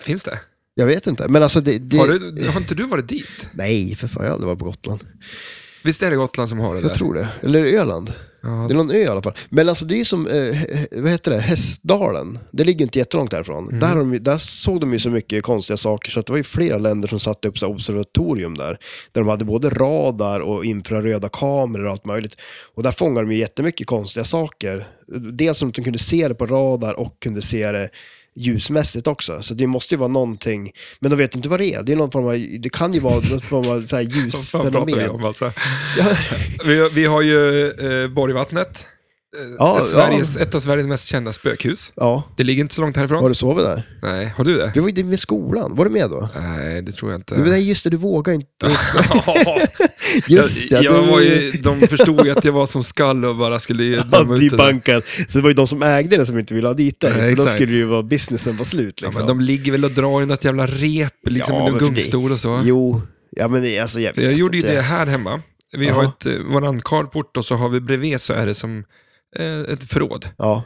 Speaker 1: Finns det?
Speaker 2: Jag vet inte. Men alltså det... det...
Speaker 1: Har, du, har inte du varit dit?
Speaker 2: Nej, för fan. Jag har aldrig varit på Gotland.
Speaker 1: Visst är det Gotland som har det där?
Speaker 2: Jag tror det. Eller Öland.
Speaker 1: Ja,
Speaker 2: Det är någon ö i alla fall. Men alltså det är ju som, eh, he- vad heter det, Hästdalen. Det ligger ju inte jättelångt därifrån.
Speaker 1: Mm.
Speaker 2: Där, har de, ju- där såg de ju så mycket konstiga saker så att det var ju flera länder som satte upp så här observatorium där. Där de hade både radar och infraröda kameror och allt möjligt. Och där fångade de ju jättemycket konstiga saker. Dels som att de kunde se det på radar och kunde se det ljusmässigt också. Så det måste ju vara någonting, men de vet inte vad det är. Det, är någon form av, det kan ju vara någon form av så här
Speaker 1: Vad fan pratar vi
Speaker 2: ljusfenomen.
Speaker 1: om alltså?
Speaker 2: Ja,
Speaker 1: Vi, vi har ju eh, Borgvattnet. Eh,
Speaker 2: Ja,
Speaker 1: Sveriges, Ett av Sveriges mest kända spökhus.
Speaker 2: ja.
Speaker 1: Det ligger inte så långt härifrån.
Speaker 2: Har du sovit där?
Speaker 1: Nej, har du det?
Speaker 2: Vi var ju med skolan, var du med då?
Speaker 1: Nej, det tror jag inte.
Speaker 2: Du, nej just det, du vågar inte. Just det,
Speaker 1: jag, jag
Speaker 2: du
Speaker 1: var ju, de förstod ju att jag var som skall och bara skulle ju döma ut det. där.
Speaker 2: antibankad. Så det var ju de som ägde det som inte ville ha dit dig.
Speaker 1: Nej,
Speaker 2: för då
Speaker 1: exakt.
Speaker 2: skulle ju vara businessen vara slut.
Speaker 1: Ja,
Speaker 2: Liksom.
Speaker 1: men de ligger väl och drar i något jävla rep, liksom
Speaker 2: Ja,
Speaker 1: i någon
Speaker 2: men för det-
Speaker 1: gungstol och så.
Speaker 2: Jo, ja men det är alltså jag
Speaker 1: För jag
Speaker 2: vet
Speaker 1: gjorde ju
Speaker 2: inte.
Speaker 1: det här hemma. Vi
Speaker 2: Ja.
Speaker 1: har ett, eh, våran carport och så har vi bredvid så är det som eh, ett förråd.
Speaker 2: Ja,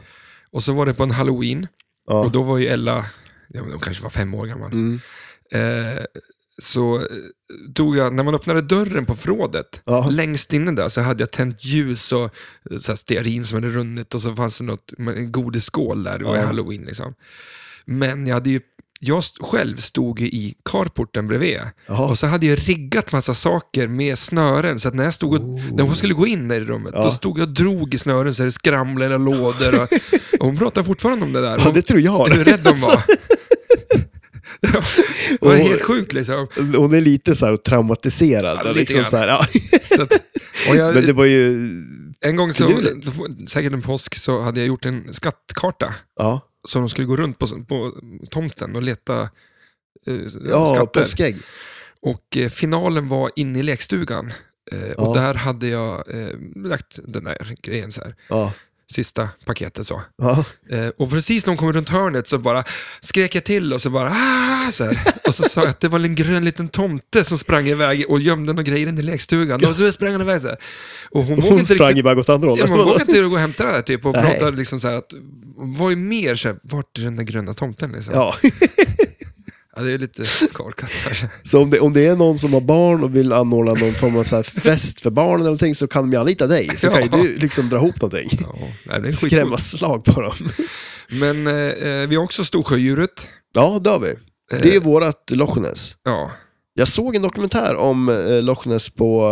Speaker 1: Och så var det på en halloween
Speaker 2: ja.
Speaker 1: och då var ju Ella, ja, men hon kanske var fem år gammal.
Speaker 2: Mm.
Speaker 1: Eh, så eh, tog jag, när man öppnade dörren på förrådet,
Speaker 2: Ja.
Speaker 1: längst inne där så hade jag tänt ljus och eh, så här stearin som hade runnit och så fanns det något, en godisskål där, det var ju
Speaker 2: Ja.
Speaker 1: halloween liksom. Men jag hade ju, jag st- själv stod ju i carporten bredvid
Speaker 2: Jaha.
Speaker 1: och så hade jag riggat massa saker med snören så att när jag stod och, när hon skulle gå in där i rummet,
Speaker 2: Oh. Ja.
Speaker 1: då stod jag och drog i snören så det skramlade och lådor och, och hon pratar fortfarande om det där.
Speaker 2: Ja,
Speaker 1: Hon,
Speaker 2: det tror jag.
Speaker 1: hur rädd hon var. det var helt sjukt liksom.
Speaker 2: Alltså, Hon är lite så här traumatiserad.
Speaker 1: Ja,
Speaker 2: och
Speaker 1: lite
Speaker 2: liksom
Speaker 1: grann.
Speaker 2: så här, ja.
Speaker 1: Så att, och jag,
Speaker 2: Men det var ju,
Speaker 1: en gång, så,
Speaker 2: finurligt.
Speaker 1: säkert en påsk, så hade jag gjort en skattkarta.
Speaker 2: ja,
Speaker 1: Så de skulle gå runt på, på tomten och leta eh,
Speaker 2: ja
Speaker 1: skatter.
Speaker 2: påskägg.
Speaker 1: Och eh, finalen var inne i lekstugan. Eh,
Speaker 2: Ja.
Speaker 1: Och där hade jag eh, lagt den där grejen så här.
Speaker 2: Ja,
Speaker 1: Sista paketet så.
Speaker 2: ja.
Speaker 1: Eh, och precis när hon kom runt hörnet så bara skrek jag till och så bara ah! så här. Och så sa jag att det var en grön liten tomte som sprang iväg och gömde några grejer inne i lekstugan. Och då sprang han iväg så här. Och hon, vågade
Speaker 2: Hon
Speaker 1: inte
Speaker 2: sprang
Speaker 1: riktigt...
Speaker 2: ju bara åt andra
Speaker 1: Ja,
Speaker 2: hållet.
Speaker 1: man vågade inte gå och hämta det här typ och
Speaker 2: Nej.
Speaker 1: pratade liksom så här att, vad är mer så här, vart är den där gröna tomten liksom? Ja.
Speaker 2: Ja.
Speaker 1: det är lite korkat kanske.
Speaker 2: Så om det, om det är någon som har barn och vill anordna någon form av så här fest för barnen eller någonting så kan de ju anlita dig. Så kan ju
Speaker 1: Ja.
Speaker 2: du liksom dra ihop någonting.
Speaker 1: Ja, nej, det är skitcoolt.
Speaker 2: Skrämma slag på dem.
Speaker 1: Men eh, eh, vi har också Storsjödjuret. Eh,
Speaker 2: Ja, det har vi. Det är ju vårat Loch Ness.
Speaker 1: Ja,
Speaker 2: Jag såg en dokumentär om eh, Loch Ness på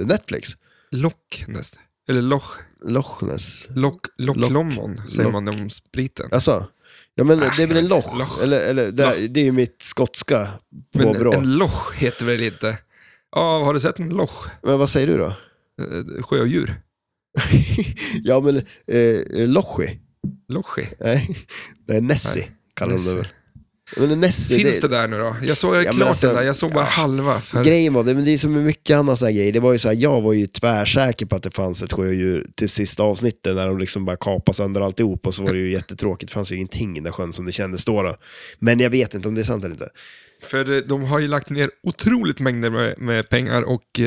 Speaker 2: eh, Netflix.
Speaker 1: Loch näst. Eller Loch,
Speaker 2: Loch Ness.
Speaker 1: Loch, Loch,
Speaker 2: Loch-
Speaker 1: Lomond säger
Speaker 2: Loch.
Speaker 1: man om spriten.
Speaker 2: Alltså, Ja, men det är väl en loch?
Speaker 1: loch.
Speaker 2: Eller, eller, det,
Speaker 1: Loch.
Speaker 2: det är ju mitt skotska
Speaker 1: Men
Speaker 2: påbrå. Men,
Speaker 1: en loch heter väl inte? Ja, har du sett en loch?
Speaker 2: vad säger du då?
Speaker 1: Eh, Sjödjur?
Speaker 2: ja, men eh, Lochi?
Speaker 1: Lochi?
Speaker 2: Nej, Nej Nessie kallar de det väl. Men Nessie,
Speaker 1: Finns
Speaker 2: det,
Speaker 1: det där nu då? Jag såg
Speaker 2: men
Speaker 1: klart
Speaker 2: alltså,
Speaker 1: den där, jag såg bara halva. För...
Speaker 2: Grejen var, det, men det är som med mycket annat sådana grejer, det var ju så här, jag var ju tvärsäker på att det fanns ett sjödjur till sista avsnittet när de liksom bara kapade sönder alltihop och så var det ju jättetråkigt, det fanns ju ingenting i den sjön som det kändes då. då. Men jag vet inte om det är sant eller inte.
Speaker 1: För eh, de har ju lagt ner otroligt mängder med, med pengar och eh,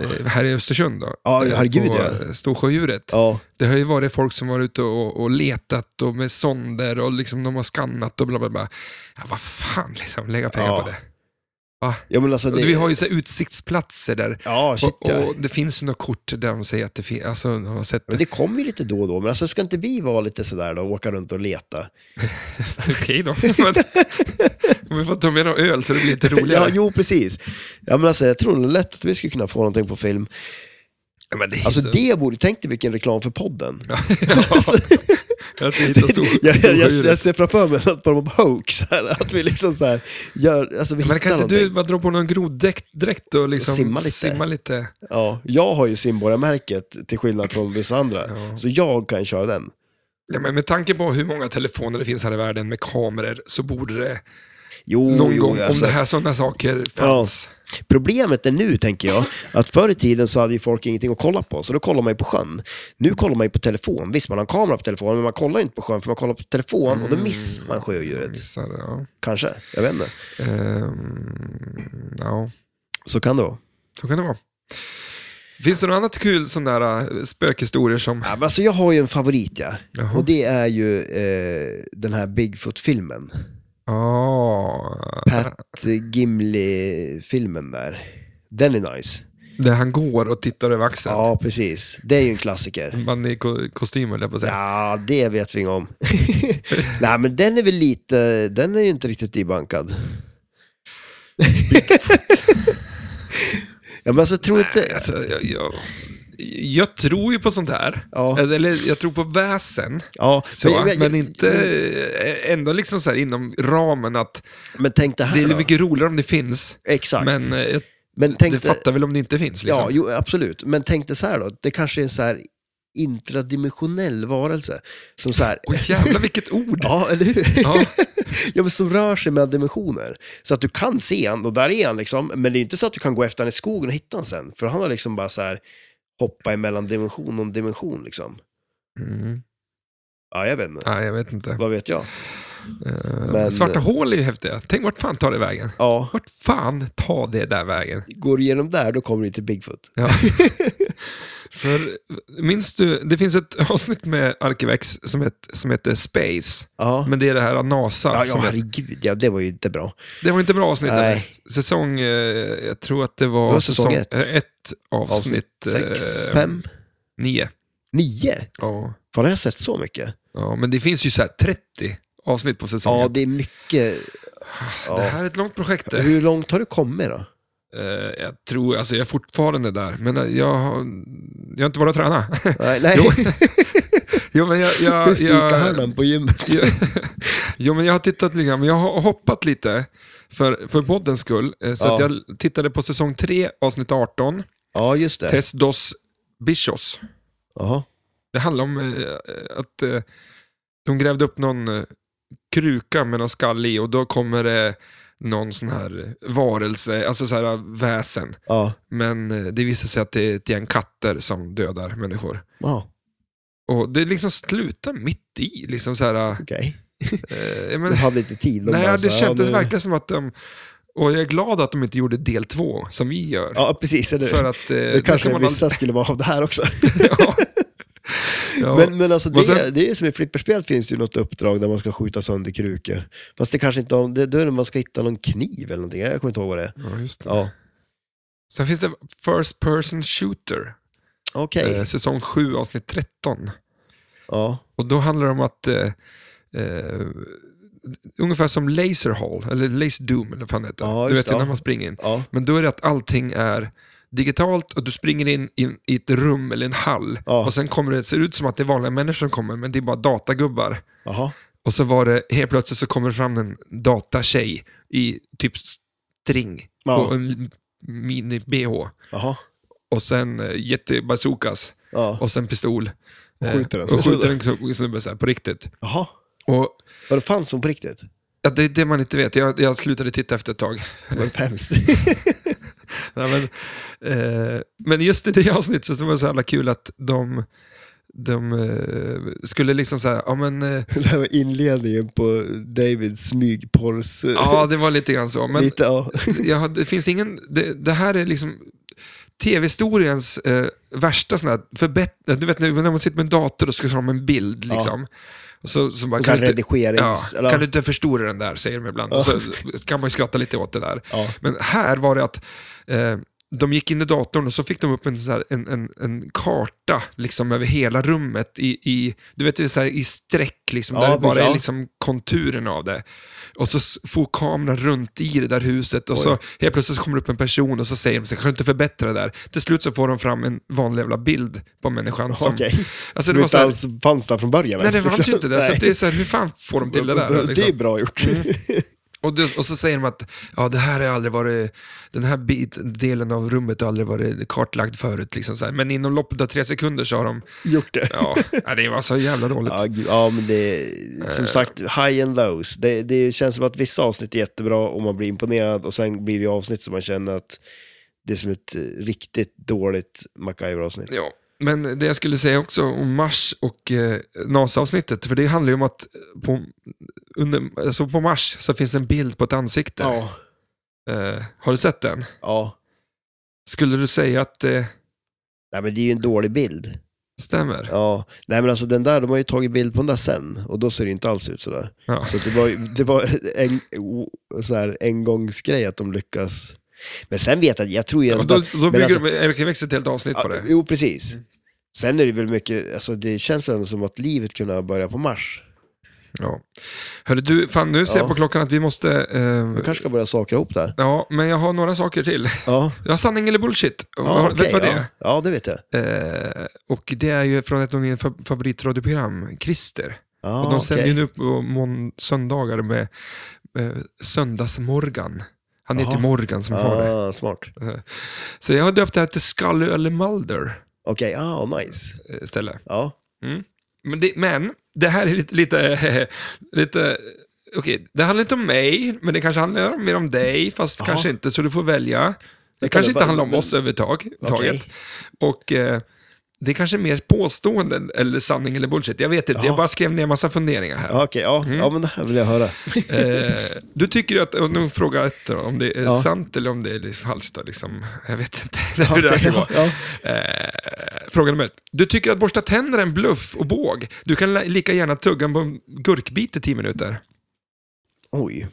Speaker 1: eh, här i Östersund då.
Speaker 2: Ja,
Speaker 1: eh,
Speaker 2: herregud,
Speaker 1: på,
Speaker 2: ja.
Speaker 1: eh, Storsjödjuret.
Speaker 2: Ja,
Speaker 1: Det har ju varit folk som varit ute och, och letat och med sonder och liksom de har skannat och bla bla bla. Ja, vad fan liksom, lägga pengar
Speaker 2: Ja.
Speaker 1: på det.
Speaker 2: ja men alltså det...
Speaker 1: Och Vi har ju så här utsiktsplatser där.
Speaker 2: Ja, shit
Speaker 1: och,
Speaker 2: ja.
Speaker 1: och det finns ju några kort där de säger att det finns, alltså de har sett
Speaker 2: Men
Speaker 1: det.
Speaker 2: det kommer ju lite då och då, men alltså ska inte vi vara lite sådär då, och åka runt och leta?
Speaker 1: Okej då. Men, vi får ta med någon öl så det blir lite
Speaker 2: Ja,
Speaker 1: roligare.
Speaker 2: jo precis. Ja men alltså jag tror nog lätt att vi skulle kunna få någonting på film.
Speaker 1: Ja, men det är
Speaker 2: Alltså
Speaker 1: så- alltså,
Speaker 2: det borde, tänk dig vilken reklam för podden.
Speaker 1: Att vi hittar stor,
Speaker 2: Jag, jag, jag,
Speaker 1: storsjödjuret.
Speaker 2: jag ser framför mig att de hoax, här, att vi liksom så här gör, alltså vi
Speaker 1: Men
Speaker 2: hittar
Speaker 1: kan inte du
Speaker 2: någonting.
Speaker 1: bara dra på någon groddräkt direkt och liksom
Speaker 2: Simma
Speaker 1: simma
Speaker 2: lite.
Speaker 1: lite?
Speaker 2: Ja, jag har ju simborgarmärket till skillnad från vissa andra,
Speaker 1: Ja.
Speaker 2: så jag kan köra den.
Speaker 1: Ja, men med tanke på hur många telefoner det finns här i världen med kameror så borde det
Speaker 2: Jo,
Speaker 1: någon
Speaker 2: jo,
Speaker 1: gång,
Speaker 2: alltså.
Speaker 1: om det här sådana saker fanns.
Speaker 2: Problemet är nu, tänker jag, att förr i tiden så hade ju folk ingenting att kolla på, så då kollar man ju på sjön. Nu kollar man ju på telefon. Visst, man har en kamera på telefonen, men man kollar ju inte på sjön, för man kollar på telefon och
Speaker 1: Mm.
Speaker 2: då missar man sjödjuret.
Speaker 1: Missar det, ja.
Speaker 2: Kanske, jag vet inte.
Speaker 1: Ehm, ja,
Speaker 2: Så kan det vara.
Speaker 1: så kan det vara. Finns det något annat kul sån där äh, spökhistorier som...
Speaker 2: Ja, men alltså, jag har ju en favorit, ja.
Speaker 1: Jaha.
Speaker 2: Och det är ju eh, den här Bigfoot-filmen.
Speaker 1: Ja,
Speaker 2: Pat Gimli-filmen där. Den är nice.
Speaker 1: där han går och tittar över axeln.
Speaker 2: Ja, precis. Det är ju en klassiker.
Speaker 1: Man i ko- kostym höll jag på att säga.
Speaker 2: Ja, det vet vi inget om. Nej, men den är väl lite, den är ju inte riktigt debankad. ja, men alltså tror inte...
Speaker 1: Alltså, jag, jag, jag tror ju på sånt här. Alltså,
Speaker 2: Ja.
Speaker 1: Eller jag tror på väsen.
Speaker 2: ja,
Speaker 1: Så, men,
Speaker 2: jag- jag-
Speaker 1: inte
Speaker 2: Men,
Speaker 1: eh, ändå liksom så här inom ramen att
Speaker 2: men tänk det här
Speaker 1: det är
Speaker 2: då.
Speaker 1: mycket roligare om det finns.
Speaker 2: Exakt. Men,
Speaker 1: Men eh, jag-
Speaker 2: Alltså- tänk
Speaker 1: det fattar väl om det inte finns. Liksom.
Speaker 2: Ja, jo, absolut. Men tänk dig så här då, det kanske är en så här intradimensionell varelse. Som så här...
Speaker 1: Och jävlar vilket ord!
Speaker 2: Ja, eller hur?
Speaker 1: Ja.
Speaker 2: Ja, men som rör sig mellan dimensioner. Så att du kan se han och där är han liksom. Men det är inte så att du kan gå efter han i skogen och hitta han sen. För han har liksom bara så här hoppa emellan dimension och dimension liksom.
Speaker 1: Mm.
Speaker 2: Ja, jag vet inte.
Speaker 1: Nej, jag vet inte.
Speaker 2: Vad vet jag?
Speaker 1: Eh,
Speaker 2: men-
Speaker 1: Svarta hål är ju häftiga. Tänk vart fan tar det vägen?
Speaker 2: Ja,
Speaker 1: Vart fan tar det där vägen?
Speaker 2: går du igenom där då kommer du till Bigfoot.
Speaker 1: Ja. För, minns du, det finns ett avsnitt med Arkivex som, het, som heter Space.
Speaker 2: Ja,
Speaker 1: Men alltså, det är det här NASA.
Speaker 2: ja, ja
Speaker 1: som heter,
Speaker 2: herregud. Ja, det var ju inte bra.
Speaker 1: det var inte bra avsnitt.
Speaker 2: Nej.
Speaker 1: eller? Säsong, eh, jag tror att det var,
Speaker 2: Det var säsong ett.
Speaker 1: eh, ett avsnitt,
Speaker 2: Sex,
Speaker 1: eh,
Speaker 2: fem,
Speaker 1: nio.
Speaker 2: nio?
Speaker 1: Ja.
Speaker 2: Fan, har jag sett så mycket?
Speaker 1: ja, men det finns ju så här 30 avsnitt på säsong
Speaker 2: Ja,
Speaker 1: ett.
Speaker 2: det är mycket.
Speaker 1: Det
Speaker 2: Ja.
Speaker 1: här är ett långt projekt. det.
Speaker 2: Hur långt har du kommit då?
Speaker 1: Eh, jag tror, alltså jag är fortfarande där, men eh, jag har, jag har inte varit och tränat.
Speaker 2: Nej, nej.
Speaker 1: Jo, jo, men jag, jag, jag,
Speaker 2: Fikahörnan på gymmet.
Speaker 1: Jo, jo, men jag har tittat lite grann, men jag har hoppat lite för, för poddens skull. Eh, Så
Speaker 2: Ja.
Speaker 1: att jag tittade på säsong 3, avsnitt 18,
Speaker 2: Ja, just det.
Speaker 1: Test dos bichos.
Speaker 2: Jaha.
Speaker 1: Det handlar om eh, att eh, de grävde upp någon eh, kruka med någon skall i och då kommer det någon sån här varelse, alltså så här väsen.
Speaker 2: Ja.
Speaker 1: Men eh, det visar sig att det är ett gäng katter som dödar människor.
Speaker 2: Ja,
Speaker 1: Och det liksom slutar mitt i, liksom så här...
Speaker 2: okej.
Speaker 1: Eh, jag
Speaker 2: Du
Speaker 1: menar-
Speaker 2: hade inte tid. De bara
Speaker 1: Nej,
Speaker 2: så
Speaker 1: det
Speaker 2: här,
Speaker 1: kändes
Speaker 2: ja, nu-
Speaker 1: verkligen som att de... Och jag är glad att de inte gjorde del två, som vi gör.
Speaker 2: Ja, precis. Eller?
Speaker 1: För
Speaker 2: För
Speaker 1: att... eh,
Speaker 2: det
Speaker 1: då
Speaker 2: kanske
Speaker 1: ska man
Speaker 2: vissa skulle vara av det här också.
Speaker 1: aldrig- ja. ja.
Speaker 2: Men, men alltså, det,
Speaker 1: Och sen-
Speaker 2: det är som i flipperspel finns det ju något uppdrag där man ska skjuta sönder krukor. Fast det kanske inte har, det, då är det man ska hitta någon kniv eller någonting. Jag kommer inte ihåg vad det är.
Speaker 1: ja, just det.
Speaker 2: Ja,
Speaker 1: Sen finns det First Person Shooter,
Speaker 2: okej.
Speaker 1: eh, säsong 7, avsnitt 13.
Speaker 2: Ja,
Speaker 1: Och då handlar det om att... Eh, eh, ungefär som Laser Hall, eller Laser Doom, eller vad fan det heter.
Speaker 2: Ja,
Speaker 1: du
Speaker 2: just
Speaker 1: vet ju
Speaker 2: det.
Speaker 1: när man springer in.
Speaker 2: ja,
Speaker 1: Men då är det att allting är digitalt och du springer in in i ett rum eller en hall.
Speaker 2: Ja.
Speaker 1: Och sen kommer det, ser det ut som att det är vanliga människor som kommer, men det är bara datagubbar.
Speaker 2: jaha.
Speaker 1: Och så var det, helt plötsligt så kommer det fram en datatjej i typ string
Speaker 2: Ja.
Speaker 1: och en mini-bh.
Speaker 2: Jaha.
Speaker 1: Och sen eh, jättebazookas
Speaker 2: Ja.
Speaker 1: och sen pistol.
Speaker 2: Och skjuter den.
Speaker 1: Eh, Och skjuter en snu- snubbe så här, på riktigt.
Speaker 2: Jaha.
Speaker 1: Och
Speaker 2: Var det fanns hon på riktigt?
Speaker 1: ja, det är det man inte vet. Jag, jag slutade titta efter ett tag.
Speaker 2: Var det hemskt?
Speaker 1: Nej, men, eh, men just i det avsnittet så var det så jävla kul att de, de eh, skulle liksom så här, ja men, eh,
Speaker 2: det här var inledningen på Davids smygporrs... eh,
Speaker 1: ja det var lite grann så. Men
Speaker 2: Lite, ja.
Speaker 1: jag, har- det finns ingen, det, det här är liksom tv-historiens eh, värsta sån här förbättring. Du vet nu när man sitter med en dator och ska ta om en bild liksom. Och så, så bara,
Speaker 2: Och så här
Speaker 1: du inte-
Speaker 2: redigerings...
Speaker 1: Ja,
Speaker 2: eller-
Speaker 1: kan du inte förstora den där, säger de ibland. Och så kan man ju skratta lite åt det där.
Speaker 2: Ja.
Speaker 1: Men här var det att eh, de gick in i datorn och så fick de upp en, så här, en, en, en karta liksom, över hela rummet i, i, du vet, det är så här, i streck, liksom,
Speaker 2: Ja,
Speaker 1: där det
Speaker 2: precis,
Speaker 1: bara
Speaker 2: ja.
Speaker 1: är liksom, konturen av det. Och så s- får kameran runt i det där huset och så helt plötsligt så kommer det upp en person och så säger de, så här, kan du inte förbättra det där? Till slut så får de fram en vanlig jävla bild på människan. Som,
Speaker 2: Okej.
Speaker 1: alltså,
Speaker 2: Som
Speaker 1: det var så
Speaker 2: inte
Speaker 1: här,
Speaker 2: alls fanns där från början.
Speaker 1: Nej, det
Speaker 2: ens,
Speaker 1: fanns
Speaker 2: liksom.
Speaker 1: ju inte det. Så
Speaker 2: Nej. Typ.
Speaker 1: att det är så här, hur fan får de till det där? liksom?
Speaker 2: Det är bra gjort.
Speaker 1: Och, det, och så säger de att ja, det här har aldrig varit, den här bit, delen av rummet har aldrig varit kartlagd förut. Liksom så här. Men inom loppet av tre sekunder så har de,
Speaker 2: gjort det.
Speaker 1: ja, ja, det var så jävla dåligt.
Speaker 2: Ja, gud, ja, men det som sagt, high and lows. Det, det känns som att vissa avsnitt är jättebra och man blir imponerad och sen blir det ju avsnitt som man känner att det är som ett eh, riktigt dåligt MacGyver-avsnitt.
Speaker 1: Ja. Men det jag skulle säga också om Mars och eh, NASA-avsnittet, för det handlar ju om att på, under, alltså på Mars så finns en bild på ett ansikte.
Speaker 2: Ja,
Speaker 1: Eh, har du sett den?
Speaker 2: ja.
Speaker 1: Skulle du säga att det
Speaker 2: Nej, men det är ju en dålig bild.
Speaker 1: stämmer?
Speaker 2: Ja, nej men alltså den där, de har ju tagit bild på den där sen och då ser det ju inte alls ut sådär.
Speaker 1: Ja.
Speaker 2: Så att det var, ju- det var en, o- så här, engångsgrej att de lyckas. Men sen vet jag, jag tror ju
Speaker 1: Ja,
Speaker 2: ändå
Speaker 1: och då,
Speaker 2: att-
Speaker 1: då
Speaker 2: men
Speaker 1: bygger
Speaker 2: alltså-
Speaker 1: de Erik Växt ett helt avsnitt på
Speaker 2: Ja,
Speaker 1: det.
Speaker 2: Jo, precis. Sen är det väl mycket, alltså det känns väl ändå som att livet kunde börja på Mars.
Speaker 1: Ja. Hörru du, fan nu ser jag
Speaker 2: Ja.
Speaker 1: på klockan att vi måste... Eh,
Speaker 2: Man kanske ska börja sakra ihop där.
Speaker 1: Ja, men jag har några saker till.
Speaker 2: Ja,
Speaker 1: Jag har sanning eller bullshit.
Speaker 2: ja
Speaker 1: Har-
Speaker 2: okej,
Speaker 1: Vet du vad det
Speaker 2: ja.
Speaker 1: är?
Speaker 2: ja, det vet jag.
Speaker 1: Eh, och det är ju från ett av mina fa- favoritradioprogram, Christer.
Speaker 2: Ja,
Speaker 1: och de sänder
Speaker 2: Ah, okej.
Speaker 1: ju nu på mån- söndagar med eh, Söndagsmorgan. Han heter
Speaker 2: Jaha.
Speaker 1: Morgan som har det.
Speaker 2: ah, smart. Okej,
Speaker 1: Så jag har döpt det här till Scully eller Mulder
Speaker 2: ah, nice.
Speaker 1: eh, istället.
Speaker 2: Ja,
Speaker 1: Men det, men, det här är lite... lite, lite Okej, det handlar inte om mig, men det kanske handlar mer om dig, fast
Speaker 2: Jaha.
Speaker 1: kanske inte, så du får välja. Det
Speaker 2: Vänta
Speaker 1: kanske
Speaker 2: nu,
Speaker 1: inte
Speaker 2: vad-
Speaker 1: handlar om
Speaker 2: men-
Speaker 1: oss överhuvudtaget.
Speaker 2: Okej.
Speaker 1: Och eh, det är kanske är mer påståenden, eller sanning eller bullshit. Jag vet inte,
Speaker 2: Jaha.
Speaker 1: jag bara skrev ner en massa funderingar här.
Speaker 2: ja ah, okej, ja.
Speaker 1: Mm.
Speaker 2: ja, men det här vill jag höra.
Speaker 1: Eh, du tycker ju att, och nu fråga ett då, om det är
Speaker 2: Ja.
Speaker 1: sant eller om det är falskt då, liksom. Jag vet inte hur det här ska
Speaker 2: ja,
Speaker 1: vara.
Speaker 2: ja.
Speaker 1: Eh, fråga nummer ett. Du tycker att borsta tänder är en bluff och båg. Du kan la- lika gärna tugga på en gurkbit i tio minuter.
Speaker 2: Oj.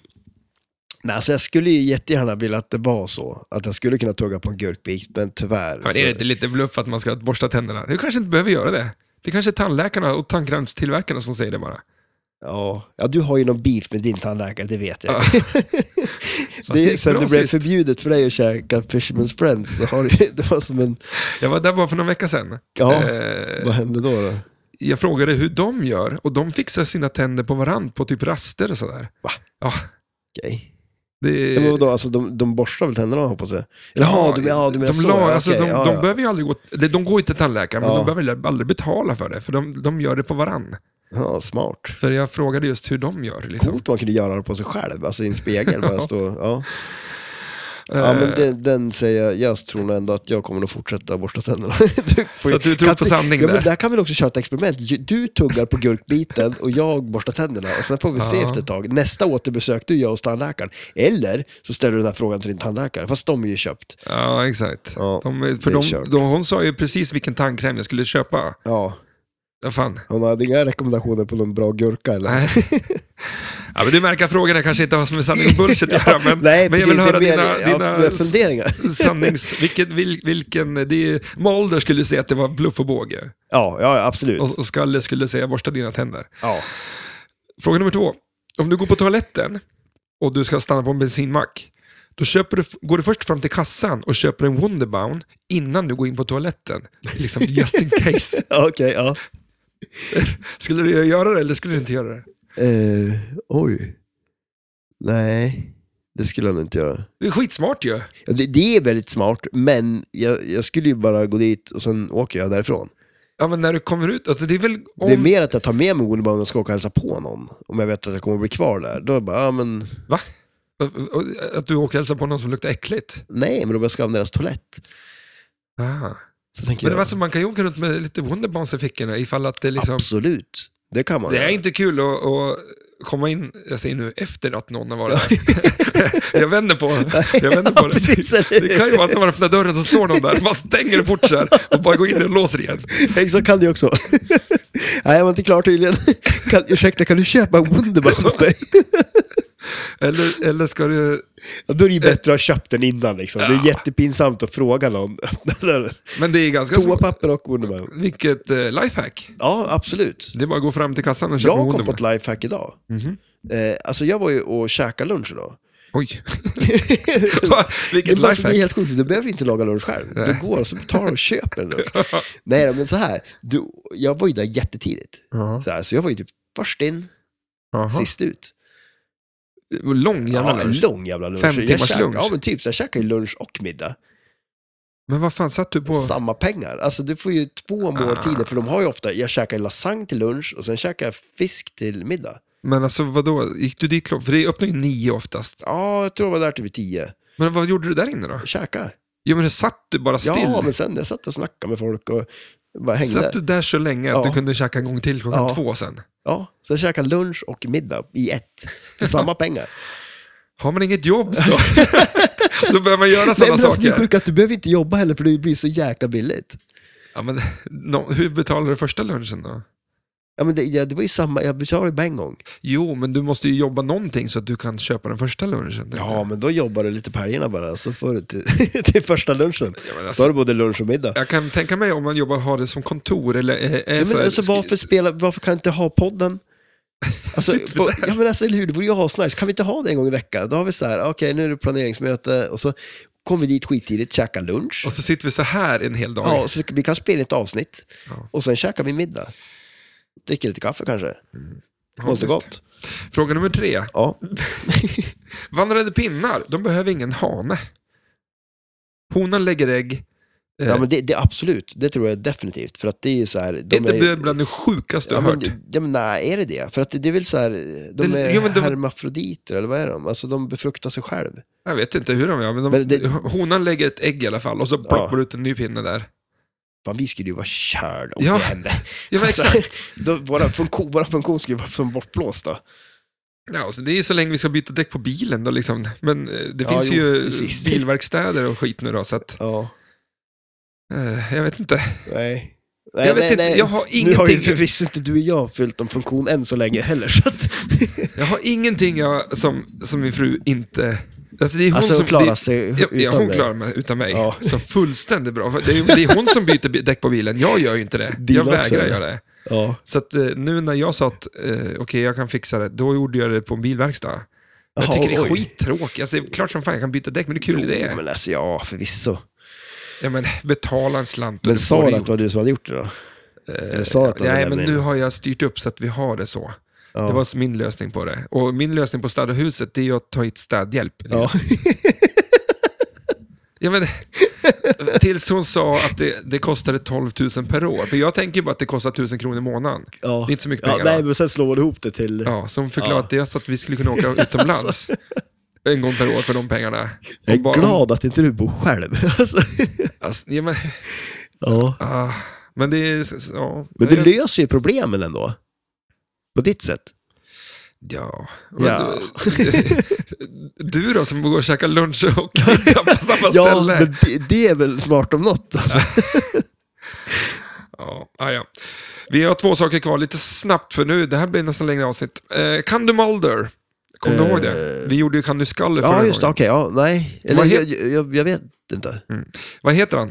Speaker 2: Nej, alltså jag skulle ju jättegärna vilja att det var så. Att jag skulle kunna tugga på en gurkbit, men tyvärr.
Speaker 1: Men är det inte lite bluff att man ska borsta tänderna? Du kanske inte behöver göra det. Det kanske är tandläkarna och tandkrämstillverkarna som säger det bara.
Speaker 2: Ja. ja, du har ju någon beef med din tandläkare, det vet jag.
Speaker 1: Ja. Fast
Speaker 2: det,
Speaker 1: det
Speaker 2: är-
Speaker 1: gick
Speaker 2: sen
Speaker 1: bra
Speaker 2: det blev
Speaker 1: sist.
Speaker 2: förbjudet för dig att käka Fisherman's Friends, så har du, det var som en...
Speaker 1: Jag var där bara för någon vecka sedan.
Speaker 2: Ja,
Speaker 1: Eh,
Speaker 2: vad hände då? då?
Speaker 1: jag frågade hur de gör och de fixar sina tänder på varandra på typ raster och sådär.
Speaker 2: Va?
Speaker 1: Ja,
Speaker 2: Okej.
Speaker 1: det,
Speaker 2: Men vadå, alltså de, de borstar väl tänderna hoppas jag? Eller ja, du, men- ja, du
Speaker 1: de,
Speaker 2: menar så?
Speaker 1: la-
Speaker 2: ja,
Speaker 1: alltså,
Speaker 2: okej,
Speaker 1: de,
Speaker 2: ja,
Speaker 1: de
Speaker 2: ja.
Speaker 1: behöver ju aldrig gå, de, de går ju till tandläkaren,
Speaker 2: Ja.
Speaker 1: men de behöver aldrig betala för det, för de, de gör det på varann.
Speaker 2: ja, smart.
Speaker 1: För jag frågade just hur de gör. Liksom.
Speaker 2: Coolt man kunde göra det på sig själv, alltså i en spegel. Bara stå, ja. ja,
Speaker 1: Eh,
Speaker 2: men den, den säger jag, jag tror nog ändå att jag kommer att fortsätta borsta tänderna. Du,
Speaker 1: Så att du tror
Speaker 2: kan
Speaker 1: på
Speaker 2: inte-
Speaker 1: sanning
Speaker 2: ja, men
Speaker 1: där.
Speaker 2: Där kan vi också köra ett experiment. Ju- Du tuggar på gurkbiten och jag borstar tänderna. Och sen får vi se
Speaker 1: Ja.
Speaker 2: efter ett tag. Nästa återbesök, du gör hos tandläkaren. Eller så ställer du den här frågan till din tandläkare, fast de är ju köpt.
Speaker 1: Eh, Ja, exakt.
Speaker 2: Ja,
Speaker 1: de, för
Speaker 2: det är
Speaker 1: de,
Speaker 2: kört.
Speaker 1: de, hon sa ju precis vilken tandkräm jag skulle köpa.
Speaker 2: Ja,
Speaker 1: Ja, fan.
Speaker 2: hon hade inga rekommendationer på någon bra gurka eller?
Speaker 1: Nej. ja, men du märker att frågorna kanske inte har med sanning och bullshit att göra, men,
Speaker 2: Nej,
Speaker 1: men jag
Speaker 2: precis.
Speaker 1: vill höra
Speaker 2: det är
Speaker 1: dina,
Speaker 2: mer, ja,
Speaker 1: dina
Speaker 2: mer funderingar.
Speaker 1: sannings... Vilken, vil, vilken, det är, ju- Mulder skulle säga att det var bluff och båge,
Speaker 2: Ja, ja, absolut.
Speaker 1: och, och Skalle skulle säga borsta dina tänder.
Speaker 2: Ja.
Speaker 1: Fråga nummer två. Om du går på toaletten och du ska stanna på en bensinmack, då köper du, går du först fram till kassan och köper en Wonderbound innan du går in på toaletten. Liksom just in case.
Speaker 2: Ja, Okej, ja.
Speaker 1: Skulle du göra det eller skulle du inte göra det?
Speaker 2: Eh, oj. Nej, det skulle jag nog inte göra.
Speaker 1: Det är skitsmart ju.
Speaker 2: Ja, Det, det är väldigt smart, men jag, jag skulle ju bara gå dit och sen åker jag därifrån.
Speaker 1: Ja, men när du kommer ut, alltså det är väl om...
Speaker 2: Det är mer att jag tar med mig Goodbye om jag ska åka och hälsa på någon. Om jag vet att jag kommer att bli kvar där. Då är jag bara, ja men
Speaker 1: Va? Att du åker och hälsar på någon som luktar äckligt?
Speaker 2: nej, men om jag ska använda deras toalett.
Speaker 1: Ah.
Speaker 2: Så tänker
Speaker 1: Men
Speaker 2: jag,
Speaker 1: alltså, man kan ju åka runt med lite Wonderbombs i fickorna ifall att det liksom...
Speaker 2: absolut. Det kan man
Speaker 1: Det är
Speaker 2: göra.
Speaker 1: inte kul att, att komma in, jag säger nu efter att någon har varit där. jag vänder på, jag vänder på
Speaker 2: Ja,
Speaker 1: det.
Speaker 2: precis, eller hur?
Speaker 1: Det kan ju vara att när man öppnar dörren så står någon där, man stänger en fort så här och bara går in och låser igen.
Speaker 2: Så kan det ju också. nej, jag var inte klar tydligen. Kan, ursäkta, kan du köpa en Wunderbaum hos mig?
Speaker 1: Eller, eller ska du...
Speaker 2: Ja, då är det ju bättre att ha köpt den innan liksom. Det är jättepinsamt att fråga någon.
Speaker 1: Men det är ganska små,
Speaker 2: Toapapper och Wunderbaum.
Speaker 1: Vilket eh, lifehack.
Speaker 2: Ja, absolut.
Speaker 1: Det är bara att gå fram till kassan och köpa Mhm.
Speaker 2: Jag kom på
Speaker 1: Wonderbombs.
Speaker 2: ett lifehack idag. Eh, alltså jag var ju och käkade lunch idag.
Speaker 1: Oj. Va? Vilket
Speaker 2: Det, men alltså, det är
Speaker 1: lifehack.
Speaker 2: helt sjukt, du behöver inte laga lunch själv. Du går och så tar och köper en lunch. Nej, då, men så här. Du, jag var ju där jättetidigt.
Speaker 1: Jaha.
Speaker 2: Så, här, så jag var ju typ först in,
Speaker 1: Jaha.
Speaker 2: sist ut.
Speaker 1: Lång jävla
Speaker 2: ja, en
Speaker 1: lunch.
Speaker 2: lång jävla lunch.
Speaker 1: Fem
Speaker 2: Jag
Speaker 1: timmars
Speaker 2: käkar-
Speaker 1: lunch.
Speaker 2: Ja, men typ. Så jag käkar ju lunch och middag.
Speaker 1: Men vad fan satt du på?
Speaker 2: Samma pengar. Alltså du får ju två
Speaker 1: Ah.
Speaker 2: måltider, för de har ju ofta, jag käkar lasagne till lunch och sen käkar jag fisk till middag.
Speaker 1: Men alltså vadå, gick du dit klockan? För det öppnar ju nio oftast.
Speaker 2: Ja, jag tror jag var där till vid tio.
Speaker 1: Men vad gjorde du där inne då?
Speaker 2: Käka.
Speaker 1: Jo men satt du bara still?
Speaker 2: Ja, men sen jag satt och snackade med folk och bara hängde.
Speaker 1: Satt du där så länge att
Speaker 2: Ja.
Speaker 1: du kunde käka en gång till klockan
Speaker 2: Ja.
Speaker 1: två sen?
Speaker 2: Ja, så jag käkade lunch och middag i ett. För samma pengar.
Speaker 1: Har man inget jobb så, så behöver man göra
Speaker 2: Nej,
Speaker 1: sådana
Speaker 2: men alltså, det är
Speaker 1: saker.
Speaker 2: sjukt att du behöver inte jobba heller för det blir så jäkla billigt.
Speaker 1: Ja, men, nå- hur betalar du första lunchen då?
Speaker 2: Ja, men det, ja, det var ju samma, jag betalade ju bara en gång.
Speaker 1: Jo, men du måste ju jobba någonting så att du kan köpa den första lunchen.
Speaker 2: Ja, men då jobbar du lite på helgerna bara, så får du till, till första lunchen.
Speaker 1: Ja, men
Speaker 2: Så
Speaker 1: alltså,
Speaker 2: har du både lunch och middag.
Speaker 1: jag kan tänka mig om man jobbar har det som kontor eller är, är
Speaker 2: Ja,
Speaker 1: så
Speaker 2: men
Speaker 1: här,
Speaker 2: alltså,
Speaker 1: skri-
Speaker 2: varför, spela, varför kan jag inte ha podden? Alltså,
Speaker 1: Sitter vi
Speaker 2: på,
Speaker 1: där?
Speaker 2: ja, men alltså, eller hur? Det borde ju ha nice. Kan vi inte ha det en gång i veckan? Då har vi så här, okej, nu är det planeringsmöte och så kommer vi dit skittidigt, käkar lunch.
Speaker 1: Och så sitter vi så här en hel dag.
Speaker 2: Ja, så vi kan spela ett avsnitt
Speaker 1: Ja.
Speaker 2: och sen käkar vi middag. Dricker lite kaffe kanske.
Speaker 1: Ja,
Speaker 2: Något
Speaker 1: visst. Eh.
Speaker 2: gott.
Speaker 1: Fråga nummer tre.
Speaker 2: Ja.
Speaker 1: Vandrade pinnar, de behöver ingen hane. Honan lägger ägg. Eh,
Speaker 2: ja, men det, det absolut. Det tror jag definitivt. För att det är ju så här...
Speaker 1: det
Speaker 2: De
Speaker 1: är inte
Speaker 2: är ju-
Speaker 1: bland det sjukaste
Speaker 2: ja,
Speaker 1: jag
Speaker 2: men,
Speaker 1: hört.
Speaker 2: ja, men nej, är det det? För att det, det är väl så här... De
Speaker 1: Det-
Speaker 2: är
Speaker 1: jo, men de-
Speaker 2: hermafroditer, eller vad är de? Alltså de befruktar sig själv.
Speaker 1: Jag vet inte hur de gör, men, de,
Speaker 2: Men det-
Speaker 1: honan lägger ett ägg i alla fall och så ploppar ut en ny pinne där.
Speaker 2: Fan, vi skulle ju vara körda om
Speaker 1: Ja.
Speaker 2: det hände.
Speaker 1: Ja, men
Speaker 2: Alltså,
Speaker 1: exakt.
Speaker 2: Då, våra, funktion, våra funktion skulle vara som bortblåsta.
Speaker 1: Ja, så det är ju så länge vi ska byta däck på bilen då liksom. Men eh, det
Speaker 2: Ja,
Speaker 1: finns
Speaker 2: jo,
Speaker 1: ju
Speaker 2: precis.
Speaker 1: bilverkstäder och skit nu då, så att,
Speaker 2: Ja,
Speaker 1: eh, jag vet inte.
Speaker 2: nej. Nej,
Speaker 1: Jag vet
Speaker 2: nej,
Speaker 1: inte,
Speaker 2: nej.
Speaker 1: jag har
Speaker 2: Nu har ju
Speaker 1: ingenting-
Speaker 2: förvisso inte du och jag fyllt någon funktion än så länge heller, så att...
Speaker 1: Jag har ingenting jag, som, som min fru inte... Alltså det är hon
Speaker 2: Alltså
Speaker 1: som,
Speaker 2: hon klarar
Speaker 1: det,
Speaker 2: sig
Speaker 1: Ja, ja,
Speaker 2: utan
Speaker 1: hon
Speaker 2: det.
Speaker 1: klarar mig utan mig.
Speaker 2: Ja.
Speaker 1: Så fullständigt bra. För Det är, det är hon som byter bi- däck på bilen, jag gör ju inte det.
Speaker 2: Dina
Speaker 1: jag
Speaker 2: också,
Speaker 1: vägrar
Speaker 2: eller?
Speaker 1: göra det.
Speaker 2: Ja.
Speaker 1: Så att, eh, nu när jag sa att eh, okej, jag kan fixa det, då gjorde jag det på en bilverkstad. Jag
Speaker 2: Jaha,
Speaker 1: tycker det är
Speaker 2: oj.
Speaker 1: skittråkigt. Alltså, det är klart som fan jag kan byta däck, men det är kul
Speaker 2: Jo,
Speaker 1: det. Men...
Speaker 2: Men alltså, ja, förvisso.
Speaker 1: Ja, men betala en slant. och
Speaker 2: Men
Speaker 1: du får
Speaker 2: sa
Speaker 1: det gjort. Eh,
Speaker 2: du att det var du som hade gjort det då? Eller sa du att det var
Speaker 1: Nej,
Speaker 2: den
Speaker 1: men nu
Speaker 2: meningen?
Speaker 1: har jag styrt upp så att vi har det så.
Speaker 2: Ja.
Speaker 1: Det var min lösning på det. Och min lösning på att städa huset, det är ju att ta hit städhjälp. Liksom.
Speaker 2: Ja.
Speaker 1: Ja, men, tills hon sa att det, det kostade 12 000 per år. För jag tänker ju bara att det kostar 1000 kronor i månaden.
Speaker 2: ja.
Speaker 1: Det är inte så mycket
Speaker 2: ja,
Speaker 1: pengar.
Speaker 2: Nej,
Speaker 1: va?
Speaker 2: men sen slår man ihop det till...
Speaker 1: ja, så hon förklarade
Speaker 2: Ja. Alltså.
Speaker 1: att det är så att vi skulle kunna åka utomlands en gång per år för de pengarna.
Speaker 2: Jag är
Speaker 1: Och bara-
Speaker 2: glad att inte du bor själv. Alltså,
Speaker 1: Alltså, ja, men,
Speaker 2: ja.
Speaker 1: ah, men det är... s- s- Ja,
Speaker 2: Men du
Speaker 1: Jag-
Speaker 2: löser ju problemen ändå. På ditt sätt.
Speaker 1: Ja.
Speaker 2: Ja.
Speaker 1: Du, du då som går och käkar lunch och middag på samma
Speaker 2: Ja,
Speaker 1: ställe.
Speaker 2: men det, det är väl smart om något. Alltså.
Speaker 1: Ja, ah, ja. Vi har två saker kvar lite snabbt för nu. Det här blir nästan längre avsnitt. Eh, kan du Mulder? Kommer du
Speaker 2: Eh.
Speaker 1: ihåg det? Vi gjorde ju Kan du Skaller förra
Speaker 2: Ja, just det.
Speaker 1: gången.
Speaker 2: Okej, ja, nej. Eller,
Speaker 1: Vad
Speaker 2: jag,
Speaker 1: het-
Speaker 2: jag, jag vet inte.
Speaker 1: Vad heter han?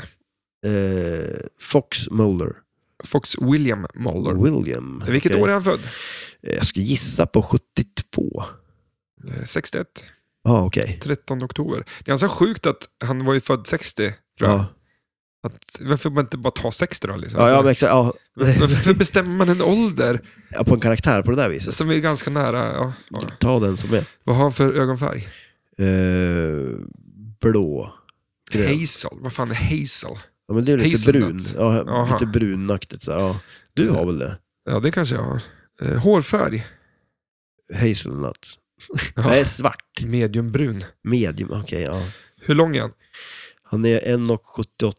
Speaker 2: Eh, Fox Muller.
Speaker 1: Fox William Mulder.
Speaker 2: William.
Speaker 1: Vilket
Speaker 2: Okej.
Speaker 1: år är han född?
Speaker 2: Eh, Jag skulle gissa på 72.
Speaker 1: Eh, 61,
Speaker 2: Ja, okej.
Speaker 1: alltså 13 oktober. Det är ganska sjukt att han var ju född 60, tror jag.
Speaker 2: Ja.
Speaker 1: Att, varför man inte bara ta 60 då? Liksom?
Speaker 2: Ja, ja,
Speaker 1: Alltså,
Speaker 2: men exakt. Ja,
Speaker 1: Varför bestämmer man en ålder
Speaker 2: ja, på en karaktär på det där viset.
Speaker 1: som är ganska nära? Ja, ja.
Speaker 2: Ta den som är.
Speaker 1: Vad har han för ögonfärg?
Speaker 2: Eh, blå. Grön.
Speaker 1: Hazel. Vad fan är Hazel?
Speaker 2: Ja, men det är lite brun.
Speaker 1: Hazelnut.
Speaker 2: Ja,
Speaker 1: Aha.
Speaker 2: lite brunaktigt sådär. Ja. Du har väl det?
Speaker 1: Ja, det kanske jag har. Eh, Hårfärg?
Speaker 2: Hazelnut.
Speaker 1: Ja.
Speaker 2: Nej, svart.
Speaker 1: Mediumbrun.
Speaker 2: Medium, okej. ja.
Speaker 1: Hur lång är han?
Speaker 2: Han är 1,78.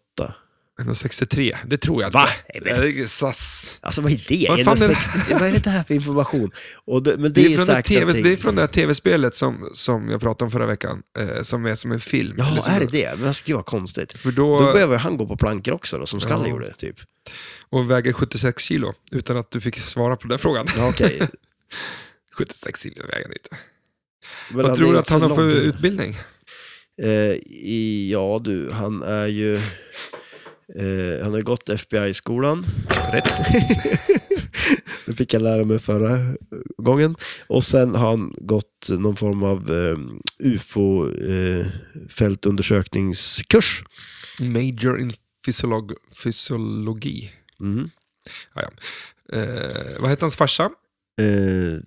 Speaker 1: 1,63. Det tror jag
Speaker 2: Va?
Speaker 1: inte. Det är sass.
Speaker 2: Alltså vad är det?
Speaker 1: Vad fan är det?
Speaker 2: 1,60? Vad är det här för information? Och det, men det,
Speaker 1: Det
Speaker 2: är
Speaker 1: är, från det,
Speaker 2: säkert
Speaker 1: TV,
Speaker 2: någonting-
Speaker 1: det är från det här tv-spelet som, som jag pratade om förra veckan, eh, som är som en film. Eller
Speaker 2: Ja,
Speaker 1: som-
Speaker 2: är det det? Men alltså, gud vad konstigt.
Speaker 1: För då,
Speaker 2: Då behöver han gå på plankor också då, som Skalle
Speaker 1: Ja.
Speaker 2: gjorde. Typ.
Speaker 1: och väger 76 kilo, utan att du fick svara på den frågan.
Speaker 2: Ja, okej.
Speaker 1: 76 kilo väger han inte.
Speaker 2: Men
Speaker 1: Vad
Speaker 2: han
Speaker 1: tror
Speaker 2: är
Speaker 1: du att
Speaker 2: inte
Speaker 1: han har
Speaker 2: så
Speaker 1: för
Speaker 2: lång.
Speaker 1: utbildning?
Speaker 2: Eh, i, ja du, han är ju... Eh, han har ju gått FBI-skolan.
Speaker 1: Rätt.
Speaker 2: Det fick jag lära mig förra gången. Och sen har han gått någon form av eh, ufo-fältundersökningskurs.
Speaker 1: Major in physiolog, fysiologi.
Speaker 2: mm.
Speaker 1: Eh, vad heter hans farsa?
Speaker 2: eh,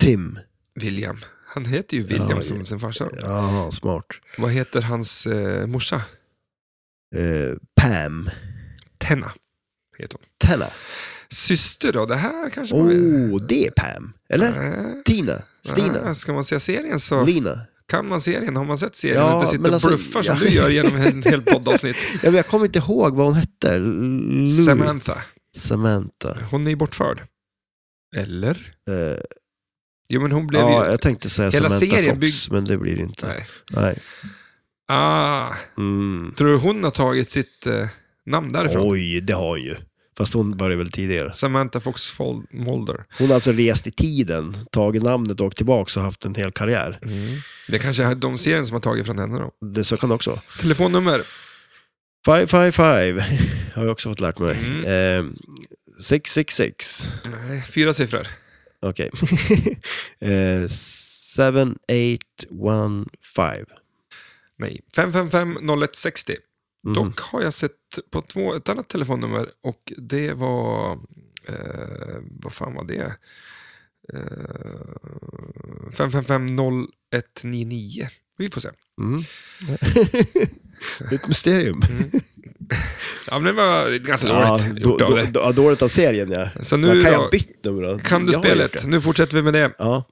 Speaker 2: Tim.
Speaker 1: William. Han heter ju William
Speaker 2: Ja,
Speaker 1: som sin farsa.
Speaker 2: Ja, smart.
Speaker 1: Vad heter hans eh, morsa?
Speaker 2: Eh, Pam.
Speaker 1: Tenna heter hon.
Speaker 2: Tella.
Speaker 1: Syster då? Det här kanske man vet.
Speaker 2: Oh, det är Pam. Eller?
Speaker 1: Nej.
Speaker 2: Tina. Stina.
Speaker 1: Nej, Ska man se serien så
Speaker 2: Lina.
Speaker 1: kan man serien. Har man sett serien
Speaker 2: Ja,
Speaker 1: och inte sitter
Speaker 2: men
Speaker 1: och
Speaker 2: alltså-
Speaker 1: bluffar
Speaker 2: ja.
Speaker 1: som du gör genom en hel poddavsnitt.
Speaker 2: Ja, men jag kommer inte ihåg vad hon hette. Lou.
Speaker 1: Samantha,
Speaker 2: Samantha.
Speaker 1: hon är ju bortförd. Eller?
Speaker 2: Eh,
Speaker 1: Jo, men hon blev
Speaker 2: ja,
Speaker 1: ju...
Speaker 2: jag tänkte säga
Speaker 1: Hela
Speaker 2: Samantha
Speaker 1: serien
Speaker 2: Fox,
Speaker 1: bygg-
Speaker 2: men det blir det inte. Nej.
Speaker 1: Nej. Ah,
Speaker 2: Mm.
Speaker 1: tror du hon har tagit sitt eh, namn därifrån?
Speaker 2: Oj, det har hon ju. Fast hon började väl tidigare.
Speaker 1: Samantha Fox Fol- Mulder.
Speaker 2: Hon har alltså rest i tiden, tagit namnet och åkt tillbaka och haft en hel karriär.
Speaker 1: Det kanske är de serien som har tagit från henne då.
Speaker 2: Det så kan det också vara.
Speaker 1: Telefonnummer?
Speaker 2: Five, five, five. har jag också fått lärt mig.
Speaker 1: Mm.
Speaker 2: Eh, six, six, six.
Speaker 1: Nej, fyra siffror.
Speaker 2: Okej. eh, seven, eight, one, five.
Speaker 1: Nej. 555-0160.
Speaker 2: Mhm.
Speaker 1: Dock har jag sett på två, ett annat telefonnummer och det var... Eh, vad fan var det? Eh, 555-0199. Vi får se.
Speaker 2: Mm. Ett mysterium.
Speaker 1: Ja, men det var ganska dåligt
Speaker 2: då,
Speaker 1: gjort av
Speaker 2: då,
Speaker 1: dig.
Speaker 2: då, ja, dåligt av serien ja.
Speaker 1: Så
Speaker 2: Nu,
Speaker 1: nu
Speaker 2: kan
Speaker 1: då-
Speaker 2: jag bytt nummer då?
Speaker 1: kan du
Speaker 2: jag har gjort
Speaker 1: spelet.
Speaker 2: det.
Speaker 1: Nu fortsätter vi med det.
Speaker 2: Ja.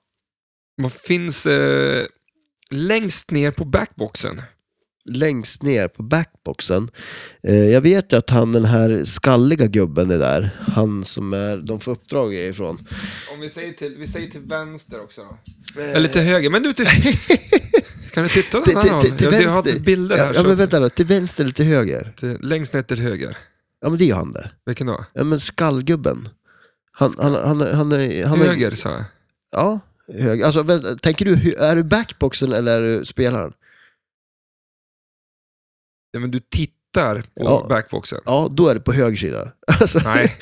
Speaker 1: Vad finns eh, längst ner på backboxen?
Speaker 2: Längst ner på backboxen. Eh, jag vet ju att han den här skalliga gubben är där. Han som är, de får uppdrag ifrån.
Speaker 1: Om vi säger till, vi säger till vänster också då. Eller till höger, men du till... kan du titta åt
Speaker 2: Till,
Speaker 1: den
Speaker 2: till,
Speaker 1: här
Speaker 2: till, till
Speaker 1: hållet? Jag, jag har
Speaker 2: vänster.
Speaker 1: bilder här.
Speaker 2: ja, ja,
Speaker 1: så-
Speaker 2: men vänta då. Till vänster eller till höger?
Speaker 1: till, längst ner till höger.
Speaker 2: Ja, men det är han det.
Speaker 1: Vilken då?
Speaker 2: Ja, men skallgubben. Han, han, han, han, han, är- han är-
Speaker 1: höger, sa jag.
Speaker 2: Ja, höger. Alltså, vänta, tänker du, hö- är du backboxen eller är du spelaren?
Speaker 1: Ja, men du tittar på
Speaker 2: Ja.
Speaker 1: backboxen.
Speaker 2: Ja, då är du på höger sida. Alltså,
Speaker 1: Nej.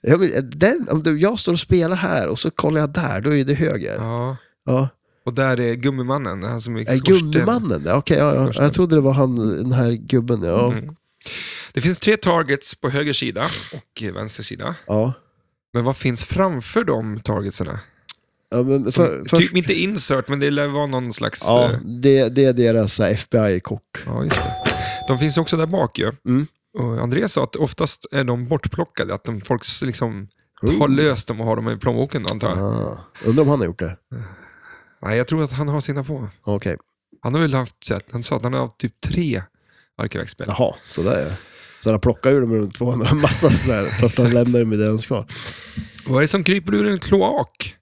Speaker 2: ja, men eh, den, om du, jag står och spelar här och så kollar jag där, då är det höger.
Speaker 1: Ja.
Speaker 2: Ja.
Speaker 1: Och där är gummimannen, han som är
Speaker 2: Är
Speaker 1: skorsten.
Speaker 2: Äh, gummimannen det? Okej, ja, ja.
Speaker 1: Skorsten.
Speaker 2: jag trodde det var han, den här gubben. Ja,
Speaker 1: Mm. Det finns tre targets på höger sida och eh, vänster sida.
Speaker 2: ja.
Speaker 1: Men vad finns framför de targetserna?
Speaker 2: ja men
Speaker 1: Som,
Speaker 2: för, först,
Speaker 1: Typ inte insert, men det lär vara någon slags...
Speaker 2: ja,
Speaker 1: eh,
Speaker 2: det, det är deras eh, så här FBI-kort.
Speaker 1: Ja, just det. De finns också där bak ju.
Speaker 2: Mm.
Speaker 1: Och Andreas sa att oftast är de bortplockade, att de, folk s- liksom
Speaker 2: Oh.
Speaker 1: har löst dem och har dem i plånboken antar jag.
Speaker 2: Ah, undrar om han har gjort det.
Speaker 1: Nej, jag tror att han har sina på.
Speaker 2: Okej,
Speaker 1: Han har väl haft, så att- han sa att han har haft typ tre arkivexspel.
Speaker 2: jaha, sådär ja. Så han plockar ur dem ur de 200, massa sådär, fast han lämnar dem i deras kvar.
Speaker 1: Vad är det som kryper ur en kloak?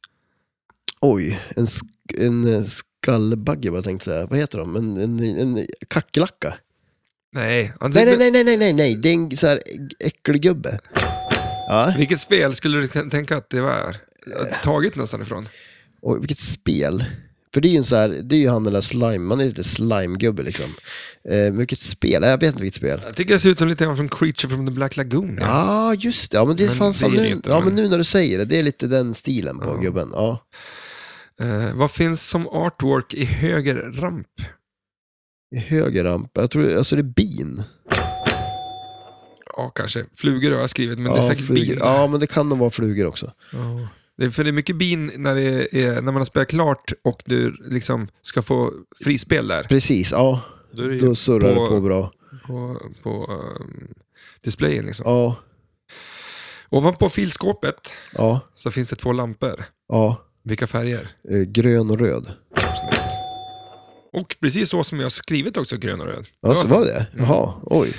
Speaker 2: Oj, en, sk- en eh, skallbagge vad jag tänkte säga. Vad heter de? En, en, en kackerlacka?
Speaker 1: Nej, alltså, han
Speaker 2: Nej, nej, nej, nej, nej, nej, nej. det är en så här äcklig gubbe. Ja.
Speaker 1: Vilket spel skulle du k- tänka att det var? Taget nästan ifrån.
Speaker 2: Och vilket spel. För det är ju en så här, det är ju han den där slime, man är lite slimegubbe liksom. Eh, men vilket spel? Nej, Jag vet inte vilket spel.
Speaker 1: Jag tycker det ser ut som lite grann från Creature from the Black Lagoon.
Speaker 2: Ja, ah, just det. Ja, men det
Speaker 1: Men
Speaker 2: fanns
Speaker 1: det är
Speaker 2: han
Speaker 1: det
Speaker 2: nu.
Speaker 1: inte,
Speaker 2: ja, men
Speaker 1: men-
Speaker 2: nu när du säger det, det är lite den stilen på
Speaker 1: Ja.
Speaker 2: gubben. Ja.
Speaker 1: Eh, vad finns som artwork i höger ramp?
Speaker 2: I höger ramp, jag tror, alltså det är bin.
Speaker 1: ja, kanske flugor har jag skrivit, men det är
Speaker 2: ja,
Speaker 1: säkert
Speaker 2: flugor.
Speaker 1: bin.
Speaker 2: ja, men det kan nog vara flugor också.
Speaker 1: Ja. Det är, för det är mycket bin när, det är, när man har spelat klart och du liksom ska få frispel där.
Speaker 2: Precis, ja.
Speaker 1: Då är det ju
Speaker 2: Då surrar
Speaker 1: på-
Speaker 2: det på bra.
Speaker 1: På, på ehm, displayen liksom.
Speaker 2: Ja,
Speaker 1: Ovanpå filskåpet
Speaker 2: ja,
Speaker 1: så finns det två lampor.
Speaker 2: ja.
Speaker 1: Vilka färger?
Speaker 2: Eh, Grön och röd.
Speaker 1: Och precis så som jag har skrivit också, grön och röd.
Speaker 2: Ja, så var det det? Jaha,
Speaker 1: Mm.
Speaker 2: oj.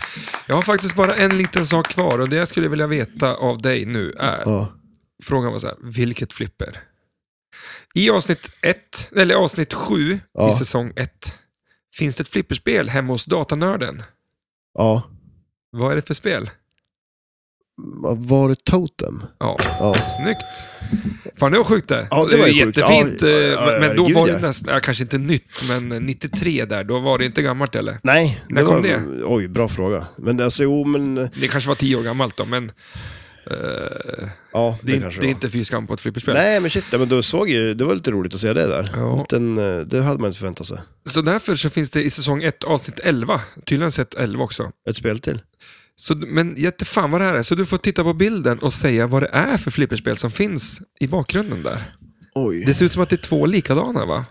Speaker 1: Jag har faktiskt bara en liten sak kvar och det jag skulle vilja veta av dig nu är,
Speaker 2: Ja,
Speaker 1: frågan var så här, vilket flipper? I avsnitt 1, eller avsnitt 7
Speaker 2: Ja.
Speaker 1: i säsong 1, finns det ett flipperspel hemma hos datanörden?
Speaker 2: ja.
Speaker 1: Vad är det för spel?
Speaker 2: Vad Var det Totem?
Speaker 1: Ja,
Speaker 2: Ja.
Speaker 1: snyggt. Fan, det var sjukt det.
Speaker 2: Ja, det var
Speaker 1: är
Speaker 2: ju sjukt.
Speaker 1: jättefint.
Speaker 2: Ja,
Speaker 1: eh,
Speaker 2: ja, ja,
Speaker 1: men då
Speaker 2: herregud,
Speaker 1: var det
Speaker 2: ja.
Speaker 1: nästan, ja, kanske inte nytt, men 93 där, då var det inte gammalt eller?
Speaker 2: Nej,
Speaker 1: När kom det?
Speaker 2: Oj, bra fråga. Men alltså, jo, men... eh,
Speaker 1: Det kanske var 10 år gammalt då, men... eh,
Speaker 2: Ja,
Speaker 1: det,
Speaker 2: det,
Speaker 1: är inte-
Speaker 2: kanske
Speaker 1: det är
Speaker 2: var.
Speaker 1: inte fy skam på ett flipperspel.
Speaker 2: Nej, men shit, ja, men du såg ju, det var lite roligt att se det där.
Speaker 1: Ja.
Speaker 2: Den, eh, det hade man inte förväntat sig.
Speaker 1: Så därför så finns det i säsong 1, avsnitt 11, tydligen sett 11 också.
Speaker 2: Ett spel till.
Speaker 1: Så, men jättefan vad det här är, så du får titta på bilden och säga vad det är för flipperspel som finns i bakgrunden där.
Speaker 2: Oj.
Speaker 1: Det ser ut som att det är två likadana va?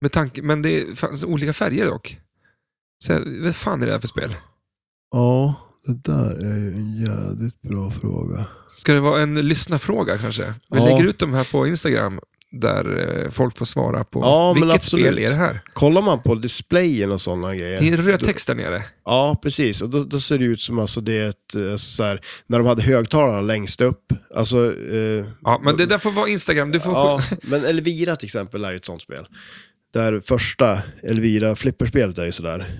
Speaker 1: Med tanke, men det fanns olika färger dock. Så, jag- vad fan är det här för spel?
Speaker 2: Ja, det där är ju en jävligt bra fråga.
Speaker 1: Ska det vara en lyssnarfråga kanske? Vi
Speaker 2: Ja.
Speaker 1: lägger ut dem här på Instagram där eh, folk får svara på
Speaker 2: Ja, men
Speaker 1: vilket
Speaker 2: absolut.
Speaker 1: spel är det här?
Speaker 2: Kollar man på displayen och sådana
Speaker 1: Det är
Speaker 2: grejer.
Speaker 1: en röd text där nere.
Speaker 2: Ja, precis. Och då, då ser det ut som alltså det är ett, eh, så här, när de hade högtalarna längst upp. Alltså, eh,
Speaker 1: Ja, men det där får vara Instagram. Du får...
Speaker 2: ja, men Elvira till exempel är ju ett sånt spel. Där första Elvira flipperspelet är ju sådär.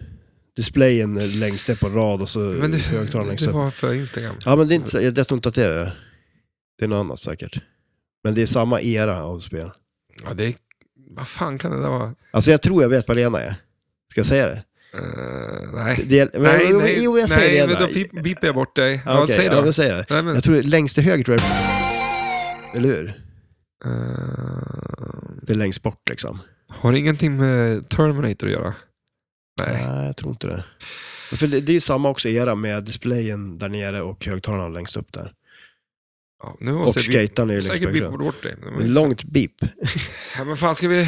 Speaker 2: Displayen är längst ner på en rad och så
Speaker 1: men du,
Speaker 2: högtalarna längst
Speaker 1: det
Speaker 2: upp.
Speaker 1: var för Instagram.
Speaker 2: Ja, men det är inte, så- jag jag tror inte att det är det. Det är något annat säkert. Men det är samma era av spel.
Speaker 1: Ja, det är... Vad fan kan det där vara?
Speaker 2: Alltså jag tror jag vet vad det ena är. Ska jag säga det?
Speaker 1: Eh, nej.
Speaker 2: det men,
Speaker 1: nej,
Speaker 2: jo,
Speaker 1: nej,
Speaker 2: jo, jag säger
Speaker 1: nej,
Speaker 2: det
Speaker 1: men
Speaker 2: ena.
Speaker 1: då pip, piper jag bort dig.
Speaker 2: Ja,
Speaker 1: Ja,
Speaker 2: okej,
Speaker 1: säg då.
Speaker 2: ja, då säger jag det.
Speaker 1: nej, men,
Speaker 2: Jag tror det längst till höger tror jag
Speaker 1: Mm.
Speaker 2: Eller hur?
Speaker 1: Eh,
Speaker 2: Det är längst bort liksom.
Speaker 1: har det ingenting med Terminator att göra? Nej.
Speaker 2: Nej, jag tror inte det. För det, det är ju samma också era med displayen där nere och högtalarna längst upp där.
Speaker 1: Ja, nu
Speaker 2: Och
Speaker 1: måste jag bip-
Speaker 2: skatern är ju längst
Speaker 1: säkert
Speaker 2: bak.
Speaker 1: pipa
Speaker 2: fram.
Speaker 1: bort dig. Men-
Speaker 2: Långt bip.
Speaker 1: Ja, men fan, ska vi...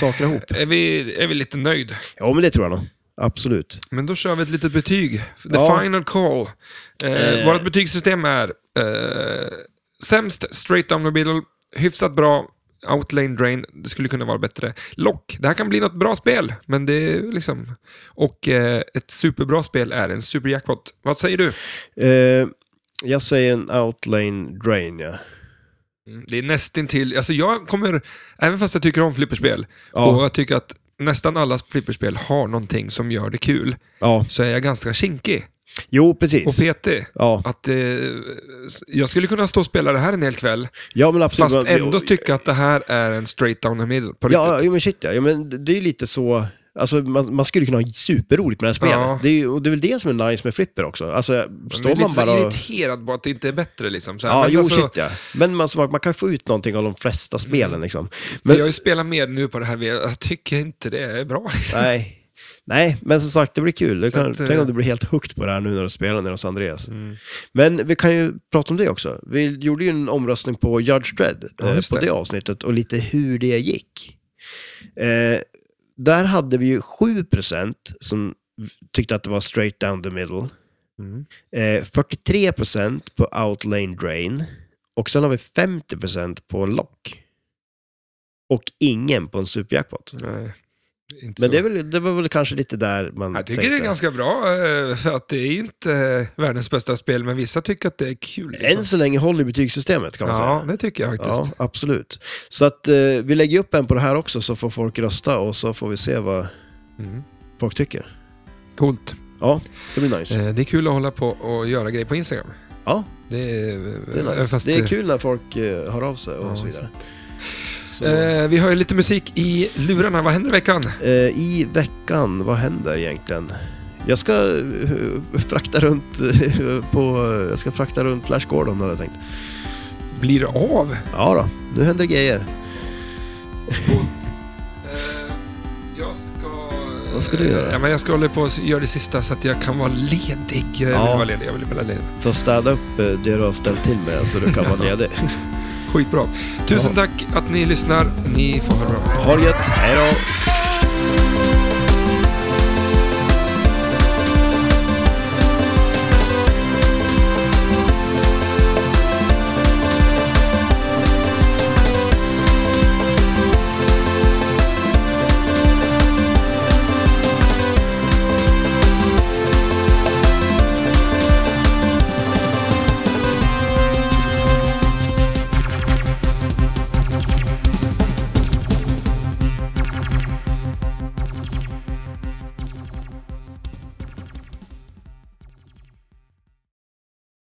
Speaker 2: Sakra ihop.
Speaker 1: Är vi, är vi lite nöjd?
Speaker 2: Ja, men det tror jag nog. Absolut.
Speaker 1: Men då kör vi ett litet betyg. The
Speaker 2: Ja.
Speaker 1: final call. Eh,
Speaker 2: Eh.
Speaker 1: Vårt betygssystem är eh, sämst straight down the middle, hyfsat bra outlane drain, det skulle kunna vara bättre. Lock, det här kan bli något bra spel, men det är liksom... Och eh, ett superbra spel är en superjackpot. Vad säger du?
Speaker 2: Eh, jag säger en outlane drain, ja.
Speaker 1: Det är nästintill, alltså jag kommer, även fast jag tycker om flipperspel,
Speaker 2: Ja.
Speaker 1: och jag tycker att nästan alla flipperspel har någonting som gör det kul,
Speaker 2: Ja,
Speaker 1: så är jag ganska kinkig
Speaker 2: jo
Speaker 1: och
Speaker 2: precis.
Speaker 1: petig.
Speaker 2: Ja.
Speaker 1: Att eh, jag skulle kunna stå och spela det här en hel kväll,
Speaker 2: ja, men absolut.
Speaker 1: fast
Speaker 2: Men-
Speaker 1: ändå tycka att det här är en straight down the middle på riktigt.
Speaker 2: Ja, jo, men shit ja. ja men det- det är ju lite så... Alltså, man, man skulle kunna ha superroligt med det här spelet.
Speaker 1: Ja.
Speaker 2: Det är, ju- och det är väl det som är nice med flipper också. Alltså, står
Speaker 1: man är
Speaker 2: man
Speaker 1: lite så
Speaker 2: bara och...
Speaker 1: irriterad på att det inte är bättre. Liksom. Så här,
Speaker 2: Ja,
Speaker 1: men
Speaker 2: jo,
Speaker 1: alltså, Mm.
Speaker 2: shit ja. Men man, så- man kan få ut någonting av de flesta spelen liksom.
Speaker 1: för
Speaker 2: Men,
Speaker 1: Jag har ju spelat mer nu på det här, jag tycker inte det är bra. Liksom.
Speaker 2: nej, nej, men som sagt, det blir kul. Du
Speaker 1: Så
Speaker 2: kan,
Speaker 1: att, eh,
Speaker 2: tänk om du blir helt hooked på det här nu när du spelar nere hos Andreas. Men vi kan ju prata om det också. Vi gjorde ju en omröstning på Judge Dredd
Speaker 1: Ja,
Speaker 2: eh,
Speaker 1: just
Speaker 2: på det.
Speaker 1: det.
Speaker 2: avsnittet och lite hur det gick. Eh, där hade vi ju 7% som v- tyckte att det var straight down the middle.
Speaker 1: Mm.
Speaker 2: Eh, 43% på outlane drain. Och sen har vi 50% på en lock. Och ingen på en superjackpot.
Speaker 1: Nej, inte
Speaker 2: Men
Speaker 1: så.
Speaker 2: det, är väl, det var väl kanske lite där man
Speaker 1: jag tycker
Speaker 2: Mm, tänkte.
Speaker 1: det är ganska bra, eh, för att det är ju inte eh, världens bästa spel, men vissa tycker att det är kul. liksom.
Speaker 2: Än så länge håller betygssystemet kan man
Speaker 1: ja,
Speaker 2: säga.
Speaker 1: det tycker jag faktiskt.
Speaker 2: Ja, absolut. Så att eh, vi lägger upp en på det här också så får folk rösta och så får vi se vad
Speaker 1: Mm.
Speaker 2: folk tycker.
Speaker 1: Coolt.
Speaker 2: Ja, det blir nice.
Speaker 1: Eh, Det är kul att hålla på och göra grejer på Instagram.
Speaker 2: Ja,
Speaker 1: Det är,
Speaker 2: det är nice.
Speaker 1: eh, fast
Speaker 2: Det är
Speaker 1: det-
Speaker 2: kul när folk eh, hör av sig och
Speaker 1: Ja,
Speaker 2: så vidare. Så,
Speaker 1: Eh, vi har ju lite musik i lurarna. Vad händer i veckan?
Speaker 2: eh, I veckan, vad händer egentligen? Jag ska eh, frakta runt eh, på... Jag ska frakta runt Flash Gordon hade jag tänkt.
Speaker 1: Blir det av?
Speaker 2: Ja då, nu händer grejer.
Speaker 1: Eh, Jag ska
Speaker 2: Vad ska du
Speaker 1: Ja,
Speaker 2: göra?
Speaker 1: men jag ska hålla på och göra det sista så att jag kan vara ledig. Jag vill
Speaker 2: Ja.
Speaker 1: vara ledig. Jag vill vara ledig.
Speaker 2: Få städa upp eh, det du har ställt till med så du kan vara ledig.
Speaker 1: Skitbra. Tusen tack att ni lyssnar. Ni får ha det bra.
Speaker 2: Ha det gött. Hej då.